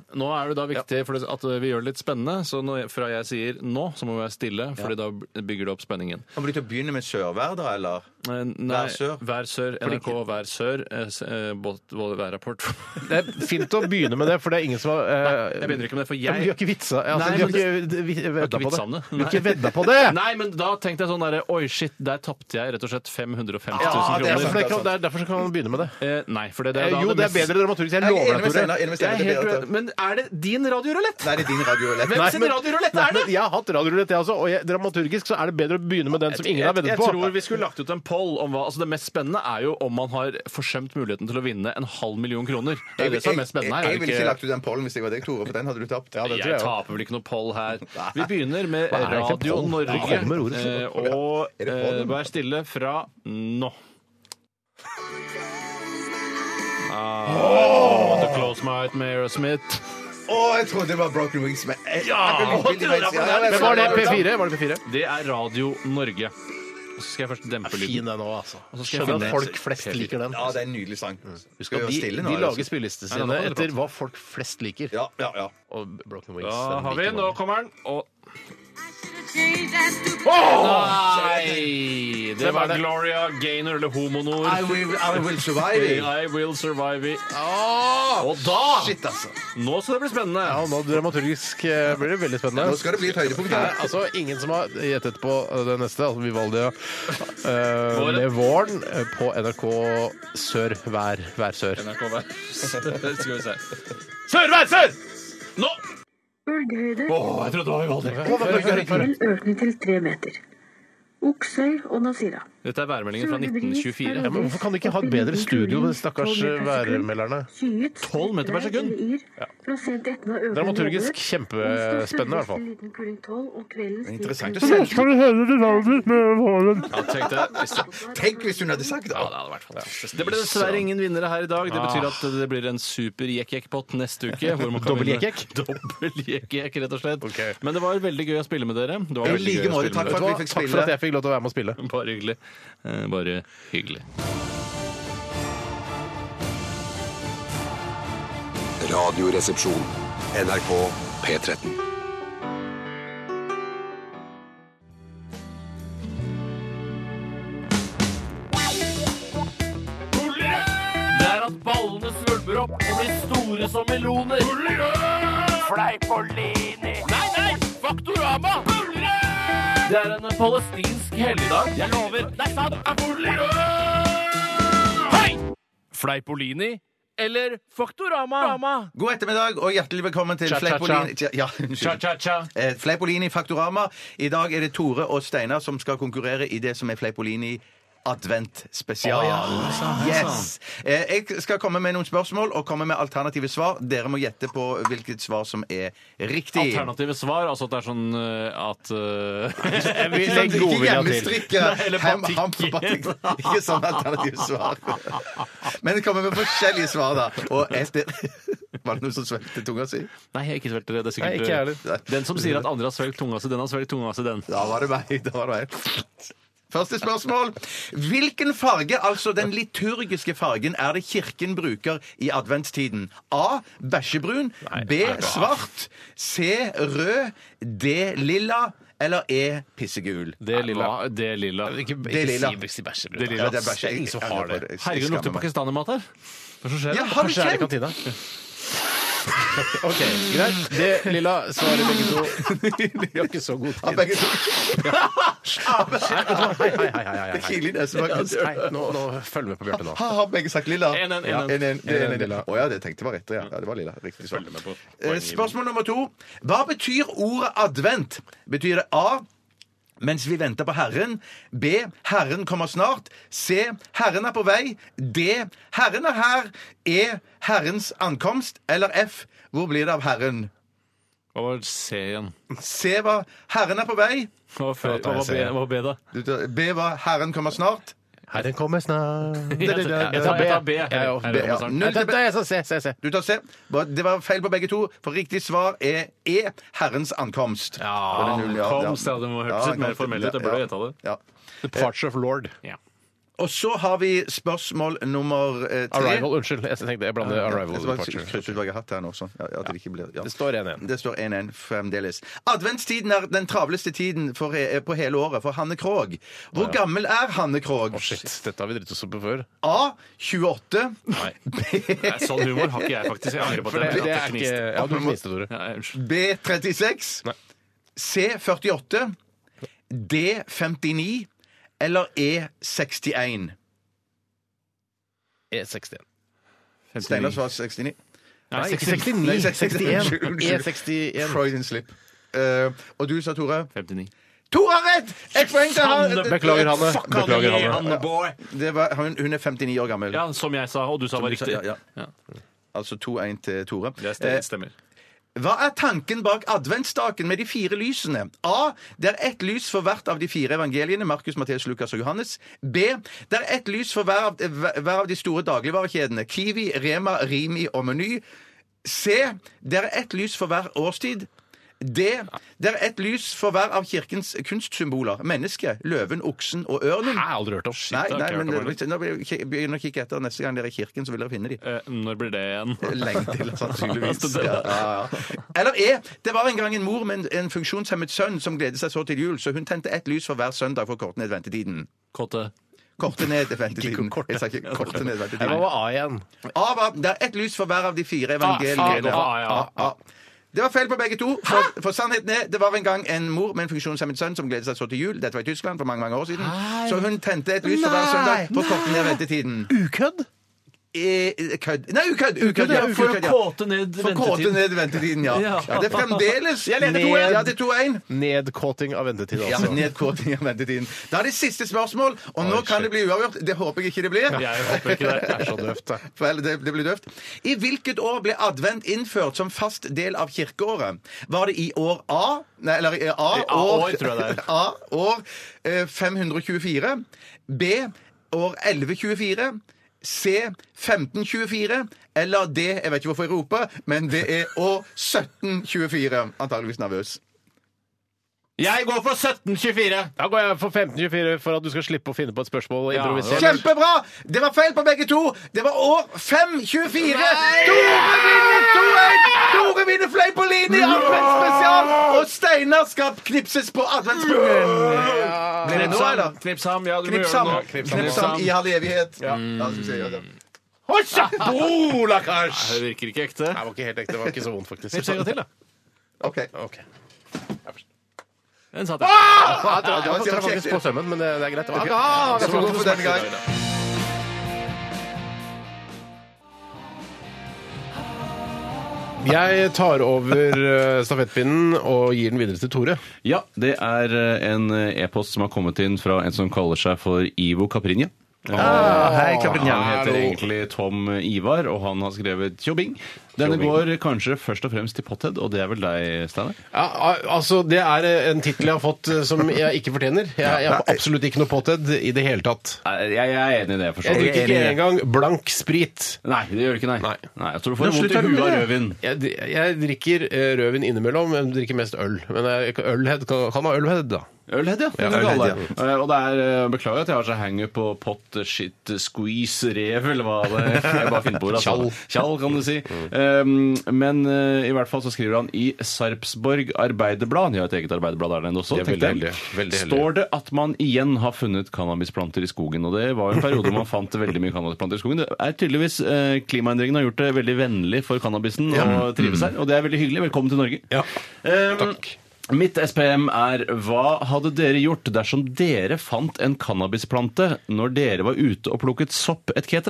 [SPEAKER 8] Nå er det da viktig for det- at vi gjør det litt spennende, så når jeg, fra jeg sier nå, så må vi være stille, Fordi da bygger det opp spenningen.
[SPEAKER 3] Kommer du til å begynne med sørvær, da, eller?
[SPEAKER 8] Eh, Nei,
[SPEAKER 3] Vær Sør.
[SPEAKER 8] Vær Sør, NRK Vær Sør, eh, s- eh, båt- vår værrapport.
[SPEAKER 7] Det er fint å begynne med det, for det er ingen som har eh,
[SPEAKER 8] Jeg begynner ikke med det, for
[SPEAKER 7] Ja, men Vi har
[SPEAKER 8] jeg
[SPEAKER 7] ikke vitsa ja,
[SPEAKER 8] Nei,
[SPEAKER 7] altså, Vi har
[SPEAKER 8] men
[SPEAKER 7] ikke vi- vedda
[SPEAKER 8] ikke
[SPEAKER 7] på
[SPEAKER 8] vitsa om
[SPEAKER 7] det.
[SPEAKER 8] det.
[SPEAKER 7] Vi har ikke
[SPEAKER 8] Nei.
[SPEAKER 7] vedda på det!
[SPEAKER 8] Nei, men da tenkte jeg sånn derre Oi, shit, der tapte jeg rett og slett 550 000
[SPEAKER 7] Ja, det er
[SPEAKER 8] kroner.
[SPEAKER 7] sant, det er sant. Det er derfor så kan man begynne med det.
[SPEAKER 8] Eh, nei, for det, det er da
[SPEAKER 7] Jo, det er
[SPEAKER 8] mest-
[SPEAKER 7] bedre dramaturgisk. Jeg
[SPEAKER 3] Jeg er
[SPEAKER 7] lover
[SPEAKER 3] enig
[SPEAKER 7] deg,
[SPEAKER 3] med
[SPEAKER 7] Tore.
[SPEAKER 3] Steinar. enig
[SPEAKER 8] Jeg
[SPEAKER 3] med
[SPEAKER 8] er
[SPEAKER 3] Steinar, det
[SPEAKER 8] helt
[SPEAKER 3] blir bedre.
[SPEAKER 8] uenig. Men er det din radiorulett?
[SPEAKER 3] Nei, det er din radiorulett.
[SPEAKER 8] Hvem sin
[SPEAKER 7] men-
[SPEAKER 8] radiorulett
[SPEAKER 7] Nei,
[SPEAKER 8] er det?
[SPEAKER 7] men Jeg har hatt radiorulett, jeg også, og jeg, dramaturgisk så er det bedre å begynne med den som ingen har
[SPEAKER 8] jeg,
[SPEAKER 7] veddet
[SPEAKER 8] jeg
[SPEAKER 7] på.
[SPEAKER 8] tror vi skulle lagt ut en poll om hva altså Det mest spennende er jo om man har forsømt muligheten til å vinne en halv million kroner. Det er jo det som er mest spennende her.
[SPEAKER 3] jeg, jeg,
[SPEAKER 8] er det
[SPEAKER 3] ville ikke
[SPEAKER 8] ikke-
[SPEAKER 3] lagt ut den pollen hvis jeg var deg, Tore, for den hadde du tapt.
[SPEAKER 7] Ja, det tror
[SPEAKER 8] Jeg
[SPEAKER 7] jeg
[SPEAKER 8] taper vel ikke noe poll her. Vi begynner med
[SPEAKER 7] Hva er egentlig
[SPEAKER 8] Radio
[SPEAKER 7] poll?
[SPEAKER 8] Norge.
[SPEAKER 7] Hvor kommer ordet fra?
[SPEAKER 8] eh, Og
[SPEAKER 3] Er det
[SPEAKER 8] eh,
[SPEAKER 3] poll?
[SPEAKER 8] vær stille fra nå. Ah, to close my eyes med Aerosmith.
[SPEAKER 3] Å, jeg trodde det var Broken Wings med Ja!
[SPEAKER 7] Men var det P4? Var det P4?
[SPEAKER 8] Det er Radio Norge. Og så skal jeg først dempe lyden.
[SPEAKER 7] den òg, altså.
[SPEAKER 8] Og så skal jeg
[SPEAKER 7] Skjønner
[SPEAKER 8] finne
[SPEAKER 7] at
[SPEAKER 8] et
[SPEAKER 7] folk flest
[SPEAKER 8] P4.
[SPEAKER 7] liker den.
[SPEAKER 3] Ja, det er en nydelig sang. Husk å
[SPEAKER 7] De,
[SPEAKER 3] gjøre stille nå.
[SPEAKER 7] de
[SPEAKER 3] er det
[SPEAKER 7] lager
[SPEAKER 3] så-
[SPEAKER 7] spillelistene
[SPEAKER 8] Nei, nå
[SPEAKER 7] sine
[SPEAKER 8] kan dere
[SPEAKER 7] etter
[SPEAKER 8] prate.
[SPEAKER 7] hva folk flest liker.
[SPEAKER 3] Ja, ja, ja.
[SPEAKER 7] Og Broken Wings.
[SPEAKER 8] Da
[SPEAKER 7] den
[SPEAKER 8] har vi,
[SPEAKER 7] liker
[SPEAKER 8] nå
[SPEAKER 7] mange.
[SPEAKER 8] kommer den. Og Nei! Det var Gloria Gaynor, eller Homonor.
[SPEAKER 3] I will, I will survive.
[SPEAKER 8] I will survive it. Og da!
[SPEAKER 3] Shit, altså.
[SPEAKER 8] Nå skal det bli spennende.
[SPEAKER 7] Ja, nå dramaturgisk eh, blir det veldig spennende.
[SPEAKER 3] Nå skal det bli et høydepunkt.
[SPEAKER 7] Nei,
[SPEAKER 3] her.
[SPEAKER 7] altså Ingen som har gjettet på eh, det neste, altså Vivaldi ja. Eh,
[SPEAKER 8] Våren.
[SPEAKER 7] med våren eh, på NRK Sør hver, hver sør.
[SPEAKER 8] NRK Vær. Skal vi se. Sør, vær sør! Nå! Åh, jeg trodde det var Vivaldi.
[SPEAKER 12] økning til tre meter. Oksøy og Nasira.
[SPEAKER 8] Dette er værmeldingen fra 1924.
[SPEAKER 7] Ja, men Hvorfor kan de ikke ha et bedre studio, de stakkars eh, værmelderne?
[SPEAKER 12] Skyet,
[SPEAKER 8] 12 meter per sekund?
[SPEAKER 12] Fra sent ettermiddag økende
[SPEAKER 7] Dramaturgisk
[SPEAKER 12] nedbør.
[SPEAKER 7] kjempespennende, i hvert
[SPEAKER 12] Onsdag
[SPEAKER 7] fall.
[SPEAKER 12] sørvest til liten kuling 12, og kvelden stiger
[SPEAKER 3] Interessant å
[SPEAKER 12] temperaturen.
[SPEAKER 3] se.
[SPEAKER 7] du høre det navnet med våren?
[SPEAKER 8] Ja, tenkte jeg. Hvis det-
[SPEAKER 3] Tenk hvis hun hadde
[SPEAKER 8] Ja,
[SPEAKER 3] sagt det!
[SPEAKER 8] det hadde vært fantastisk. Det ble dessverre ingen vinnere her i dag. Det betyr at det blir en super jekk-jekk-pott neste uke. hvor man kan
[SPEAKER 7] Dobbel
[SPEAKER 8] vinne-
[SPEAKER 7] jekk-jekk?
[SPEAKER 8] Dobbel jekk-jekk, rett og slett.
[SPEAKER 7] Ok.
[SPEAKER 8] Men det var veldig gøy å spille med dere. Det var
[SPEAKER 3] I
[SPEAKER 8] veldig gøy
[SPEAKER 3] like
[SPEAKER 8] å
[SPEAKER 3] måte,
[SPEAKER 8] spille med
[SPEAKER 3] takk for
[SPEAKER 8] dere.
[SPEAKER 3] at vi fikk
[SPEAKER 7] Takk for at
[SPEAKER 3] spille.
[SPEAKER 7] jeg fikk lov til å være med og spille.
[SPEAKER 8] Bare hyggelig. Eh, Bare hyggelig.
[SPEAKER 6] Radioresepsjon. NRK P13.
[SPEAKER 4] Det er at ballene svulmer opp og blir store som meloner. Fleipolini. Nei, nei, Faktorama! Det er en palestinsk helligdag. Jeg lover. Det er sant. Hei! Fleipolini eller Faktorama?
[SPEAKER 3] God ettermiddag og hjertelig velkommen til
[SPEAKER 4] Cha-cha-cha.
[SPEAKER 3] Fleipolini ja, unnskyld. Eh, Fleipolini Faktorama. I dag er det Tore og Steinar som skal konkurrere i det som er Fleipolini Advent spesial.
[SPEAKER 13] Å, ja. Hei sann, hei
[SPEAKER 3] Yes! Eh, Jeg skal komme med noen spørsmål og komme med alternative svar. Dere må gjette på hvilket svar som er riktig.
[SPEAKER 8] Alternative svar, altså at det er sånn eh, at eh,
[SPEAKER 3] Ikke sånn,
[SPEAKER 8] legg
[SPEAKER 3] ikke
[SPEAKER 8] godvilja
[SPEAKER 3] hjemmestrikk,
[SPEAKER 8] til.
[SPEAKER 3] eh,
[SPEAKER 8] Nei, eller
[SPEAKER 3] hem-
[SPEAKER 8] batikk.
[SPEAKER 3] ham på batikk. Ikke sånn alternativ svar. Men det kommer med forskjellige svar, da. Og et Var det noen som svelget tunga si?
[SPEAKER 8] Nei, jeg har ikke svelget det. det er sikkert,
[SPEAKER 3] Nei, ikke jeg heller.
[SPEAKER 8] Nei. Den som sier at andre har svelget tunga si, den har svelget tunga si, den.
[SPEAKER 3] Da var det meg. da var det meg. Første spørsmål. Hvilken farge, altså den liturgiske fargen, er det kirken bruker i adventstiden? A. Bæsjebrun. B. Svart. C. Rød. D. Lilla. Eller E. Pissegul.
[SPEAKER 8] Det lilla. Det lilla. Ikke,
[SPEAKER 3] Det
[SPEAKER 8] Det lilla.
[SPEAKER 3] lilla. Ja, det er bæsje.
[SPEAKER 8] Det er ingen som
[SPEAKER 3] Jeg-
[SPEAKER 8] har
[SPEAKER 3] jeg-
[SPEAKER 8] det.
[SPEAKER 3] jeg- jeg
[SPEAKER 8] Herregud, det lukter
[SPEAKER 3] skammer meg.
[SPEAKER 8] pakistanermat her. Hva er det som skjer?
[SPEAKER 3] Ja,
[SPEAKER 8] da?
[SPEAKER 3] har du
[SPEAKER 8] Kanskje er det
[SPEAKER 3] kjent?
[SPEAKER 8] kantina?
[SPEAKER 14] OK, greit. Det lilla svarer begge to. Vi har ikke så god tid.
[SPEAKER 3] begge to.
[SPEAKER 14] Hei, hei, hei, hei,
[SPEAKER 3] Det kiler i nesen, faktisk.
[SPEAKER 14] Hei, nå, nå følg med på Bjarte nå.
[SPEAKER 3] Har har begge sagt lilla?
[SPEAKER 14] En, en, en,
[SPEAKER 3] Ja,
[SPEAKER 14] en.
[SPEAKER 3] en, en. Det er
[SPEAKER 14] En, en,
[SPEAKER 3] en, en.
[SPEAKER 14] lilla.
[SPEAKER 3] Å ja, det tenkte jeg var rett. Ja. ja, det var lilla. Riktig svar. Eh, Spørsmål nummer to. Hva betyr ordet advent? Betyr det A mens vi venter på Herren. B. Herren kommer snart. C. Herren er på vei. D. Herren er her. E. Herrens ankomst. Eller F. Hvor blir det av Herren?
[SPEAKER 8] Hva var C igjen?
[SPEAKER 3] C var Herren er på vei.
[SPEAKER 8] Hva var før-
[SPEAKER 3] Ja, det er
[SPEAKER 8] hva var
[SPEAKER 3] C,
[SPEAKER 8] B,
[SPEAKER 3] ja.
[SPEAKER 8] hva var B da?
[SPEAKER 3] B var Herren kommer snart.
[SPEAKER 7] Herren kommer snart
[SPEAKER 8] Jeg tar- jeg tar B.
[SPEAKER 7] Jeg er også B, ja.
[SPEAKER 3] Null til B. Du tar C. Bare- Det var feil på begge to, for riktig svar er E. Herrens ankomst. Og det er null, ja,
[SPEAKER 8] Komst, ja. Det må
[SPEAKER 3] Ja,
[SPEAKER 8] hørtes litt mer
[SPEAKER 3] ankomst,
[SPEAKER 8] formell ut. Jeg burde
[SPEAKER 3] ja,
[SPEAKER 8] gjetta det.
[SPEAKER 3] ja.
[SPEAKER 7] Parts of Lord.
[SPEAKER 3] Og så har vi spørsmål nummer eh, tre.
[SPEAKER 7] Arrival, unnskyld. Jeg tenkte jeg blander
[SPEAKER 3] Ja, ja.
[SPEAKER 7] Arrival
[SPEAKER 3] Jeg
[SPEAKER 7] og
[SPEAKER 3] skal
[SPEAKER 7] Departure.
[SPEAKER 3] bare krysse ut hva jeg har hatt her nå. Sånn. Ja, at det, ikke blir, ja. det
[SPEAKER 7] står 1-1.
[SPEAKER 3] Det står 1-1 fremdeles. Adventstiden er den travleste tiden for, he- på hele året for Hanne Krogh. Hvor
[SPEAKER 7] Ja.
[SPEAKER 3] gammel er Hanne Krogh?
[SPEAKER 7] Shit, dette har vi dritt oss opp på før.
[SPEAKER 3] A. 28.
[SPEAKER 7] Nei.
[SPEAKER 8] Nei, sånn humor har ikke jeg faktisk. Jeg angrer på at
[SPEAKER 7] For
[SPEAKER 8] jeg-
[SPEAKER 7] det, det
[SPEAKER 8] at
[SPEAKER 7] er
[SPEAKER 8] jeg
[SPEAKER 7] ikke
[SPEAKER 8] kniste.
[SPEAKER 7] Ja, du kniste, Tore.
[SPEAKER 8] Ja, unnskyld.
[SPEAKER 3] B 36. C 48. D 59. Eller E 61.
[SPEAKER 7] E61.
[SPEAKER 3] Steinar svarer 69.
[SPEAKER 7] Nei, E 69.
[SPEAKER 3] Nei, 61.
[SPEAKER 7] 61.
[SPEAKER 3] Unnskyld, unnskyld.
[SPEAKER 7] E61.
[SPEAKER 3] Freudian slip. Eh, og du sa, Tore?
[SPEAKER 8] 59.
[SPEAKER 3] Tore har rett! Ett poeng til han!
[SPEAKER 8] Sanne, beklager, Hanne.
[SPEAKER 3] Fuck
[SPEAKER 8] Beklager, Hanne. Hanne boy.
[SPEAKER 3] Det var, hun, hun er 59 år gammel.
[SPEAKER 8] Ja, som jeg sa, og du sa
[SPEAKER 3] Som
[SPEAKER 8] var
[SPEAKER 3] du sa,
[SPEAKER 8] riktig.
[SPEAKER 3] ja,
[SPEAKER 8] Ja.
[SPEAKER 3] Altså 2-1 til Tore.
[SPEAKER 8] Det stemmer.
[SPEAKER 3] Eh, Hva er tanken bak adventsstaken med de fire lysene? A. Det er ett lys for hvert av de fire evangeliene, Markus, Matteus, Lukas og Johannes. B. Det er ett lys for hver av, hver av de store dagligvarekjedene, Kiwi, Rema, Rimi og Meny. C. Det er ett lys for hver årstid. D. Det er ett lys for hver av kirkens kunstsymboler. Mennesket, løven, oksen og ørnen.
[SPEAKER 7] Jeg har aldri hørt om.
[SPEAKER 3] Nei,
[SPEAKER 8] det har
[SPEAKER 3] nei,
[SPEAKER 8] ikke jeg
[SPEAKER 3] men
[SPEAKER 8] hørt om
[SPEAKER 3] hvis- nå blir- begynn å kikke etter. Neste gang dere er i kirken, så vil dere finne de.
[SPEAKER 8] Eh, Når blir det igjen?
[SPEAKER 3] Lenge til,
[SPEAKER 7] altså,
[SPEAKER 3] sannsynligvis.
[SPEAKER 8] Det der.
[SPEAKER 3] Ja, ja, ja. Eller E. Det var en gang en mor med en, en funksjonshemmet sønn som gledet seg så til jul, så hun tente ett lys for hver søndag for å korte ned ventetiden.
[SPEAKER 8] Kåte.
[SPEAKER 3] Korte ned ventetiden.
[SPEAKER 7] korte.
[SPEAKER 3] Jeg sa ikke korte
[SPEAKER 7] Nei,
[SPEAKER 3] ned
[SPEAKER 7] Hva
[SPEAKER 3] ventetiden.
[SPEAKER 7] var A igjen?
[SPEAKER 3] A var, det er ett lys for hver av de
[SPEAKER 7] Ah,
[SPEAKER 3] fire
[SPEAKER 7] faen,
[SPEAKER 3] evangeliene.
[SPEAKER 7] A, ja.
[SPEAKER 3] A, A. Det var feil på begge to. For, for sannheten er, det var en gang en mor med en funksjonshemmet sønn som gledet seg så til jul. Dette var i Tyskland for mange mange år siden. Så hun tente et lys for hver
[SPEAKER 7] Nei.
[SPEAKER 3] søndag for å korte ned ventetiden.
[SPEAKER 7] Ukødd?
[SPEAKER 3] Eh, Kødd. Nei, ukødd! Ukødd, ja.
[SPEAKER 8] For å
[SPEAKER 3] ukødd, ja.
[SPEAKER 8] kåte ned
[SPEAKER 3] For å kåte
[SPEAKER 8] ventetiden.
[SPEAKER 3] ned ventetiden, ja.
[SPEAKER 8] Ja.
[SPEAKER 3] ja. Det er fremdeles
[SPEAKER 7] Jeg leder 2-1.
[SPEAKER 3] Ja, det er 2-1.
[SPEAKER 7] Nedkåting av ventetid,
[SPEAKER 3] Ja,
[SPEAKER 7] altså.
[SPEAKER 3] nedkåting av ventetiden. Da er det siste spørsmål, og nå kan det bli uavgjort. Det håper jeg ikke det blir.
[SPEAKER 8] Jeg håper ikke det.
[SPEAKER 7] Det er så døvt, det.
[SPEAKER 3] For ellers- det, det blir døvt. I hvilket år ble advent innført som fast del av kirkeåret? Var det i år A Nei, eller eh, A,
[SPEAKER 8] I A- år, tror jeg det
[SPEAKER 3] A år eh, 524. B år 1124. C 1524. Eller D Jeg vet ikke hvorfor jeg roper, men det er år 1724. Antageligvis nervøs.
[SPEAKER 8] Jeg går for 1724!
[SPEAKER 7] Da går jeg for 1524 for at du skal slippe å finne på et spørsmål og
[SPEAKER 8] Ja.
[SPEAKER 7] improvisere.
[SPEAKER 3] Kjempebra! Det var feil på begge to. Det var år 524. Tore vinner 2-1! Tore vinner Fleipolini adventsspesial! Og Steinar skal knipses på adventspungen. Blir det nå, eller?
[SPEAKER 8] Knips ham. Ja, du må
[SPEAKER 3] Knips
[SPEAKER 8] gjøre
[SPEAKER 3] ham.
[SPEAKER 8] det nå.
[SPEAKER 3] Knips ham i all evighet. Ja, da skal vi se, ja, da.
[SPEAKER 7] Bolakars!
[SPEAKER 8] Det virker ikke ekte.
[SPEAKER 7] Det var ikke helt ekte. Det var ikke så vondt, faktisk.
[SPEAKER 8] Knips en gang til, da.
[SPEAKER 3] OK.
[SPEAKER 7] Ok.
[SPEAKER 8] Den satt
[SPEAKER 7] jeg.
[SPEAKER 14] Ah!
[SPEAKER 7] Ja, det var- det var faktisk på sømmen, men eh, det, det er greit. Det var
[SPEAKER 14] Ok.
[SPEAKER 7] ikke-
[SPEAKER 14] Ah, vi
[SPEAKER 7] Så
[SPEAKER 14] får
[SPEAKER 7] var
[SPEAKER 14] gå
[SPEAKER 7] det
[SPEAKER 14] for
[SPEAKER 7] så
[SPEAKER 14] den gang.
[SPEAKER 7] smart. Jeg tar over eh, stafettpinnen og gir den videre til Tore.
[SPEAKER 8] Ja, det er eh, en eh, e-post som har kommet inn fra en som kaller seg for Ivo Caprinja.
[SPEAKER 7] Ah, hei, Caprinja.
[SPEAKER 8] Han heter
[SPEAKER 7] Hallo.
[SPEAKER 8] egentlig Tom eh, Ivar, og han har skrevet Tjobbing. Denne går
[SPEAKER 7] Tjobbing.
[SPEAKER 8] kanskje først og fremst til Potthead, og det er vel deg, Steinar?
[SPEAKER 7] Ja, al- altså, Det er eh, en tittel jeg har fått eh, som jeg ikke fortjener. Jeg, jeg er absolutt ikke noe potted i det hele tatt.
[SPEAKER 8] Jeg, jeg er enig i det. for så
[SPEAKER 7] Jeg
[SPEAKER 8] vidt.
[SPEAKER 7] drikker ikke engang blank sprit.
[SPEAKER 8] Nei, det gjør du ikke, nei. nei. jeg tror du får
[SPEAKER 7] Men
[SPEAKER 8] vondt i
[SPEAKER 7] slutt med
[SPEAKER 8] huet av
[SPEAKER 7] det.
[SPEAKER 8] rødvin.
[SPEAKER 7] Jeg, dri- jeg drikker eh, rødvin innimellom, men drikker mest øl. Men jeg, ølhead kan, kan ha ølhead, da.
[SPEAKER 8] Ølhead, ja. Det kan vi kalle det. Eh, Og det er, eh, Beklager at jeg har så hangup på pot, shit, squeeze, rev, eller hva det jeg bare finner på. ordet, Altså. Tjall, kan du si.
[SPEAKER 7] Mm.
[SPEAKER 8] Eh, men eh, i hvert fall så skriver han i Sarpsborg Arbeiderblad, de har et eget arbeiderblad der nede også,
[SPEAKER 7] Det er
[SPEAKER 8] tenkte
[SPEAKER 7] veldig
[SPEAKER 8] jeg.
[SPEAKER 7] heldig, veldig heldig.
[SPEAKER 8] står det at man igjen har funnet cannabisplanter i skogen. Og det var en periode man fant veldig mye cannabisplanter i skogen. Det er tydeligvis eh, Klimaendringene har gjort det veldig vennlig for cannabisen å trives her, og det er veldig hyggelig. Velkommen til Norge. Eh, Mitt SPM er hva hadde dere gjort dersom dere fant en cannabisplante når dere var ute og plukket sopp etc.?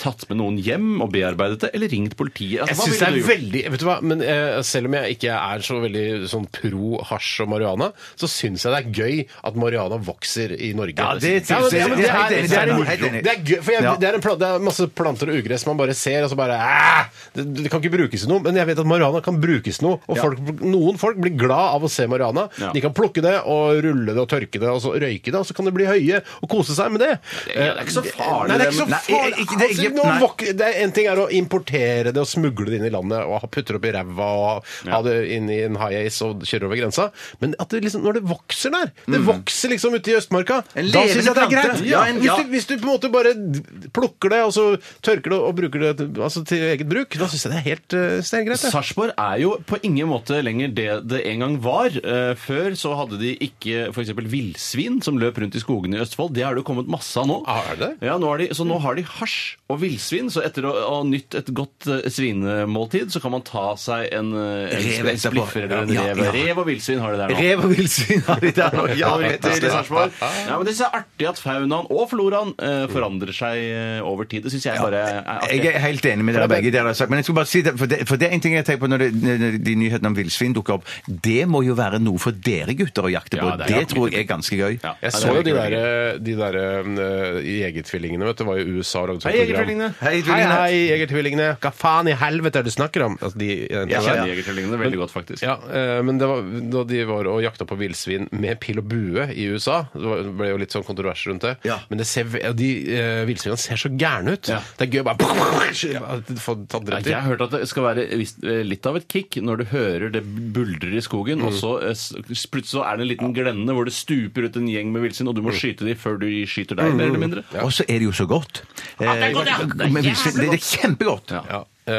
[SPEAKER 8] Tatt med noen hjem og bearbeidet det, eller ringt politiet? Altså, hva
[SPEAKER 7] Jeg synes
[SPEAKER 8] ville
[SPEAKER 7] det er
[SPEAKER 8] du gjort?
[SPEAKER 7] veldig Vet du hva, men eh, Selv om jeg ikke er så veldig sånn pro hasj og marihuana, så syns jeg det er gøy at marihuana vokser i Norge.
[SPEAKER 14] Ja, det-
[SPEAKER 7] men- ja, men det
[SPEAKER 14] helt
[SPEAKER 7] er
[SPEAKER 14] enig,
[SPEAKER 7] det er en-
[SPEAKER 14] helt enig.
[SPEAKER 7] det er gøy, for jeg,
[SPEAKER 14] Ja.
[SPEAKER 7] det, er en plan, det er masse planter og ugress man bare ser, og så bare "Æ, det, det kan ikke brukes til noe. Men jeg vet at marihuana kan brukes til noe, og
[SPEAKER 14] Ja.
[SPEAKER 7] folk, noen folk blir glad av å se marihuana.
[SPEAKER 14] Ja.
[SPEAKER 7] De kan plukke det og rulle det og tørke det og så røyke det, og så kan de bli høye og kose seg med det. Eh,
[SPEAKER 14] Det er- det er ikke så farlig,
[SPEAKER 7] Nei, det er ikke
[SPEAKER 14] det,
[SPEAKER 7] så
[SPEAKER 14] men-
[SPEAKER 7] farlig.
[SPEAKER 14] Nei, ikke- det er ikke-
[SPEAKER 7] Altså, nå
[SPEAKER 14] nei.
[SPEAKER 7] vok- det er En ting er å importere det og smugle det inn i landet og ha- putte det opp i ræva og ha- ha det inn i en high ace og kjøre over grensa, men at det liksom, når det vokser der Det vokser liksom ute i Østmarka.
[SPEAKER 14] Mm. En
[SPEAKER 7] Da syns jeg det
[SPEAKER 14] levende
[SPEAKER 7] er greit.
[SPEAKER 14] plante. Ja, en- ja.
[SPEAKER 7] Hvis, du, hvis du på en måte bare d- plukker det, og så tørker det og bruker det til- altså, til eget bruk, da syns jeg det er helt uh, steingreit. jeg.
[SPEAKER 8] Sarpsborg er jo på ingen måte lenger det det en gang var. Eh, Før så hadde de ikke f.eks. villsvin som løp rundt i skogene i Østfold. Det har det jo kommet masse av nå.
[SPEAKER 3] Ah,
[SPEAKER 8] Ja, nå har de, så nå har de hasj og villsvin. Så etter å ha nytt et godt eh, svinemåltid, så kan man ta seg en, eh, en
[SPEAKER 3] Rev
[SPEAKER 8] sp- en
[SPEAKER 3] etterpå.
[SPEAKER 8] spliffer eller en
[SPEAKER 3] Ja,
[SPEAKER 8] rev.
[SPEAKER 3] ja.
[SPEAKER 8] Rev og villsvin har de der nå.
[SPEAKER 3] Rev og villsvin har de der nå. Ja,
[SPEAKER 8] Favoritter
[SPEAKER 3] vet du.
[SPEAKER 8] i Sarpsborg. Ja, men det synes jeg er artig at faunaen og floraen eh, forandrer seg eh, over tid. Det syns jeg bare er artig.
[SPEAKER 3] Jeg er helt enig med dere begge. Dere har sagt. Men jeg skulle bare si det, for, det, for det er en ting jeg tenker på når, det, når de nyhetene om villsvin dukker opp. Det må jo være noe for dere gutter å jakte på.
[SPEAKER 7] Ja, det
[SPEAKER 3] det
[SPEAKER 7] er-
[SPEAKER 3] tror jeg er ganske gøy.
[SPEAKER 7] Jeg så jo de der, de der eh, jegertvillingene, vet du. Var i USA og lagde sånt
[SPEAKER 3] Hei,
[SPEAKER 7] program.
[SPEAKER 3] Jegertvillingene.
[SPEAKER 7] Hei,
[SPEAKER 3] Hei,
[SPEAKER 7] hei,
[SPEAKER 3] tvillingene.
[SPEAKER 7] jegertvillingene! Hva faen i helvete er det du snakker om? Altså, de, jeg
[SPEAKER 8] Jeg kjenner Jegertvillingene veldig godt, faktisk.
[SPEAKER 7] Ja, eh, men det var, da de var og jakta på villsvin med pil og bue i USA, det var- det ble jo litt sånn kontrovers rundt det, men det ser, ve- ja, de eh, villsvinene ser så gærne ut. Det er gøy å bare få tatt
[SPEAKER 8] Ja,
[SPEAKER 7] drept
[SPEAKER 8] Jeg har hørt at det skal være visst, eh, litt av et kick når du hører det buldrer i skogen, og så eh, s- plutselig så er det en liten glenne hvor det stuper ut en gjeng med villsvin, og du må skyte dem før de skyter deg, mer eller mindre.
[SPEAKER 3] Og så er det jo så godt.
[SPEAKER 8] Ja, det er godt, ja.
[SPEAKER 3] Eh, men villsvin- det, det er kjempegodt.
[SPEAKER 7] Eh,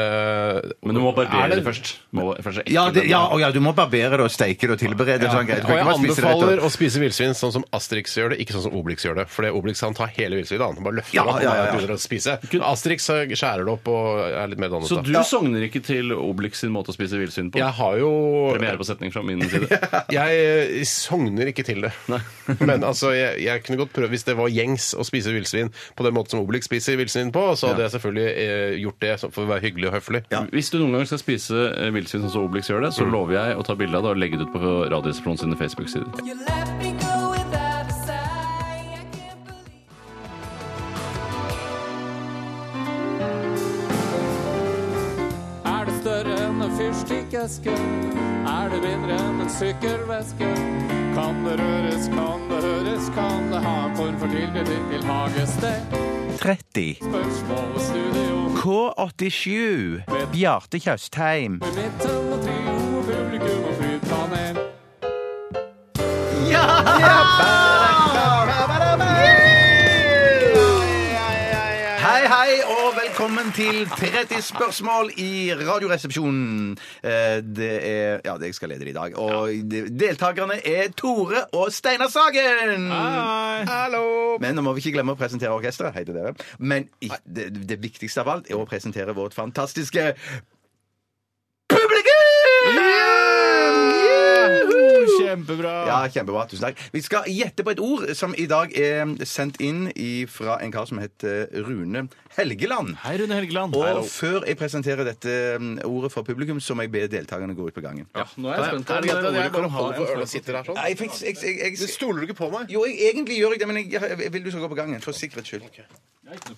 [SPEAKER 8] Men du må
[SPEAKER 7] Er
[SPEAKER 8] barbere
[SPEAKER 7] det-
[SPEAKER 8] det først. Må først
[SPEAKER 3] Ja, det, ja, og ja, du må barbere det og steike det og tilberede det. Sånn, greit. Du
[SPEAKER 7] Og
[SPEAKER 3] kan
[SPEAKER 7] jeg
[SPEAKER 3] ikke bare spise det rett
[SPEAKER 7] anbefaler
[SPEAKER 3] opp.
[SPEAKER 7] å spise villsvin sånn som Asterix gjør det, ikke sånn som Obelix gjør det. For det Obelix han tar hele villsvinet, han bare løfter
[SPEAKER 8] Ja,
[SPEAKER 7] det opp og
[SPEAKER 8] ja, ja, ja.
[SPEAKER 7] bare begynner å spise. Men Asterix eh, skjærer det opp og er litt mer dannet.
[SPEAKER 8] Så
[SPEAKER 7] da.
[SPEAKER 8] du sogner ikke til Obelix sin måte å spise villsvin på?
[SPEAKER 7] Jeg har jo
[SPEAKER 8] Premiere på setning fra min side.
[SPEAKER 7] Jeg eh, sogner ikke til det. Men altså, jeg, jeg kunne godt prøve, hvis det var gjengs å spise villsvin på den måten som Obelix spiser villsvin på, så
[SPEAKER 8] Ja.
[SPEAKER 7] hadde jeg selvfølgelig eh, gjort det så- for å være hyggelig og høflig.
[SPEAKER 8] Hvis du noen ganger skal spise eh, villsvin sånn som Obelix gjør det, så lover jeg å ta bilde av det og legge det ut på Radioresepsjonen sine Facebook-sider.
[SPEAKER 13] Er det større enn en fyrstikkeske? Er det mindre enn en sykkelveske? Kan det røres, kan det høres, kan det ha en form for tilknytning til hagested?
[SPEAKER 3] 30.
[SPEAKER 13] Spørsmål og studio
[SPEAKER 3] K87. Bjarte Tjøstheim.
[SPEAKER 13] i midten og trio og publikum og flypanel.
[SPEAKER 5] Ja!
[SPEAKER 3] Hei, hei, og velkommen til 30 spørsmål i Radioresepsjonen. Eh, Det er Ja, det jeg skal lede det i dag. Og de- deltakerne er Tore og Steinar Sagen. Hei.
[SPEAKER 7] Hallo.
[SPEAKER 3] Men nå må vi ikke glemme å presentere orkesteret. Hei til dere. Men i- det, det viktigste av alt er å presentere vårt fantastiske publikum! Juhu! Ja, kjempebra. Tusen takk. Vi skal gjette på et ord som i dag er sendt inn i- fra en kar som heter Rune Helgeland.
[SPEAKER 4] Hei, Rune Helgeland.
[SPEAKER 3] Og
[SPEAKER 4] Hallo.
[SPEAKER 3] før jeg presenterer dette mm, ordet for publikum, så må jeg be deltakerne gå ut på gangen.
[SPEAKER 4] Ja, nå
[SPEAKER 8] er jeg spent. Er det greit at jeg bare holder for øret og sitter her sånn?
[SPEAKER 3] Nei, jeg, jeg, jeg, jeg,
[SPEAKER 8] Du stoler du ikke på meg?
[SPEAKER 3] Jo, jeg, egentlig gjør jeg det, men jeg, jeg vil du skal gå på gangen, for sikkerhets skyld.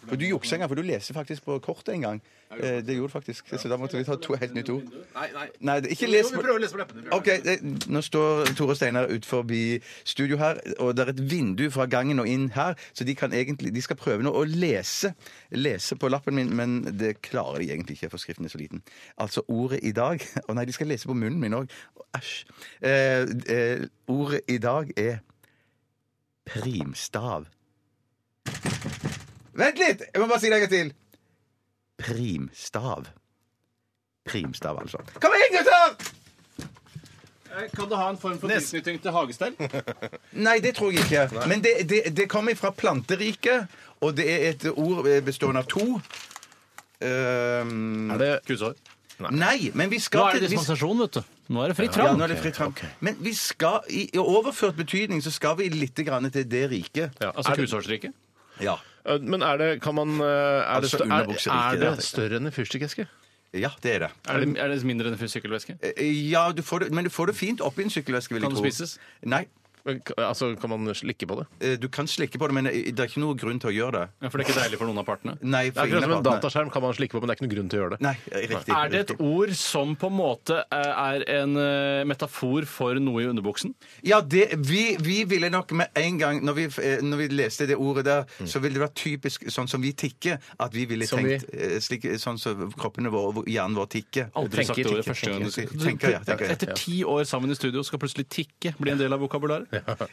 [SPEAKER 3] For du jukser en gang, for du leser faktisk på kortet en gang. Eh, Det gjorde du faktisk. Så da måtte vi ta to helt nytt ord.
[SPEAKER 8] Nei, nei.
[SPEAKER 3] Nei, det- ikke les
[SPEAKER 8] Jo, vi prøver å lese på leppene. Vi prøver.
[SPEAKER 3] Ok, det, Nå står Tore og Steinar ut forbi studio her, og det er et vindu fra gangen og inn her, så de, kan egentlig, de skal prøve nå å lese, lese på lappen min, men det klarer de egentlig ikke, for skriften er så liten. Altså ordet i dag Å nei, de skal lese på munnen min òg. Æsj. Eh, eh, ordet i dag er primstav. Vent litt! Jeg må bare si det en gang til. Primstav. Primstav, altså. Kom igjen, gutter!
[SPEAKER 4] Kan det ha en form for tilknytning til hagestell?
[SPEAKER 3] Nei, det tror jeg ikke. Men det, det, det kommer fra planteriket, og det er et ord eh, bestående av to. Ehm,
[SPEAKER 8] Er det
[SPEAKER 3] Nei. men vi skal
[SPEAKER 4] Nå er det
[SPEAKER 3] til-
[SPEAKER 4] sånn
[SPEAKER 3] vi-
[SPEAKER 4] dispensasjon, vet du. Nå er det fritt
[SPEAKER 3] Ja,
[SPEAKER 4] fram.
[SPEAKER 3] nå er det fritt fram. Men vi skal, i, i overført betydning så skal vi litt grann til det riket.
[SPEAKER 4] Altså kusårsriket?
[SPEAKER 3] Ja.
[SPEAKER 8] Eh, Men er det, kan man eh, Er det,
[SPEAKER 3] Altså,
[SPEAKER 8] stør-
[SPEAKER 3] underbukseriket,
[SPEAKER 8] er, er
[SPEAKER 3] ja.
[SPEAKER 8] det større enn en fyrstikkeske?
[SPEAKER 3] Ja, det er det. Eh,
[SPEAKER 4] Er det, er det mindre enn en sykkelveske?
[SPEAKER 3] Ja, du får det, men du får det fint oppi en sykkelveske, vil jeg
[SPEAKER 4] Kan det
[SPEAKER 3] tro.
[SPEAKER 4] spises?
[SPEAKER 3] Nei.
[SPEAKER 8] Altså, kan man slikke på det?
[SPEAKER 3] Eh, Du kan slikke på det, men eh, det er ikke noe grunn til å gjøre det.
[SPEAKER 4] Ja, for det er ikke deilig for noen av partene?
[SPEAKER 3] Nei,
[SPEAKER 8] Det er
[SPEAKER 3] for
[SPEAKER 8] akkurat
[SPEAKER 3] ingen
[SPEAKER 8] som en
[SPEAKER 3] av partene.
[SPEAKER 8] dataskjerm kan man slikke på, men det er ikke noen grunn til å gjøre det.
[SPEAKER 3] Nei, eh, riktig.
[SPEAKER 4] Er det et ord som på en måte er en eh, metafor for noe i underbuksen?
[SPEAKER 3] Ja, det, vi, vi ville nok med en gang Når vi, eh, når vi leste det ordet der, så ville det vært typisk sånn som vi tikker. At vi
[SPEAKER 8] Mm.
[SPEAKER 3] ville
[SPEAKER 8] Som
[SPEAKER 3] tenkt eh, slik, sånn som kroppene våre og hjernen vår tikker.
[SPEAKER 4] Aldri sagt
[SPEAKER 3] Tenker,
[SPEAKER 4] ordet
[SPEAKER 3] tenker,
[SPEAKER 4] første gang du
[SPEAKER 3] tenker, tenker, ja, tenker, ja.
[SPEAKER 4] Etter ti år sammen i studio skal plutselig tikke bli en del av vokabularet?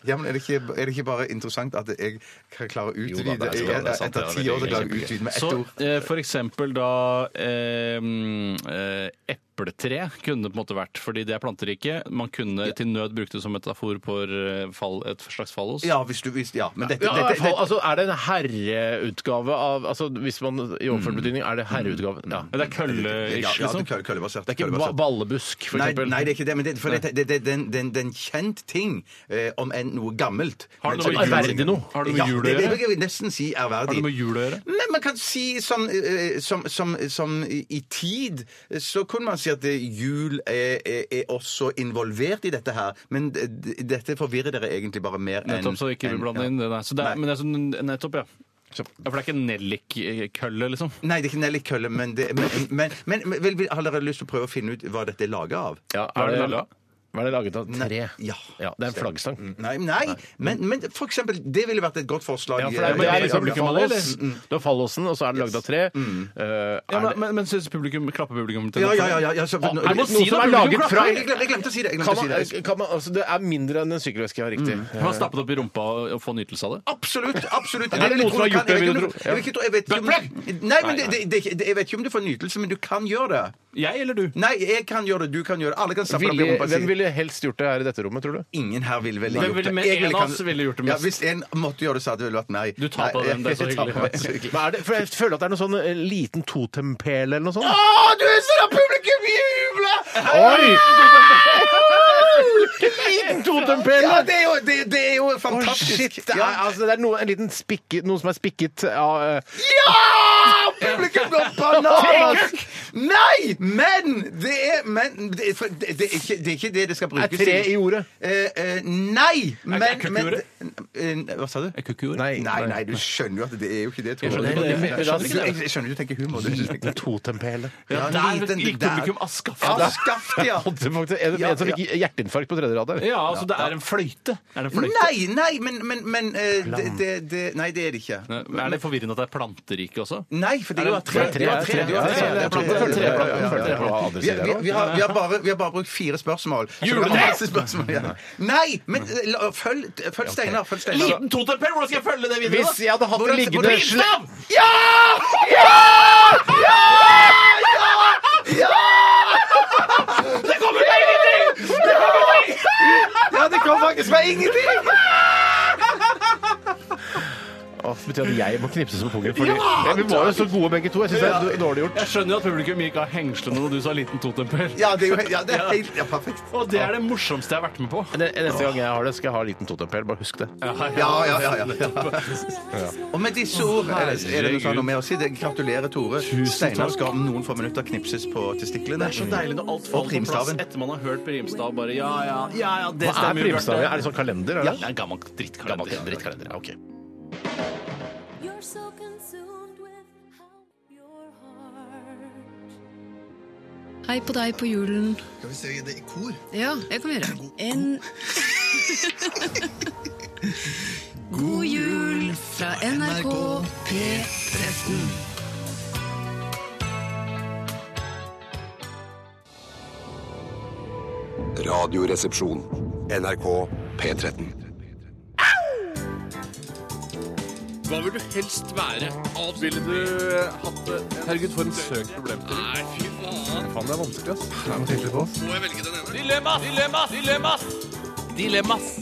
[SPEAKER 3] Ja, men er det, ikke, er det ikke bare interessant at jeg kan klare å
[SPEAKER 8] Jo
[SPEAKER 3] utvide
[SPEAKER 8] da, det er- det er sant, det er
[SPEAKER 3] Etter ti år så
[SPEAKER 8] veldig-
[SPEAKER 3] klarer jeg å
[SPEAKER 8] veldig
[SPEAKER 3] utvide med ett
[SPEAKER 4] Så
[SPEAKER 3] ord?
[SPEAKER 4] eh, for eksempel da eh, mm, eh, epletre kunne det på en måte vært, fordi det er planterike. Man kunne til nød brukt det som metafor på eh, fall, et slags fallos.
[SPEAKER 3] Ja, hvis du hvis, Ja, men dette,
[SPEAKER 8] Ja, i hvert
[SPEAKER 3] dette,
[SPEAKER 8] fall,
[SPEAKER 3] dette
[SPEAKER 8] altså, er det en herreutgave av altså, Hvis man i overført betydning, er det herreutgave? Ja.
[SPEAKER 4] Men det er kølle-ish,
[SPEAKER 3] ja, ja,
[SPEAKER 4] liksom.
[SPEAKER 3] kølle- køllebasert.
[SPEAKER 8] Det er ikke ba
[SPEAKER 3] køllebasert.
[SPEAKER 8] ballebusk, for
[SPEAKER 3] Nei,
[SPEAKER 8] eksempel?
[SPEAKER 3] nei, det er ikke det. Men det, for det, det, det, det, er en- det, er en- det er en kjent ting, eh, om enn noe gammelt.
[SPEAKER 4] Har det
[SPEAKER 3] Men-
[SPEAKER 4] noe med jul-
[SPEAKER 8] Ærverdig noe?
[SPEAKER 4] Har det noe med jul
[SPEAKER 3] Ja,
[SPEAKER 4] å
[SPEAKER 3] det, det
[SPEAKER 4] gjøre?
[SPEAKER 3] vil jeg nesten si ærverdig.
[SPEAKER 4] Har det med jul å gjøre?
[SPEAKER 3] Men man kan si sånn eh, som, som, som i i tid Så kunne man si at eh, jul er, er, er også involvert i dette her. Men d- d- dette forvirrer dere egentlig bare mer enn
[SPEAKER 4] Nettopp, så ikke vi
[SPEAKER 3] enn-
[SPEAKER 4] blander
[SPEAKER 3] ja.
[SPEAKER 4] inn det der. Så det
[SPEAKER 3] Nei.
[SPEAKER 4] er, men det er sånn, nettopp, ja. ja. For det er ikke nellikkølle, liksom?
[SPEAKER 3] Nei, det er ikke nellikølle, men, det, men, men, men, men vel, vil- Har dere lyst til å prøve å finne ut hva dette er laga av?
[SPEAKER 8] Ja,
[SPEAKER 4] Hva
[SPEAKER 8] er
[SPEAKER 4] er det
[SPEAKER 8] det,
[SPEAKER 4] laget av?
[SPEAKER 8] hva er det laget av? Tre?
[SPEAKER 3] Ja.
[SPEAKER 8] Ja, det er en flaggstang.
[SPEAKER 3] Nei, nei, men, men for eksempel, det ville vært et godt forslag.
[SPEAKER 8] Ja, for det er, det
[SPEAKER 3] Eh,
[SPEAKER 8] er liksom
[SPEAKER 4] publikum
[SPEAKER 8] fallos-
[SPEAKER 4] av det, eller?
[SPEAKER 8] Mm. Du har fallosen, og så er det lagd av tre. Eh,
[SPEAKER 4] Ja,
[SPEAKER 8] er
[SPEAKER 4] men,
[SPEAKER 8] det,
[SPEAKER 4] men, men synes publikum, klapper publikum til
[SPEAKER 3] ja,
[SPEAKER 4] det?
[SPEAKER 3] ja, ja, ja, ja, så,
[SPEAKER 4] er det noe å si
[SPEAKER 8] noe som
[SPEAKER 4] da?
[SPEAKER 8] er
[SPEAKER 4] Publikum
[SPEAKER 8] laget fra
[SPEAKER 3] Nei, jeg glemte, jeg glemte å si det. Jeg
[SPEAKER 8] kan
[SPEAKER 3] glemte å si det.
[SPEAKER 8] man, kan man, altså, Det er Mm. mindre enn en sykkelveske, ja, riktig.
[SPEAKER 4] Kan man stappe det opp i rumpa og- og få nytelse av det?
[SPEAKER 3] Absolutt. absolutt.
[SPEAKER 8] Er det
[SPEAKER 3] vil jeg
[SPEAKER 8] noen som har
[SPEAKER 3] tro du
[SPEAKER 8] gjort
[SPEAKER 3] kan.
[SPEAKER 8] det,
[SPEAKER 3] Jeg
[SPEAKER 8] vil du
[SPEAKER 3] vet ikke om-
[SPEAKER 8] tro? Ja.
[SPEAKER 3] Jeg vet ikke, jeg vet ikke om Nei, men det, det, det, det, jeg vet ikke om du får nytelse, men du kan gjøre det.
[SPEAKER 4] Jeg eller du?
[SPEAKER 3] Nei, jeg kan gjøre det, du kan gjøre det. Alle kan stappe det opp i
[SPEAKER 8] Ville,
[SPEAKER 3] rumpa si.
[SPEAKER 8] hvem ville helst gjort det her i dette rommet, tror du?
[SPEAKER 3] Ingen her ville vel
[SPEAKER 4] Hvem
[SPEAKER 3] gjort
[SPEAKER 4] ville-
[SPEAKER 3] det.
[SPEAKER 4] men
[SPEAKER 3] Jeg
[SPEAKER 4] en
[SPEAKER 3] ville
[SPEAKER 4] av
[SPEAKER 3] kan-
[SPEAKER 4] oss ville gjort det
[SPEAKER 3] Ja,
[SPEAKER 4] mest.
[SPEAKER 3] hvis en måtte gjøre det, så hadde det vel vært meg.
[SPEAKER 4] Du tar på
[SPEAKER 3] Nei,
[SPEAKER 4] den, det er så
[SPEAKER 3] jeg tar på
[SPEAKER 4] hyggelig.
[SPEAKER 3] den.
[SPEAKER 8] Hva er det? For jeg føler at det er noe sånn eh, liten totempæl eller noe sånt.
[SPEAKER 3] Å, du er sånn at publikum jubler!
[SPEAKER 8] Oi!
[SPEAKER 3] Liten
[SPEAKER 8] totempæl!
[SPEAKER 3] Ja, det er jo, det, det er jo fantastisk.
[SPEAKER 8] shit, det er,
[SPEAKER 3] ja,
[SPEAKER 8] altså, det er noe, en liten spikket, noe som er spikket av eh,
[SPEAKER 3] Ja! Publikum går bananas! Nei, men det er, men, det, er, for- det, det, er ikke, det er ikke det det skal
[SPEAKER 8] Er
[SPEAKER 3] brukes
[SPEAKER 8] tre i ordet?
[SPEAKER 3] Eh, eh, nei, men, men
[SPEAKER 4] kukkjordet?
[SPEAKER 3] eh, Hva sa du?
[SPEAKER 4] Er kukkjord?
[SPEAKER 8] Nei.
[SPEAKER 3] Nei, nei, du skjønner jo at det er jo ikke det. Tore.
[SPEAKER 4] Jeg skjønner
[SPEAKER 3] Nei,
[SPEAKER 4] ikke det. Jeg skjønner ikke det.
[SPEAKER 3] du- Jeg skjønner du tenker humor. Du,
[SPEAKER 8] Liten totempæle.
[SPEAKER 4] Ja, der gikk publikum
[SPEAKER 3] Ja,
[SPEAKER 4] askaft.
[SPEAKER 3] skaff det, ja.
[SPEAKER 8] Det var faktisk en,
[SPEAKER 3] Ja,
[SPEAKER 8] en som fikk hjerteinfarkt på tredje rad der.
[SPEAKER 4] Ja, altså det er en fløyte. Er det en fløyte?
[SPEAKER 3] Nei, nei, men, men, men eh, det, det, det, Nei, det er det ikke.
[SPEAKER 4] Nei, men Er det forvirrende at det er planterike også?
[SPEAKER 3] Nei, for det er jo tre.
[SPEAKER 4] det er tre,
[SPEAKER 3] det er
[SPEAKER 4] det er
[SPEAKER 3] det er tre,
[SPEAKER 4] tre, det er
[SPEAKER 3] det er tre, det
[SPEAKER 4] tre,
[SPEAKER 3] er tre,
[SPEAKER 4] det er
[SPEAKER 3] ja, ja,
[SPEAKER 4] tre,
[SPEAKER 3] ja,
[SPEAKER 8] det er
[SPEAKER 3] ja.
[SPEAKER 8] tre på andre
[SPEAKER 3] Vi,
[SPEAKER 8] sider
[SPEAKER 3] vi,
[SPEAKER 8] også.
[SPEAKER 3] vi, har, vi, har bare, vi har bare brukt fire spørsmål. Så det kommer
[SPEAKER 4] Juletre!
[SPEAKER 3] masse spørsmål igjen. Nei, men eh, la- følg, følg Steinar. Følg Steinar.
[SPEAKER 4] totempel! Hvordan skal jeg følge det
[SPEAKER 8] Hvis jeg hadde hatt det
[SPEAKER 3] Hvordan-
[SPEAKER 8] liggende
[SPEAKER 3] hvordan-
[SPEAKER 8] slem-
[SPEAKER 3] Ja! Ja! Ja! Ja! Ja! Det kommer fra ingenting! Det kommer fra ingenting! Ja, det kom faktisk fra ingenting!
[SPEAKER 8] Å,
[SPEAKER 15] betyr at jeg må knipse som pungen. Fordi
[SPEAKER 7] Ja!
[SPEAKER 15] vi var jo så gode begge to. Jeg synes det er
[SPEAKER 4] Ja.
[SPEAKER 15] dårlig gjort.
[SPEAKER 4] Jeg skjønner jo at publikum gikk av hengslene når du sa liten totempel.
[SPEAKER 15] Ja, det er jo- ja, det er helt-
[SPEAKER 3] perfekt.
[SPEAKER 4] Og det er det morsomste jeg har vært med på.
[SPEAKER 7] Ne- Neste gang jeg har det, skal jeg ha en liten totempel. Bare husk det.
[SPEAKER 3] Ja, ja, ja, Og med disse ord er det, er det noe sånn noe med å si. Det- Gratulerer, Tore.
[SPEAKER 4] Tusen
[SPEAKER 3] Steinar
[SPEAKER 4] takk.
[SPEAKER 3] skal om noen få minutter knipses på testiklene.
[SPEAKER 4] Det er så deilig når alt
[SPEAKER 3] Og
[SPEAKER 4] faller på plass
[SPEAKER 3] primstaven.
[SPEAKER 4] etter man har hørt på rimstav. Bare ja, ja, ja, ja det
[SPEAKER 7] Hva er
[SPEAKER 4] stemmer. jo, Bjarte.
[SPEAKER 7] primstav? Er det sånn kalender, eller?
[SPEAKER 4] Ja, det er en gammel drittkalender.
[SPEAKER 7] Gammel drittkalender, ok.
[SPEAKER 16] You're so consumed with how your heart
[SPEAKER 5] Hei på deg på julen.
[SPEAKER 17] Skal vi se det i kor?
[SPEAKER 5] Ja, jeg kan gjøre det. En God jul fra NRK P13.
[SPEAKER 6] Radioresepsjon. NRK P13.
[SPEAKER 8] Hva vil du helst være? Alt
[SPEAKER 18] Ville du hatt det?
[SPEAKER 8] Herregud, for en søk problemstilling. Nei, fy faen.
[SPEAKER 15] Faen, det er vanskelig, ass.
[SPEAKER 8] Må jeg velge den ene? Dilemmas! Dilemmas! Dilemmas!
[SPEAKER 7] Dilemmas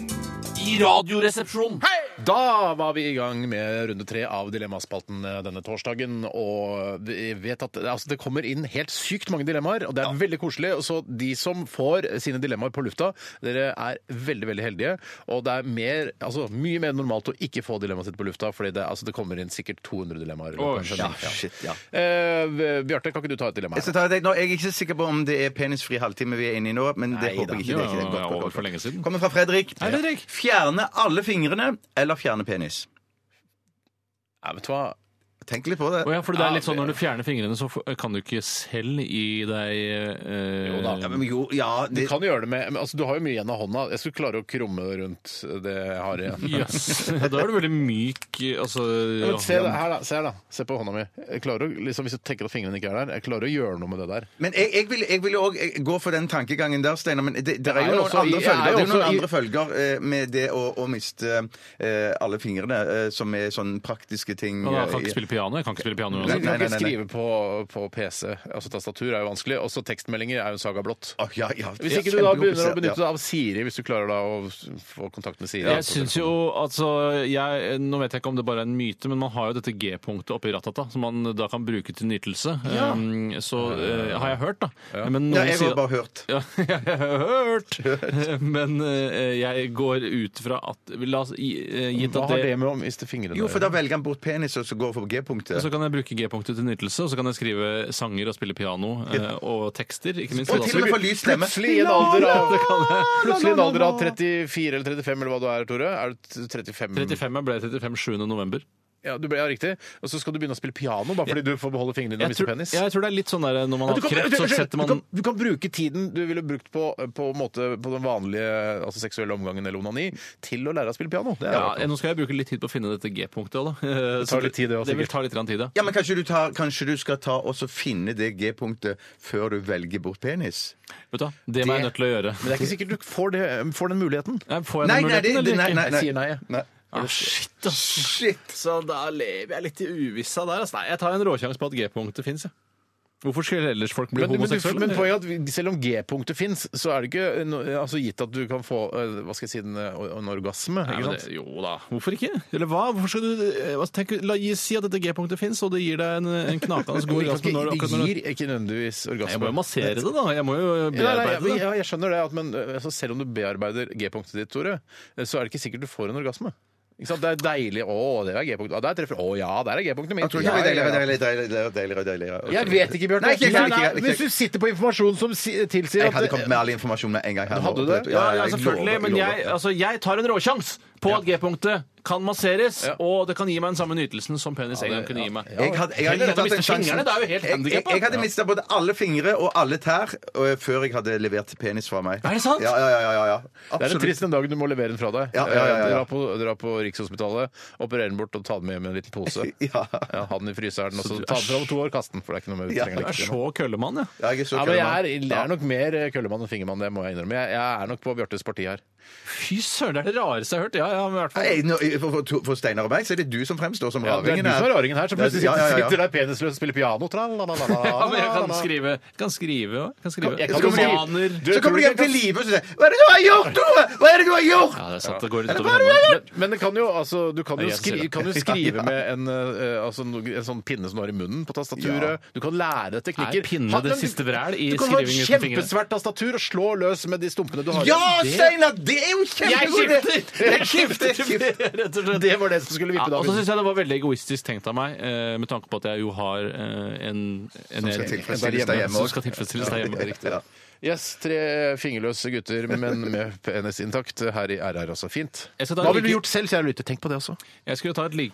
[SPEAKER 7] i Radioresepsjonen. Da var vi i gang med runde tre av Dilemmaspalten eh, denne torsdagen. Og vi vet at altså, det kommer inn helt sykt mange dilemmaer, og det er veldig koselig. Og Så de som får sine dilemmaer på lufta, dere er veldig veldig heldige. Og det er mer, altså, mye mer normalt å ikke få dilemmaet sitt på lufta, fordi det, altså, det kommer inn sikkert 200 dilemmaer. i løpet av en
[SPEAKER 3] Å,
[SPEAKER 7] sending.
[SPEAKER 3] shit, shit, ja.
[SPEAKER 7] Eh, Bjarte, kan ikke du ta et dilemma?
[SPEAKER 3] Jeg, skal ta det. Nå, jeg er ikke sikker på om det er penisfri halvtime vi er inne i nå, men det
[SPEAKER 7] Nei
[SPEAKER 3] håper
[SPEAKER 7] da.
[SPEAKER 3] jeg ikke. Det er ikke det.
[SPEAKER 7] Ja,
[SPEAKER 3] Godt,
[SPEAKER 7] ja,
[SPEAKER 3] godt,
[SPEAKER 7] over
[SPEAKER 3] godt.
[SPEAKER 7] for lenge siden.
[SPEAKER 3] Kommer fra Fredrik.
[SPEAKER 7] Hei, Fredrik.
[SPEAKER 3] Fjerne alle fingrene eller fjerne penis?
[SPEAKER 7] Ja, vet du hva?
[SPEAKER 3] Tenk litt på det.
[SPEAKER 4] Å ja, for det er litt sånn Når du fjerner fingrene, så får- kan du ikke selv gi deg eh,
[SPEAKER 7] Jo da. Ja, men Du kan jo gjøre det med men, altså, Du har jo mye igjen av hånda. Jeg skulle klare å krumme rundt det jeg har igjen.
[SPEAKER 4] Jøss. Da er du veldig myk altså,
[SPEAKER 7] Ja, men se,
[SPEAKER 4] ja.
[SPEAKER 7] det, her da, se her, da. Se på hånda mi. Jeg klarer å, liksom, hvis du tenker at fingrene ikke er der, jeg klarer å gjøre noe med det der.
[SPEAKER 3] Men jeg, jeg vil, jeg vil også eh, gå for den tankegangen der, Steinar. Men det, det er
[SPEAKER 7] Jeg er
[SPEAKER 3] jo noen
[SPEAKER 7] også i-
[SPEAKER 3] andre
[SPEAKER 7] jeg er
[SPEAKER 3] følger, det er jo
[SPEAKER 7] også
[SPEAKER 3] noen
[SPEAKER 7] i-
[SPEAKER 3] andre følger eh, med det å, å miste eh, alle fingrene, eh, som er sånn praktiske ting.
[SPEAKER 4] Ja, da, jeg
[SPEAKER 3] eh,
[SPEAKER 4] kan ikke
[SPEAKER 3] i-
[SPEAKER 4] spille piano. Jeg kan ikke spille piano
[SPEAKER 7] Du
[SPEAKER 4] uansett.
[SPEAKER 7] kan ikke skrive på, på PC. Altså Tastatur er jo vanskelig. Også tekstmeldinger er jo en saga blått.
[SPEAKER 3] Ah,
[SPEAKER 7] Hvis ikke du da begynner å benytte deg av Siri, hvis du klarer da å få kontakt med Siri.
[SPEAKER 4] Jeg synes jo, altså, jeg, Nå vet jeg ikke om det bare er en myte, men man har jo dette G-punktet oppi rattata, som man da kan bruke til nytelse.
[SPEAKER 7] Ja.
[SPEAKER 4] Um, så eh, har jeg hørt, da. Men
[SPEAKER 3] Ja, jeg har
[SPEAKER 4] sier-
[SPEAKER 3] bare hørt.
[SPEAKER 4] Ja, jeg har hørt! men eh, jeg går ut fra at La oss gi- eh, gitt
[SPEAKER 7] Hva
[SPEAKER 4] at
[SPEAKER 7] har
[SPEAKER 4] det
[SPEAKER 7] det med å miste fingrene
[SPEAKER 3] Jo, for da velger han bort penis, og så går han for
[SPEAKER 4] og
[SPEAKER 3] G-punktet.
[SPEAKER 4] så kan jeg bruke G-punktet til nytelse, og så kan jeg skrive sanger og spille piano eh, og tekster. ikke minst.
[SPEAKER 3] Og til og med få lys stemme.
[SPEAKER 7] Plutselig i en alder av,
[SPEAKER 4] Det kan jeg.
[SPEAKER 7] plutselig i en alder av 34 eller 35 eller hva du er, Tore. Er du t- 35?
[SPEAKER 4] 35 jeg ble 35 7. november.
[SPEAKER 7] Ja, du ble, ja, riktig. Og så skal du begynne å spille piano bare fordi du får beholde fingrene dine og
[SPEAKER 4] Jeg
[SPEAKER 7] miste
[SPEAKER 4] tror,
[SPEAKER 7] penis?
[SPEAKER 4] jeg tror det er litt sånn der når man
[SPEAKER 7] Ja,
[SPEAKER 4] har kreft, så setter
[SPEAKER 7] du,
[SPEAKER 4] man
[SPEAKER 7] kan, du kan bruke tiden du ville brukt på, på, en måte, på den vanlige altså seksuelle omgangen eller onani, til å lære å spille piano. Det er
[SPEAKER 4] Ja,
[SPEAKER 7] rart.
[SPEAKER 4] nå skal jeg bruke litt tid på å finne dette G-punktet òg, da. Eh,
[SPEAKER 7] Det
[SPEAKER 4] Så
[SPEAKER 7] tar litt tid, det også,
[SPEAKER 4] Det vil
[SPEAKER 7] sikkert.
[SPEAKER 4] ta litt grann tid, ja.
[SPEAKER 3] Ja, men kanskje du, tar, kanskje du skal ta og så finne det G-punktet før du velger bort penis?
[SPEAKER 4] Vet du, hva, det må jeg nødt til å gjøre. Eh,
[SPEAKER 7] Men det er ikke sikkert du får, det, får den muligheten.
[SPEAKER 4] Får jeg den muligheten, eller ikke?
[SPEAKER 7] Jeg sier nei. jeg.
[SPEAKER 4] Ah, shit, ass. Så da lever jeg litt i uvissa der. ass. Nei, jeg tar en råsjanse på at G-punktet fins, jeg. Hvorfor skulle ellers folk bli
[SPEAKER 7] Men, men, du-
[SPEAKER 4] homoseksuelle?
[SPEAKER 7] men poenget er at vi- selv om G-punktet fins, så er det ikke no- altså, gitt at du kan få eh, hva skal jeg si, en, eh, en orgasme.
[SPEAKER 4] Nei,
[SPEAKER 7] Ikke
[SPEAKER 4] men
[SPEAKER 7] sant?
[SPEAKER 4] det, jo da, hvorfor ikke? Eller hva? Hvorfor skal du, eh, altså, tenk, la gi, Si at dette G-punktet fins, og det gir deg en, en knakende
[SPEAKER 7] Men det kan
[SPEAKER 4] god orgasme. når-
[SPEAKER 7] ikke-
[SPEAKER 4] akkurat når
[SPEAKER 7] Det
[SPEAKER 4] du-
[SPEAKER 7] gir ikke nødvendigvis orgasme.
[SPEAKER 4] Nei, Jeg må jo massere det, da. Jeg må jo øh,
[SPEAKER 7] Ja, nei,
[SPEAKER 4] bearbeide
[SPEAKER 7] ja,
[SPEAKER 4] det.
[SPEAKER 7] ja, jeg skjønner det, at, men eh, altså, selv om du bearbeider G-punktet ditt, Tore, eh, så er det ikke sikkert du får en orgasme. Ikke sant? Det er deilig. Å, det er G-punktet. Ja, Der treffer Å ja, der er G-punktet
[SPEAKER 3] Jeg
[SPEAKER 7] mitt.
[SPEAKER 3] tror ikke
[SPEAKER 7] Ja,
[SPEAKER 3] det blir
[SPEAKER 7] ja,
[SPEAKER 3] deiligere,
[SPEAKER 7] ja.
[SPEAKER 3] deiligere, deiligere, deiligere, deiligere.
[SPEAKER 7] Jeg vet ikke, Bjørn.
[SPEAKER 3] Nei, ikke, ikke, ikke, ikke, ikke.
[SPEAKER 7] Hvis du sitter på informasjon som si- tilsier
[SPEAKER 3] Jeg
[SPEAKER 7] at
[SPEAKER 3] hadde kommet med all informasjon med en gang. her nå.
[SPEAKER 7] Hadde du det?
[SPEAKER 3] Ja, ja,
[SPEAKER 4] Ja,
[SPEAKER 3] jeg
[SPEAKER 4] selvfølgelig,
[SPEAKER 3] lover,
[SPEAKER 4] men
[SPEAKER 3] lover.
[SPEAKER 4] jeg, altså, jeg tar en råsjans på at G-punktet kan masseres, og det kan gi meg den samme nytelsen som penis en gang kunne gi meg.
[SPEAKER 3] Jeg hadde, jeg hadde
[SPEAKER 4] Heller enn å
[SPEAKER 3] tatt
[SPEAKER 4] miste
[SPEAKER 3] en sjanse.
[SPEAKER 4] fingrene, det er jo helt
[SPEAKER 3] Jeg, jeg,
[SPEAKER 4] handikappa.
[SPEAKER 3] jeg hadde mista både alle fingre og alle tær øh, før jeg hadde levert penis fra meg.
[SPEAKER 4] Er det sant?
[SPEAKER 3] Ja, ja, ja, ja, ja.
[SPEAKER 7] Det er en
[SPEAKER 3] Absolutt.
[SPEAKER 7] trist den dagen du må levere den fra deg.
[SPEAKER 3] Ja, ja, ja, ja.
[SPEAKER 7] Eh, Dra, på, dra på Rikshospitalet, operere den bort og ta den med hjem i en liten pose. Ja, ha den i fryseren, og så
[SPEAKER 4] du
[SPEAKER 7] ta
[SPEAKER 4] er
[SPEAKER 7] den fra om to år, kast den, for det er ikke noe mer vi
[SPEAKER 4] Ja.
[SPEAKER 7] trenger
[SPEAKER 4] Du er
[SPEAKER 7] lenger.
[SPEAKER 4] så køllemann, ja.
[SPEAKER 3] Ja, jeg er så
[SPEAKER 7] Ja, men jeg er,
[SPEAKER 3] køddemann.
[SPEAKER 7] jeg er nok mer eh, køllemann enn fingermann, det må jeg innrømme. Jeg, jeg er nok på Bjørtes parti her.
[SPEAKER 4] Fy søren, det er det rareste jeg har hørt. Ja, ja, men i hvert fall.
[SPEAKER 3] Nei, nå- for, for, to- for Steinar og meg, så er det du som fremstår som
[SPEAKER 7] Ja, det er
[SPEAKER 3] raringen
[SPEAKER 7] du som er raringen her, som plutselig
[SPEAKER 3] Ja, ja, ja, ja.
[SPEAKER 7] sitter der penisløs og spiller piano. Ja,
[SPEAKER 4] Ja, men jeg kan skrive. Kan skrive òg. Kan skrive.
[SPEAKER 7] Jeg kan jo bli-
[SPEAKER 4] Romaner.
[SPEAKER 7] Du- Så kommer de hjem til
[SPEAKER 3] live og sier 'Hva er det du har gjort, Tore? Hva er det du har gjort?'
[SPEAKER 4] Ja, det er sant. Det går
[SPEAKER 7] Men,
[SPEAKER 4] litt over
[SPEAKER 7] men,
[SPEAKER 4] hånda.
[SPEAKER 7] men det kan jo, altså, du kan
[SPEAKER 4] Det er
[SPEAKER 7] jo,
[SPEAKER 4] jeg som sier
[SPEAKER 7] skri,
[SPEAKER 4] det.
[SPEAKER 7] kan jo
[SPEAKER 4] Ja.
[SPEAKER 7] skrive med en, eh, altså, no- en sånn pinne som du har i munnen på tastaturet. Du kan lære deg teknikker.
[SPEAKER 4] Er pinne
[SPEAKER 7] Ha-
[SPEAKER 4] det
[SPEAKER 7] men du-
[SPEAKER 4] siste vræl i
[SPEAKER 7] Du kan ha et
[SPEAKER 4] skriving uten fingrene?
[SPEAKER 7] kjempesvært tastatur og slå løs med de stumpene du har. i.
[SPEAKER 3] Ja,
[SPEAKER 7] Det-
[SPEAKER 3] Steinar! Det er jo kjempegod idé!
[SPEAKER 7] Jeg skifter!
[SPEAKER 4] Rett og slett.
[SPEAKER 7] Det var det som skulle vippe
[SPEAKER 4] Ja, og så
[SPEAKER 7] dagen.
[SPEAKER 4] syns jeg det var veldig egoistisk tenkt av meg, eh, med tanke på at jeg jo har eh, en, en
[SPEAKER 7] Som skal
[SPEAKER 4] en-
[SPEAKER 7] tilfredsstilles
[SPEAKER 4] en der
[SPEAKER 7] deg hjemme
[SPEAKER 4] Som
[SPEAKER 7] også.
[SPEAKER 4] skal tilfredsstilles deg hjemme. Riktig.
[SPEAKER 7] Yes, tre fingerløse gutter, men med penis intakt. Her i RR, altså. Fint.
[SPEAKER 4] Jeg skal ta
[SPEAKER 7] Hva
[SPEAKER 4] en
[SPEAKER 7] ville du
[SPEAKER 4] like-
[SPEAKER 7] gjort selv, kjære lytter? Tenk på det også.
[SPEAKER 4] Jeg skulle ta et øh, like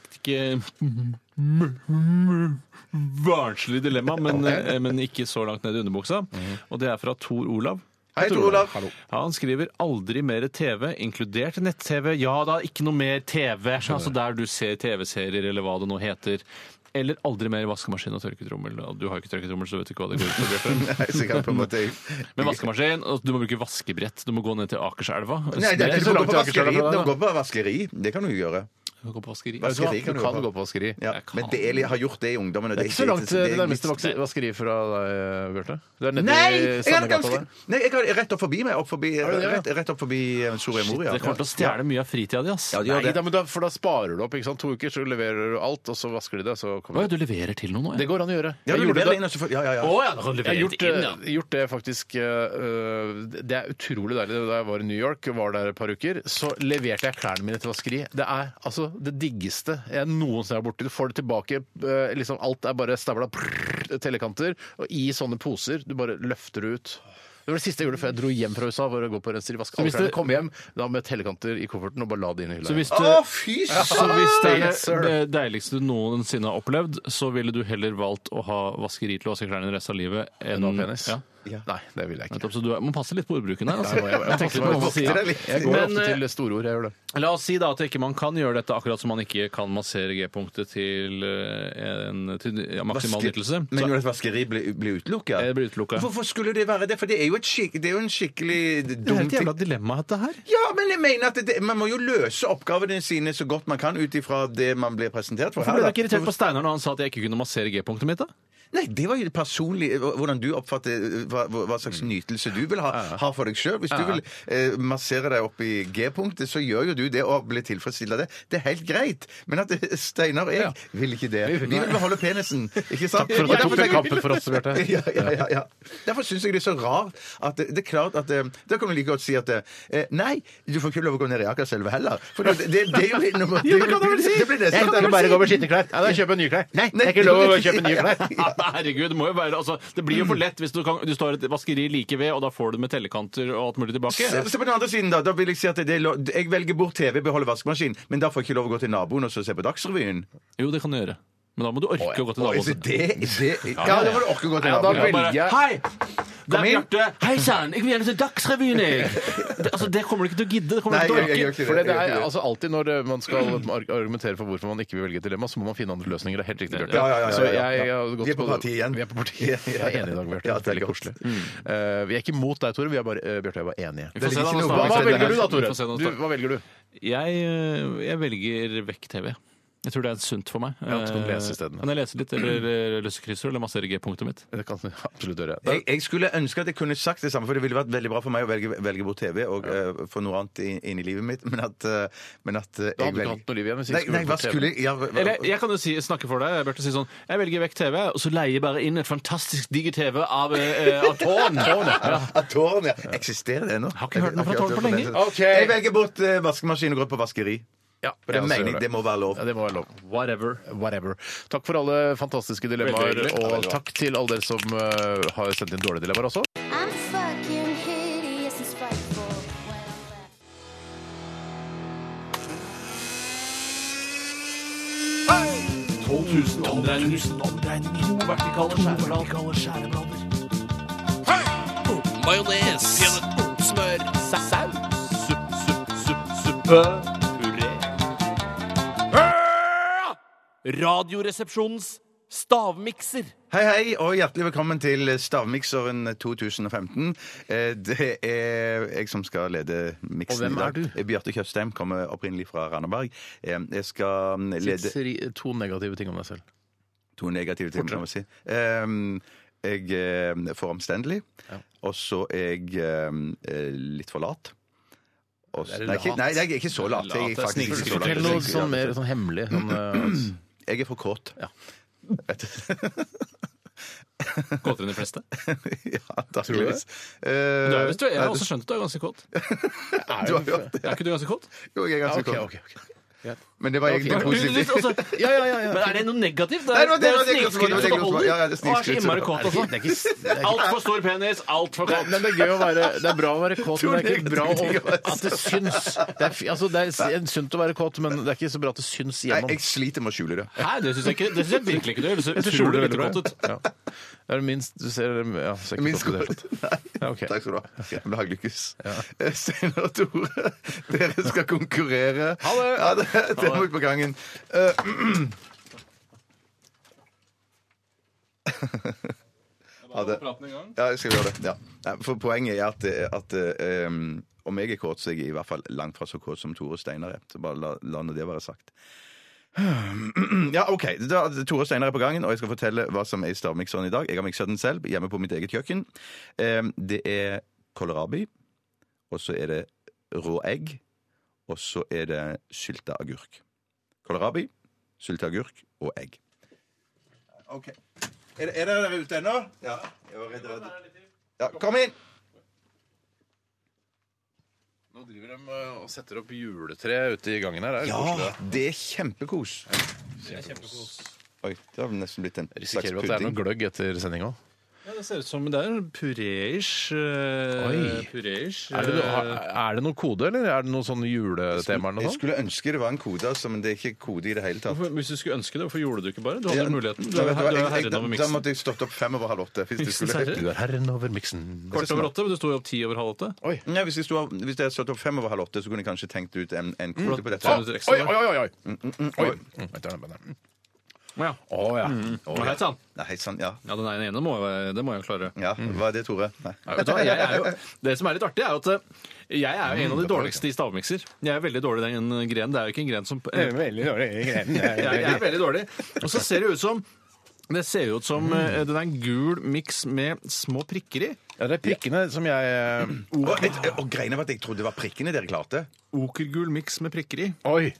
[SPEAKER 4] barnslig dilemma, men, eh, men ikke så langt ned i underbuksa.
[SPEAKER 7] Mhm.
[SPEAKER 4] Og det er fra Tor Olav.
[SPEAKER 3] Hei, Tor Olav.
[SPEAKER 4] Hallo. Han skriver 'aldri mer TV', inkludert nett-TV. Ja da, ikke noe mer TV, altså der du ser TV-serier eller hva det nå heter. Eller aldri mer vaskemaskin og tørketrommel. Og Du har jo ikke tørketrommel, så du vet ikke hva det går ut på. Bjarte.
[SPEAKER 3] Nei, så kan jeg på en måte-
[SPEAKER 4] Men vaskemaskin, og du må bruke vaskebrett. Du må gå ned til Akerselva.
[SPEAKER 3] Nei, det er ikke så langt
[SPEAKER 4] til Akerselva
[SPEAKER 3] vaskeri.
[SPEAKER 4] fra deg,
[SPEAKER 3] Det
[SPEAKER 4] da.
[SPEAKER 3] går på vaskeri. Det kan du jo gjøre.
[SPEAKER 4] Du kan gå på vaskeri.
[SPEAKER 3] Vaskeri
[SPEAKER 7] Du kan gå på vaskeri.
[SPEAKER 3] Ja, men det er, jeg har gjort det i ungdommen. og
[SPEAKER 7] Det er ikke så langt til det nærmeste
[SPEAKER 3] litt-
[SPEAKER 7] vaks- vaskeri fra deg, eh, Bjarte. Du er nede
[SPEAKER 3] Nei!
[SPEAKER 7] i
[SPEAKER 3] Jeg har
[SPEAKER 7] Sandegata
[SPEAKER 3] ganske,
[SPEAKER 7] der.
[SPEAKER 3] nei, jeg har rett opp forbi meg. Opp forbi,
[SPEAKER 7] Har du det, ja?
[SPEAKER 3] rett, rett opp forbi eh, Soria Moria.
[SPEAKER 4] Det kommer til å stjele mye av fritida di, ass.
[SPEAKER 3] Ja, de gjør
[SPEAKER 7] Nei,
[SPEAKER 3] det.
[SPEAKER 7] da, men da, for da sparer du opp. ikke sant? To uker, så leverer du alt, og så vasker de det. så
[SPEAKER 4] Hva
[SPEAKER 7] kommer
[SPEAKER 4] er det du leverer til noen nå?
[SPEAKER 7] Det går an å gjøre.
[SPEAKER 3] Ja, du
[SPEAKER 7] Jeg gjorde
[SPEAKER 3] leverer
[SPEAKER 7] det-
[SPEAKER 3] inn, og så får- ja, ja, ja.
[SPEAKER 4] Å, ja, da kan du
[SPEAKER 7] Jeg har
[SPEAKER 4] levere
[SPEAKER 7] gjort,
[SPEAKER 4] det inn, ja.
[SPEAKER 7] eh, gjort det faktisk eh, eh, Det er utrolig deilig. Da jeg var i New York, var der et par uker, så leverte jeg klærne mine til vaskeri. Det er altså det diggeste jeg noensinne har vært borti. Du får det tilbake. eh, liksom Alt er bare stabla prrr, tellekanter, og i sånne poser. Du bare løfter det ut. Det var det siste jeg gjorde før jeg dro hjem fra USA. for å gå på renser i vask.
[SPEAKER 4] Så hvis
[SPEAKER 7] Alle klærne.
[SPEAKER 4] det-
[SPEAKER 7] Kom hjem da med tellekanter i kofferten og bare la det inn i hylla.
[SPEAKER 4] Så hvis,
[SPEAKER 7] igjen.
[SPEAKER 4] du,
[SPEAKER 3] fy
[SPEAKER 4] så eh, altså, hvis det
[SPEAKER 7] Yes,
[SPEAKER 4] er
[SPEAKER 7] sir.
[SPEAKER 4] det deiligste du noensinne har opplevd, så ville du heller valgt å ha vaskeri til å vaske klærne resten av livet enn
[SPEAKER 7] å ha penis?
[SPEAKER 4] Ja.
[SPEAKER 7] Nei, det vil jeg ikke.
[SPEAKER 4] Nettopp, så du er- må passe litt på ordbruken her. Altså.
[SPEAKER 7] Ja, jeg må- jeg må
[SPEAKER 4] Jeg tenker
[SPEAKER 7] passe
[SPEAKER 4] litt på hva man
[SPEAKER 7] meg.
[SPEAKER 4] sier.
[SPEAKER 7] Vokter deg litt. Jeg går
[SPEAKER 4] Men,
[SPEAKER 7] ofte til
[SPEAKER 4] eh,
[SPEAKER 7] store ord, jeg gjør det.
[SPEAKER 4] La oss si da at ikke man kan gjøre dette akkurat som man ikke kan massere G-punktet til, eh, en- til ja, maksimal
[SPEAKER 3] Vaske-
[SPEAKER 4] nyttelse.
[SPEAKER 3] Men
[SPEAKER 4] Så-
[SPEAKER 3] når et vaskeri blir, blir utelukka?
[SPEAKER 4] Eh, det blir utelukket.
[SPEAKER 3] Hvorfor skulle det være det? For det er jo, et skik det er jo en skikkelig dum ting.
[SPEAKER 4] Det er et jævla dilemma, dette her.
[SPEAKER 3] Ja, men jeg mener at det, man må jo løse oppgavene sine så godt man kan ut ifra det man blir presentert for.
[SPEAKER 4] Hvorfor
[SPEAKER 3] her, da.
[SPEAKER 4] ble du ikke irritert på Steinar når han sa at jeg ikke kunne massere G-punktet mitt? da?
[SPEAKER 3] Nei, det var jo personlig eh, hvordan du oppfatter eh, hva, hva
[SPEAKER 7] Mm.
[SPEAKER 3] slags nytelse du vil ha, ha for deg sjøl. Hvis du
[SPEAKER 4] Ja.
[SPEAKER 3] vil eh, massere deg opp i G-punktet, så gjør jo du det og blir tilfredsstilt av det. Det er helt greit. Men at eh, Steinar og jeg vil ikke det. Vi vil beholde penisen, ikke sant?
[SPEAKER 7] Takk for at du
[SPEAKER 3] Og
[SPEAKER 7] tok
[SPEAKER 3] derfor
[SPEAKER 7] den
[SPEAKER 3] tenker-
[SPEAKER 7] kampen for oss, Bjarte.
[SPEAKER 3] ja, ja, ja, ja. Derfor syns jeg det er så rart at det, det er klart at eh, Da kan du like godt si at eh, nei, du får ikke lov å gå ned i Akerselva heller. For det, det, det er jo litt nummer
[SPEAKER 7] Ja, det kan du vel si!
[SPEAKER 3] Det blir nesten-
[SPEAKER 7] Jeg kan ikke bare gå med skitne klær. Nei, da kjøper jeg nye klær. Nei, det er ikke lov å kjøpe nye klær.
[SPEAKER 4] Ja, men herregud, det må jo være altså, Det blir jo for lett hvis du, kan, du står i et vaskeri like ved, og da får du med tellekanter og alt mulig tilbake.
[SPEAKER 3] Se, se på den andre siden, da. Da vil jeg si at det er lov, jeg velger bort TV, beholder vaskemaskin, men da får jeg ikke lov å gå til naboen og så se på Dagsrevyen.
[SPEAKER 4] Jo, det kan du gjøre. Men da må du orke å gå til
[SPEAKER 3] Oi, så
[SPEAKER 4] naboen.
[SPEAKER 3] det, det, ja, da må du orke å gå til
[SPEAKER 4] Ja, da
[SPEAKER 3] naboen.
[SPEAKER 4] velger jeg bare, Hei! Det er
[SPEAKER 3] inn.
[SPEAKER 4] Bjarte. Hei sann, jeg vil gjerne se Dagsrevyen, jeg! Det, altså, det kommer du ikke til å gidde. Det kommer du
[SPEAKER 3] Nei, jeg
[SPEAKER 4] ikke til å
[SPEAKER 3] gjør
[SPEAKER 4] orke.
[SPEAKER 3] ikke
[SPEAKER 7] For det, det
[SPEAKER 3] Jeg gjør
[SPEAKER 7] er
[SPEAKER 3] ikke det.
[SPEAKER 7] altså alltid når eh, man skal ar- argumentere for hvorfor man ikke vil velge et dilemma, så må man finne andre løsninger. Det er helt riktig, Bjarte.
[SPEAKER 3] Ja, ja, ja, ja, ja.
[SPEAKER 7] Så jeg har gått
[SPEAKER 3] Vi er på partiet igjen.
[SPEAKER 7] Vi er på partiet. Jeg er enig i dag, Bjarte.
[SPEAKER 3] Ja,
[SPEAKER 7] det er veldig
[SPEAKER 3] godt.
[SPEAKER 7] koselig. Eh, vi er ikke mot deg, Tore. Vi er bare, eh, Bjarte og jeg er bare enige.
[SPEAKER 4] Vi får se da,
[SPEAKER 3] ligger ikke
[SPEAKER 4] nå
[SPEAKER 3] noe
[SPEAKER 7] Hva,
[SPEAKER 4] snart.
[SPEAKER 7] hva
[SPEAKER 3] bak
[SPEAKER 7] velger du da,
[SPEAKER 4] Vi
[SPEAKER 7] Tore?
[SPEAKER 4] får se nå
[SPEAKER 7] Du,
[SPEAKER 4] snart.
[SPEAKER 7] hva velger du?
[SPEAKER 4] Jeg, øh, jeg velger vekk TV. Jeg tror det er sunt for meg.
[SPEAKER 7] Ja, så kan du
[SPEAKER 4] Eh,
[SPEAKER 7] lese isteden.
[SPEAKER 4] Kan jeg lese litt, eller eh, løse kryssord, eller massere G-punktet mitt?
[SPEAKER 7] Det kan du absolutt gjøre.
[SPEAKER 3] Jeg, jeg skulle ønske at jeg kunne sagt det samme, for det ville vært veldig bra for meg å velge, velge bort TV og eh, få noe annet inn, inn i livet mitt, men at, eh, men at
[SPEAKER 7] Da hadde du
[SPEAKER 3] eh, jeg
[SPEAKER 7] ikke
[SPEAKER 3] velger-
[SPEAKER 7] hatt noe liv igjen hvis du
[SPEAKER 3] Nei,
[SPEAKER 7] skulle
[SPEAKER 3] nei, hva
[SPEAKER 7] velge
[SPEAKER 3] skulle jeg ja, hva-
[SPEAKER 4] Eller jeg kan jo si, snakke for deg. Bjarte, si sånn Jeg velger vekk TV, og så leier jeg bare inn et fantastisk digg TV av, eh, av tårn.
[SPEAKER 3] Ja.
[SPEAKER 4] Ja.
[SPEAKER 3] Atom, ja. Eksisterer det ennå?
[SPEAKER 4] Har ikke hørt noe fra
[SPEAKER 3] Jeg har ikke
[SPEAKER 4] Tårn på
[SPEAKER 3] hørt
[SPEAKER 4] lenge.
[SPEAKER 3] noe.
[SPEAKER 7] Ok.
[SPEAKER 3] Jeg velger bort eh, vaskemaskin og går på vaskeri.
[SPEAKER 7] Ja,
[SPEAKER 3] For det
[SPEAKER 7] jeg også
[SPEAKER 3] mener
[SPEAKER 7] gjør
[SPEAKER 3] jeg det må være lov.
[SPEAKER 7] Ja, det må være lov.
[SPEAKER 4] Whatever.
[SPEAKER 7] Whatever. Takk for alle fantastiske dilemmaer,
[SPEAKER 4] Veldig hyggelig.
[SPEAKER 7] og takk til alle dere som eh, har sendt inn dårlige dilemmaer også.
[SPEAKER 5] I'm fucking hideous and spiteful. When I'm back.
[SPEAKER 19] Majones. Smør. Saus. Supp, supp, supp, suppe. Puré. Radioresepsjonens stavmikser.
[SPEAKER 3] Hei, hei, og hjertelig velkommen til Stavmikseren 2015. Eh, Det er jeg som skal lede miksen
[SPEAKER 7] Og hvem
[SPEAKER 3] i dag.
[SPEAKER 7] er du?
[SPEAKER 3] Eh, Bjarte Tjøstheim kommer opprinnelig fra Randaberg. Eh, Jeg skal mm, lede
[SPEAKER 7] Sier to negative ting om deg selv.
[SPEAKER 3] to negative ting, kan man si. Ehm, Jeg eh, er for omstendelig, og så er jeg ehm, eh, litt for lat. Og
[SPEAKER 7] Det
[SPEAKER 3] så-
[SPEAKER 7] er
[SPEAKER 3] nei, ikke,
[SPEAKER 7] lat.
[SPEAKER 3] nei, jeg er ikke så lat. Jeg er
[SPEAKER 7] Lat er
[SPEAKER 3] faktisk ikke så lat.
[SPEAKER 7] Fortell noe
[SPEAKER 3] Jeg er
[SPEAKER 7] sånn mer
[SPEAKER 3] ikke
[SPEAKER 7] sånn hemmelig. Sånn, eh,
[SPEAKER 3] lat. Jeg er for kåt. Vet du.
[SPEAKER 8] Kåtere enn de fleste?
[SPEAKER 3] ja,
[SPEAKER 8] Tror du
[SPEAKER 3] antakeligvis.
[SPEAKER 8] det? Du er, visst- jeg
[SPEAKER 3] nei,
[SPEAKER 8] har
[SPEAKER 3] det-
[SPEAKER 8] også skjønt at du er ganske kåt.
[SPEAKER 3] Du har hørt det?
[SPEAKER 8] Er ikke du ganske kåt?
[SPEAKER 3] Jo, jeg er
[SPEAKER 14] altså.
[SPEAKER 3] ganske
[SPEAKER 8] Ja, ok,
[SPEAKER 3] kåt.
[SPEAKER 8] ok,
[SPEAKER 3] Men det var
[SPEAKER 8] Ja,
[SPEAKER 3] egentlig
[SPEAKER 8] ok.
[SPEAKER 3] positivt.
[SPEAKER 8] Du- du- altså- Men er det noe negativt? Det er, det er
[SPEAKER 3] Nei, det var- det var- det var-
[SPEAKER 8] snikskryt
[SPEAKER 3] det var-
[SPEAKER 8] som holder.
[SPEAKER 3] ja, ja,
[SPEAKER 8] Og
[SPEAKER 3] det er
[SPEAKER 8] er så
[SPEAKER 3] snikskryt som-
[SPEAKER 8] innmari kåt,
[SPEAKER 3] Er det
[SPEAKER 8] altså.
[SPEAKER 3] ikke- det er ikke- det er ikke-
[SPEAKER 8] Altfor stor penis, altfor kåt.
[SPEAKER 14] Men det er gøy å være Det er bra å være kåt, men det er ikke bra å, at det syns. Det er, fi- altså, det er s- sunt å være kåt, men det er ikke så bra at det syns
[SPEAKER 3] Nei,
[SPEAKER 14] gjennom.
[SPEAKER 3] jeg sliter med å skjule det.
[SPEAKER 8] Nei, det syns jeg, ikke- det synes jeg virkelig ikke du gjør. Du ser
[SPEAKER 14] Jeg synes
[SPEAKER 8] utrolig
[SPEAKER 14] det er
[SPEAKER 8] lite
[SPEAKER 14] veldig
[SPEAKER 8] kåt ut.
[SPEAKER 14] bra. Ja. Det er det minst Du ser ja, ser ikke
[SPEAKER 3] Minst
[SPEAKER 14] kåt ut i det hele
[SPEAKER 3] kåt.
[SPEAKER 14] tatt. Ja,
[SPEAKER 3] Nei.
[SPEAKER 14] ok.
[SPEAKER 3] Takk skal du ha. Jævla haglykkus. Eh, Stein og Tore, dere skal konkurrere. Ha det! Ja, det, det må ut på gangen. Eh, ha det. Ja, jeg skal gjøre det. Ja. Nei, For poenget er at, at eh, um, om jeg er kåt, så er jeg i hvert fall langt fra så kåt som Tore Steinar er. Så bare la, la nå det være sagt. Ja, OK. Da, Tore Steinar er på gangen, og jeg skal fortelle hva som er i stavmikseren i dag. Jeg har miksa den selv hjemme på mitt eget kjøkken. Eh, Det er kålrabi, og så er det rå egg, og så er det sylta agurk. Kålrabi, sylta agurk og egg. OK. Er, er dere der ute ennå? Ja. Jeg var redd redd. Ja, kom inn!
[SPEAKER 7] Nå driver de eh, og setter opp juletre ute i gangen her. Det er litt koselig,
[SPEAKER 3] Ja,
[SPEAKER 7] da.
[SPEAKER 3] det er kjempekos. Oi, det har nesten blitt en slags
[SPEAKER 7] Risikerer vi at det er
[SPEAKER 3] pudding.
[SPEAKER 7] noe gløgg etter sendinga òg?
[SPEAKER 8] Ja, det ser ut som det er en eh, puré-ish.
[SPEAKER 7] Oi.
[SPEAKER 8] Puré-ish.
[SPEAKER 7] Er, det noe-
[SPEAKER 8] eh,
[SPEAKER 7] er det noe kode, eller er det noe sånn juletema eller noe
[SPEAKER 3] Jeg
[SPEAKER 7] sånt?
[SPEAKER 3] skulle ønske det var en kode, altså, men det er ikke kode i det hele tatt.
[SPEAKER 8] Hvorfor- Hvis du skulle ønske det, hvorfor gjorde du ikke bare? Du hadde
[SPEAKER 3] Ja,
[SPEAKER 8] muligheten. Du
[SPEAKER 3] nei,
[SPEAKER 8] er,
[SPEAKER 3] vet
[SPEAKER 8] her-
[SPEAKER 3] hva,
[SPEAKER 8] du er
[SPEAKER 3] jeg- jeg-
[SPEAKER 8] herren over
[SPEAKER 3] Da
[SPEAKER 8] miksen.
[SPEAKER 3] måtte jeg stått opp fem over halv åtte. Hvis det
[SPEAKER 8] Miksens
[SPEAKER 3] skulle
[SPEAKER 8] herre?
[SPEAKER 7] Du er herren over miksen.
[SPEAKER 8] Kvart over åtte, men du sto jo opp ti over halv åtte.
[SPEAKER 3] Nei, hvis, jeg sto, hvis jeg hadde stått opp fem over halv åtte, så kunne jeg kanskje tenkt ut en, en kvote på dette.
[SPEAKER 7] Å, Oi, oi, oi! oi.
[SPEAKER 3] Mm, mm, mm,
[SPEAKER 7] Oi.
[SPEAKER 3] oi.
[SPEAKER 8] Ja.
[SPEAKER 7] Å ja.
[SPEAKER 3] Å,
[SPEAKER 8] Hei sann.
[SPEAKER 3] Nei, hei sann, ja.
[SPEAKER 8] Ja, den ene ene må jeg, det må jeg jo klare.
[SPEAKER 3] ja. Hva er det, Tore? Nei.
[SPEAKER 8] Nei, vet du hva? Jeg er jo, det som er litt artig, er jo at eh, jeg er jo en av de
[SPEAKER 3] Mm, det Eh, var
[SPEAKER 8] dårligste i stavmikser. Jeg er veldig dårlig i den grenen. Det er jo ikke en gren som
[SPEAKER 7] Det er veldig dårlig i grenen. Det er
[SPEAKER 8] Jeg, jeg er veldig dårlig. Og så ser det ut som det ser jo ut som
[SPEAKER 3] Mm.
[SPEAKER 8] eh, den er en gul miks med små prikker i.
[SPEAKER 7] Ja, det er prikkene som jeg eh,
[SPEAKER 3] Og, et, og greiene var at jeg trodde det var prikkene dere klarte.
[SPEAKER 8] Okergul miks med prikker i.
[SPEAKER 7] Oi!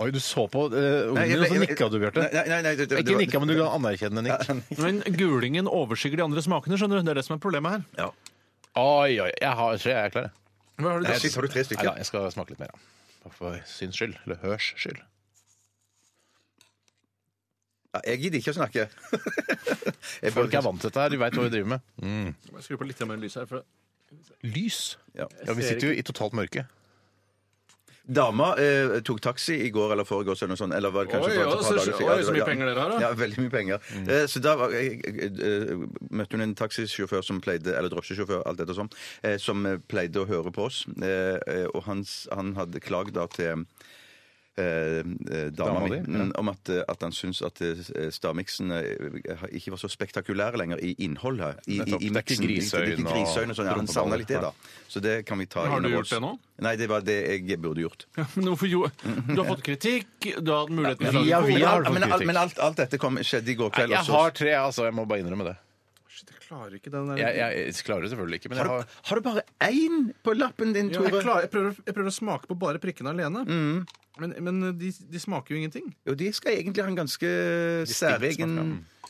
[SPEAKER 7] Oi, du så på uh, ungen
[SPEAKER 3] Nei, jeg-
[SPEAKER 7] din, og så
[SPEAKER 3] jeg-
[SPEAKER 7] nikka du, Bjarte.
[SPEAKER 3] Nei, nei, nei, det- det- det
[SPEAKER 7] Ikke
[SPEAKER 3] var-
[SPEAKER 7] nikka, men du ga anerkjennende nikk.
[SPEAKER 8] Men gulingen overskygger de andre smakene, skjønner du. Det er det som er problemet her.
[SPEAKER 3] Ja.
[SPEAKER 7] Oi, oi. Jeg har tre, jeg er klar. jeg.
[SPEAKER 8] Hva har du
[SPEAKER 3] Nei,
[SPEAKER 8] drukket?
[SPEAKER 3] shit, har du tre stykker?
[SPEAKER 7] Neida, jeg skal smake litt mer. da. Bare For syns skyld. Eller hørs skyld.
[SPEAKER 3] Ja, jeg gidder ikke å snakke. Jeg
[SPEAKER 7] Folk er vant til dette her. De veit hva vi driver med.
[SPEAKER 8] Jeg må skru på litt mer lys her. For...
[SPEAKER 7] Lys?
[SPEAKER 3] Ja.
[SPEAKER 7] Ja, vi sitter jo i totalt mørke.
[SPEAKER 3] Dama eh, tok taxi i går eller foregårs eller noe sånt. sånn, Eller var det kanskje
[SPEAKER 8] Oi,
[SPEAKER 3] for et
[SPEAKER 8] ja,
[SPEAKER 3] par
[SPEAKER 8] så-
[SPEAKER 3] dager siden.
[SPEAKER 8] oi,
[SPEAKER 3] det
[SPEAKER 8] så
[SPEAKER 3] var-
[SPEAKER 8] mye penger dere har, da. Mm.
[SPEAKER 3] Ja, veldig mye penger. Eh, så da var, jeg, jeg, eh, møtte hun en taxisjåfør som pleide, eller drosjesjåfør, alt dette sånn, eh, som eh, pleide å høre på oss. Eh, eh, og hans, han hadde klagd da til Eh, eh, dama
[SPEAKER 7] Dama
[SPEAKER 3] mi,
[SPEAKER 7] di,
[SPEAKER 3] mm, om at, eh, at han syns at eh, stavmiksene eh, ikke var så spektakulære lenger i innhold her. I, i,
[SPEAKER 7] Nettopp. Det er
[SPEAKER 3] i
[SPEAKER 7] ikke
[SPEAKER 3] miksen.
[SPEAKER 7] griseøyne
[SPEAKER 3] Det er ikke
[SPEAKER 7] og
[SPEAKER 3] griseøyne og sånn. Ja, han
[SPEAKER 7] rumpeballer.
[SPEAKER 3] savna litt det, da. Så det kan vi ta
[SPEAKER 8] Har du
[SPEAKER 3] innover
[SPEAKER 8] gjort
[SPEAKER 3] oss.
[SPEAKER 8] det nå?
[SPEAKER 3] Nei, det var det jeg burde gjort.
[SPEAKER 8] Ja, men hvorfor jo? Du har fått kritikk, du har hatt muligheten til å
[SPEAKER 7] Via,
[SPEAKER 8] lage
[SPEAKER 7] via har du
[SPEAKER 3] men,
[SPEAKER 7] fått
[SPEAKER 3] alt, men
[SPEAKER 7] kritikk.
[SPEAKER 3] alt, alt dette kom, skjedde i går
[SPEAKER 7] Nei,
[SPEAKER 3] kveld.
[SPEAKER 7] Jeg
[SPEAKER 3] også.
[SPEAKER 7] har tre, altså. Jeg må bare innrømme det.
[SPEAKER 8] Shit, jeg klarer ikke den der
[SPEAKER 7] Jeg, jeg, jeg klarer det selvfølgelig ikke, men
[SPEAKER 3] Har
[SPEAKER 7] jeg
[SPEAKER 3] du,
[SPEAKER 7] har
[SPEAKER 3] har du bare én på lappen din,
[SPEAKER 8] Ja, jeg,
[SPEAKER 3] Tore?
[SPEAKER 8] klarer, jeg, prøver, jeg prøver å smake på bare prikkene alene. Men, men de, de smaker jo ingenting.
[SPEAKER 3] Jo, de skal egentlig ha en ganske særegen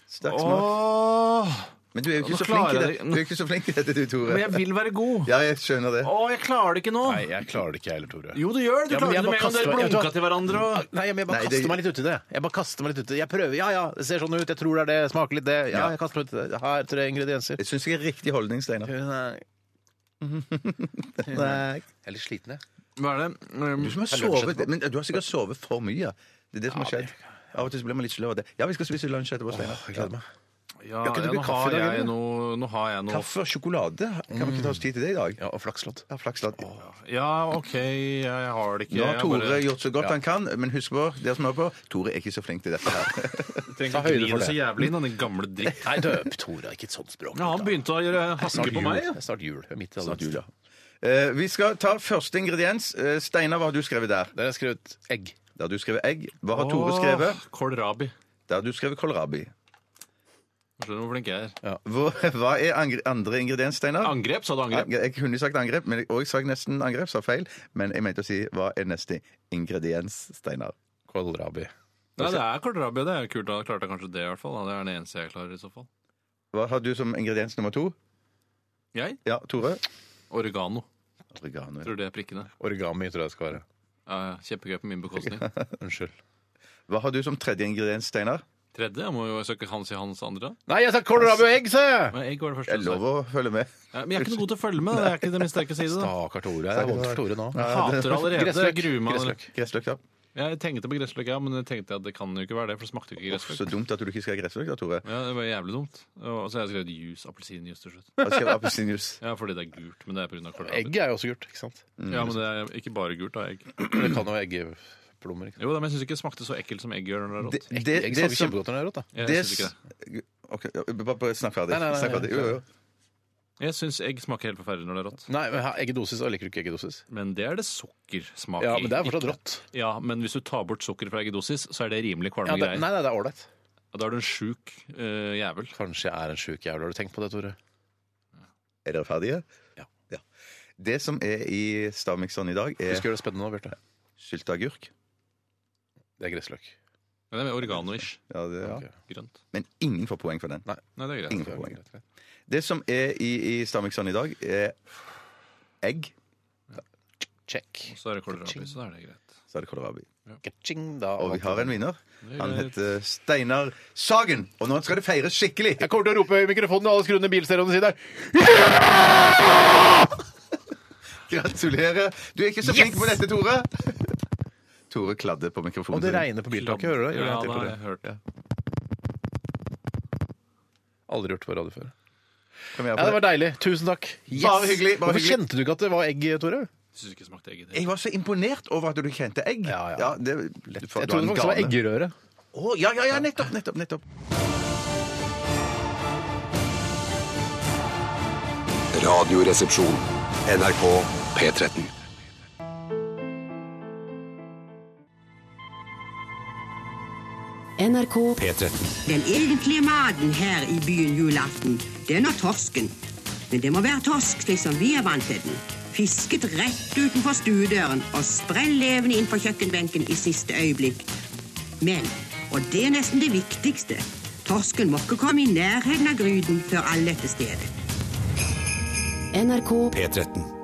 [SPEAKER 3] sterk smak.
[SPEAKER 8] Åh,
[SPEAKER 3] Men du er jo ikke
[SPEAKER 8] Nå
[SPEAKER 3] så flink i
[SPEAKER 8] klarer jeg
[SPEAKER 3] det.
[SPEAKER 8] det.
[SPEAKER 3] Du er jo ikke så flink i dette, du, Tore.
[SPEAKER 8] men jeg vil være god.
[SPEAKER 3] Ja, jeg skjønner det.
[SPEAKER 8] Åh, jeg klarer det ikke nå.
[SPEAKER 7] Nei, jeg klarer det ikke, jeg heller, Tore.
[SPEAKER 8] Jo, du gjør det. Du
[SPEAKER 7] Ja, men
[SPEAKER 8] klarer det med
[SPEAKER 7] jeg må
[SPEAKER 8] en gang
[SPEAKER 7] kaste
[SPEAKER 8] dere
[SPEAKER 7] meg-
[SPEAKER 8] blunka til hverandre. Og...
[SPEAKER 7] Nei, men jeg bare
[SPEAKER 3] Nei, det-
[SPEAKER 7] kaster meg litt uti det. Jeg bare kaster meg litt uti det. Jeg prøver. Ja, ja, det ser sånn ut. Jeg tror det er det. Jeg Smaker litt det. Ja, jeg kaster meg uti det. Her, tre ingredienser.
[SPEAKER 3] Jeg syns jeg er riktig holdning, Steinar.
[SPEAKER 7] Jeg er litt sliten, jeg.
[SPEAKER 8] Hva er det? Um,
[SPEAKER 3] Du som har sovet, men du har sikkert sovet for mye. Det er det som har
[SPEAKER 7] Ja,
[SPEAKER 3] skjedd. Av og til så blir man litt sløv av det. Ja, vi skal spise lunsj etterpå, Steinar.
[SPEAKER 7] Jeg gleder meg.
[SPEAKER 3] Ja, kan du ikke
[SPEAKER 4] nå,
[SPEAKER 3] kaffe i
[SPEAKER 4] har
[SPEAKER 3] dag,
[SPEAKER 4] jeg
[SPEAKER 3] eller?
[SPEAKER 4] noe, nå har jeg noe
[SPEAKER 3] Kaffe og sjokolade? Kan vi ikke ta oss tid til det i dag?
[SPEAKER 7] Ja, Og flakslodd.
[SPEAKER 3] Ja, flakslodd.
[SPEAKER 4] Ja, OK, jeg har det ikke.
[SPEAKER 3] Nå har
[SPEAKER 4] Jeg
[SPEAKER 3] Tore
[SPEAKER 4] bare-
[SPEAKER 3] gjort så godt
[SPEAKER 4] Ja.
[SPEAKER 3] han kan, men husk på, dere som hører på, Tore er ikke så flink til dette her.
[SPEAKER 4] Trenger ikke gni det så jævlig inn, da, den gamle dritt.
[SPEAKER 7] Nei, døp Tora, ikke et sånt språk.
[SPEAKER 4] Ja, han begynte å gjøre
[SPEAKER 7] Det er snart
[SPEAKER 4] haske på
[SPEAKER 7] jul.
[SPEAKER 4] meg.
[SPEAKER 7] Det er Snart jul. Det er Midt i
[SPEAKER 3] Snart
[SPEAKER 7] advent.
[SPEAKER 3] jul, ja. Eh, vi skal ta første ingrediens. Eh, Steinar, hva har du skrevet der?
[SPEAKER 7] Der har jeg skrevet egg.
[SPEAKER 3] Der har du skrevet egg. Hva har
[SPEAKER 4] Åh,
[SPEAKER 3] Tore skrevet?
[SPEAKER 4] Kålrabi.
[SPEAKER 3] Der har du skrevet kålrabi.
[SPEAKER 4] Skjønner du hvor flink jeg er?
[SPEAKER 3] Hvor, hva er angre, andre ingrediens, Steinar?
[SPEAKER 4] Angrep, sa du angrep?
[SPEAKER 3] Jeg kunne sagt angrep, men jeg, og jeg sa nesten angrep, sa feil. Men jeg mente å si hva er neste ingrediens, Steinar?
[SPEAKER 7] Kålrabi.
[SPEAKER 4] Nei, det er kålrabi. Det er jo kult. Da klarte jeg kanskje det, i hvert fall. da. Det er den eneste jeg klarer, i så fall.
[SPEAKER 3] Hva har du som ingrediens nummer to?
[SPEAKER 4] Jeg?
[SPEAKER 3] Ja, Tore?
[SPEAKER 4] Oregano.
[SPEAKER 3] Oregano. ja.
[SPEAKER 4] Tror du det er prikkene?
[SPEAKER 7] Origami tror jeg det skal være.
[SPEAKER 4] Ja, ja. Kjempegøy på min bekostning.
[SPEAKER 7] Unnskyld.
[SPEAKER 3] Hva har du som tredje ingrediens, Steinar?
[SPEAKER 4] Tredje? Jeg må jo søke Hans i Hans andre.
[SPEAKER 7] Nei, jeg sa kålrabi og egg, sa jeg!
[SPEAKER 4] Men egg var det første.
[SPEAKER 3] Jeg
[SPEAKER 4] du sa.
[SPEAKER 3] lover å følge med.
[SPEAKER 4] Ja, men jeg er ikke noe god til å følge med. Det er ikke det min sterke side. da.
[SPEAKER 7] Stakkar Tore. Det er vondt for Tore nå.
[SPEAKER 4] Jeg hater allerede. Jeg
[SPEAKER 7] Gressløk.
[SPEAKER 4] gruer meg. allerede.
[SPEAKER 7] Gressløk.
[SPEAKER 3] Gressløk, ja.
[SPEAKER 4] Jeg tenkte på gressløk, ja, men jeg tenkte at det kan jo ikke være det, for det smakte jo ikke
[SPEAKER 3] Uff, Så
[SPEAKER 4] gressløk.
[SPEAKER 3] dumt at du ikke skal ha gressløk, da, Tore.
[SPEAKER 4] Ja, Det var jævlig dumt. Og så har jeg skrevet juice, appelsinjuice til slutt.
[SPEAKER 3] Da skal jeg ha appelsinjuice.
[SPEAKER 4] Ja, fordi det er gult, men det er pga. kålrabi.
[SPEAKER 7] Egg er jo også gult, ikke sant?
[SPEAKER 4] Ja, men det er ikke bare gult, da. Egg.
[SPEAKER 7] Men Det kan jo være eggeplommer. ikke sant?
[SPEAKER 4] Jo da, men jeg syns ikke det smakte så ekkelt som egg gjør når det er rått.
[SPEAKER 3] Det-
[SPEAKER 7] Egg, egg smaker
[SPEAKER 3] som-
[SPEAKER 7] kjempegodt når det er rått, da.
[SPEAKER 4] Jeg
[SPEAKER 3] det
[SPEAKER 4] synes ikke det.
[SPEAKER 3] Ok, ja, bare, bare snakk ferdig.
[SPEAKER 7] Nei, nei, nei,
[SPEAKER 3] Snakk ferdig. Jo, jo, jo.
[SPEAKER 4] Jeg syns egg smaker helt forferdelig når det er rått.
[SPEAKER 7] Nei, men her- eggedosis, og liker du ikke eggedosis?
[SPEAKER 4] Men det er det sukkersmak
[SPEAKER 7] Ja,
[SPEAKER 4] i.
[SPEAKER 7] men det er fortsatt
[SPEAKER 4] Ikke-
[SPEAKER 7] rått.
[SPEAKER 4] Ja, men hvis du tar bort sukker fra eggedosis, så er det
[SPEAKER 7] Ja,
[SPEAKER 4] rimelig kvalme
[SPEAKER 7] det, nei,
[SPEAKER 4] greier.
[SPEAKER 7] nei, det er ålreit.
[SPEAKER 4] Da er du en sjuk eh, jævel.
[SPEAKER 7] Kanskje jeg er en sjuk jævel. Har du tenkt på det, Tore?
[SPEAKER 3] Er dere ferdige?
[SPEAKER 7] Ja.
[SPEAKER 3] Det som er i stavmikseren i dag,
[SPEAKER 7] Vi
[SPEAKER 3] er
[SPEAKER 7] skal gjøre det spennende nå, Bjarte.
[SPEAKER 3] sylteagurk.
[SPEAKER 7] Det er gressløk.
[SPEAKER 4] Men det er oregano-ish.
[SPEAKER 3] Ja, det- ja.
[SPEAKER 7] Ok.
[SPEAKER 4] Grønt.
[SPEAKER 3] Men ingen får poeng for den.
[SPEAKER 4] Nei, det er greit.
[SPEAKER 3] Ingen
[SPEAKER 7] Det
[SPEAKER 3] får
[SPEAKER 7] er
[SPEAKER 3] poeng.
[SPEAKER 7] greit, greit.
[SPEAKER 3] Det som er i, i stavmikseren i dag, er egg.
[SPEAKER 7] Check.
[SPEAKER 4] Så er det kålrabi, så da er det greit.
[SPEAKER 3] Så er det kålrabi.
[SPEAKER 7] Ka-ching, da.
[SPEAKER 3] Og vi har en vinner.
[SPEAKER 4] Det er
[SPEAKER 3] Han
[SPEAKER 4] greit.
[SPEAKER 3] heter Steinar Sagen. Og nå skal det feires skikkelig!
[SPEAKER 7] Jeg kommer til å rope i mikrofonen, og alle skrur ned bilstereoen og sier
[SPEAKER 3] Gratulerer. Du er ikke så flink på dette, Tore. Tore kladder på mikrofonen.
[SPEAKER 7] Og det
[SPEAKER 3] sin.
[SPEAKER 7] regner på biltaket, hører du det? Gjør det
[SPEAKER 4] Ja,
[SPEAKER 7] en til på
[SPEAKER 4] da har
[SPEAKER 7] det?
[SPEAKER 4] jeg hørt det.
[SPEAKER 7] Aldri hørt på radio før.
[SPEAKER 3] Kan vi gjøre
[SPEAKER 7] Ja,
[SPEAKER 3] på
[SPEAKER 7] det var deilig. Tusen takk. Yes!
[SPEAKER 3] Bare hyggelig, bare
[SPEAKER 7] Hvorfor
[SPEAKER 3] hyggelig.
[SPEAKER 7] kjente du ikke at det var egg, Tore?
[SPEAKER 4] Syns ikke det smakte egg i det.
[SPEAKER 3] Jeg var så imponert over at du kjente egg.
[SPEAKER 7] Ja, ja.
[SPEAKER 3] det, du får-
[SPEAKER 7] Jeg
[SPEAKER 3] du har
[SPEAKER 7] trodde
[SPEAKER 3] en
[SPEAKER 7] faktisk det var
[SPEAKER 3] gane.
[SPEAKER 7] eggerøre.
[SPEAKER 3] Å, ja, ja, ja, nettopp, nettopp, nettopp.
[SPEAKER 6] Radioresepsjon. NRK P13.
[SPEAKER 20] NRK
[SPEAKER 6] P13.
[SPEAKER 21] Den egentlige maten her i byen julaften, det er nå torsken. Men det må være torsk slik som vi er vant til den. Fisket rett utenfor stuedøren og sprell levende inn på kjøkkenbenken i siste øyeblikk. Men, og det er nesten det viktigste, torsken må ikke komme i nærheten av gryten før alle er til stede.
[SPEAKER 20] NRK
[SPEAKER 6] P13.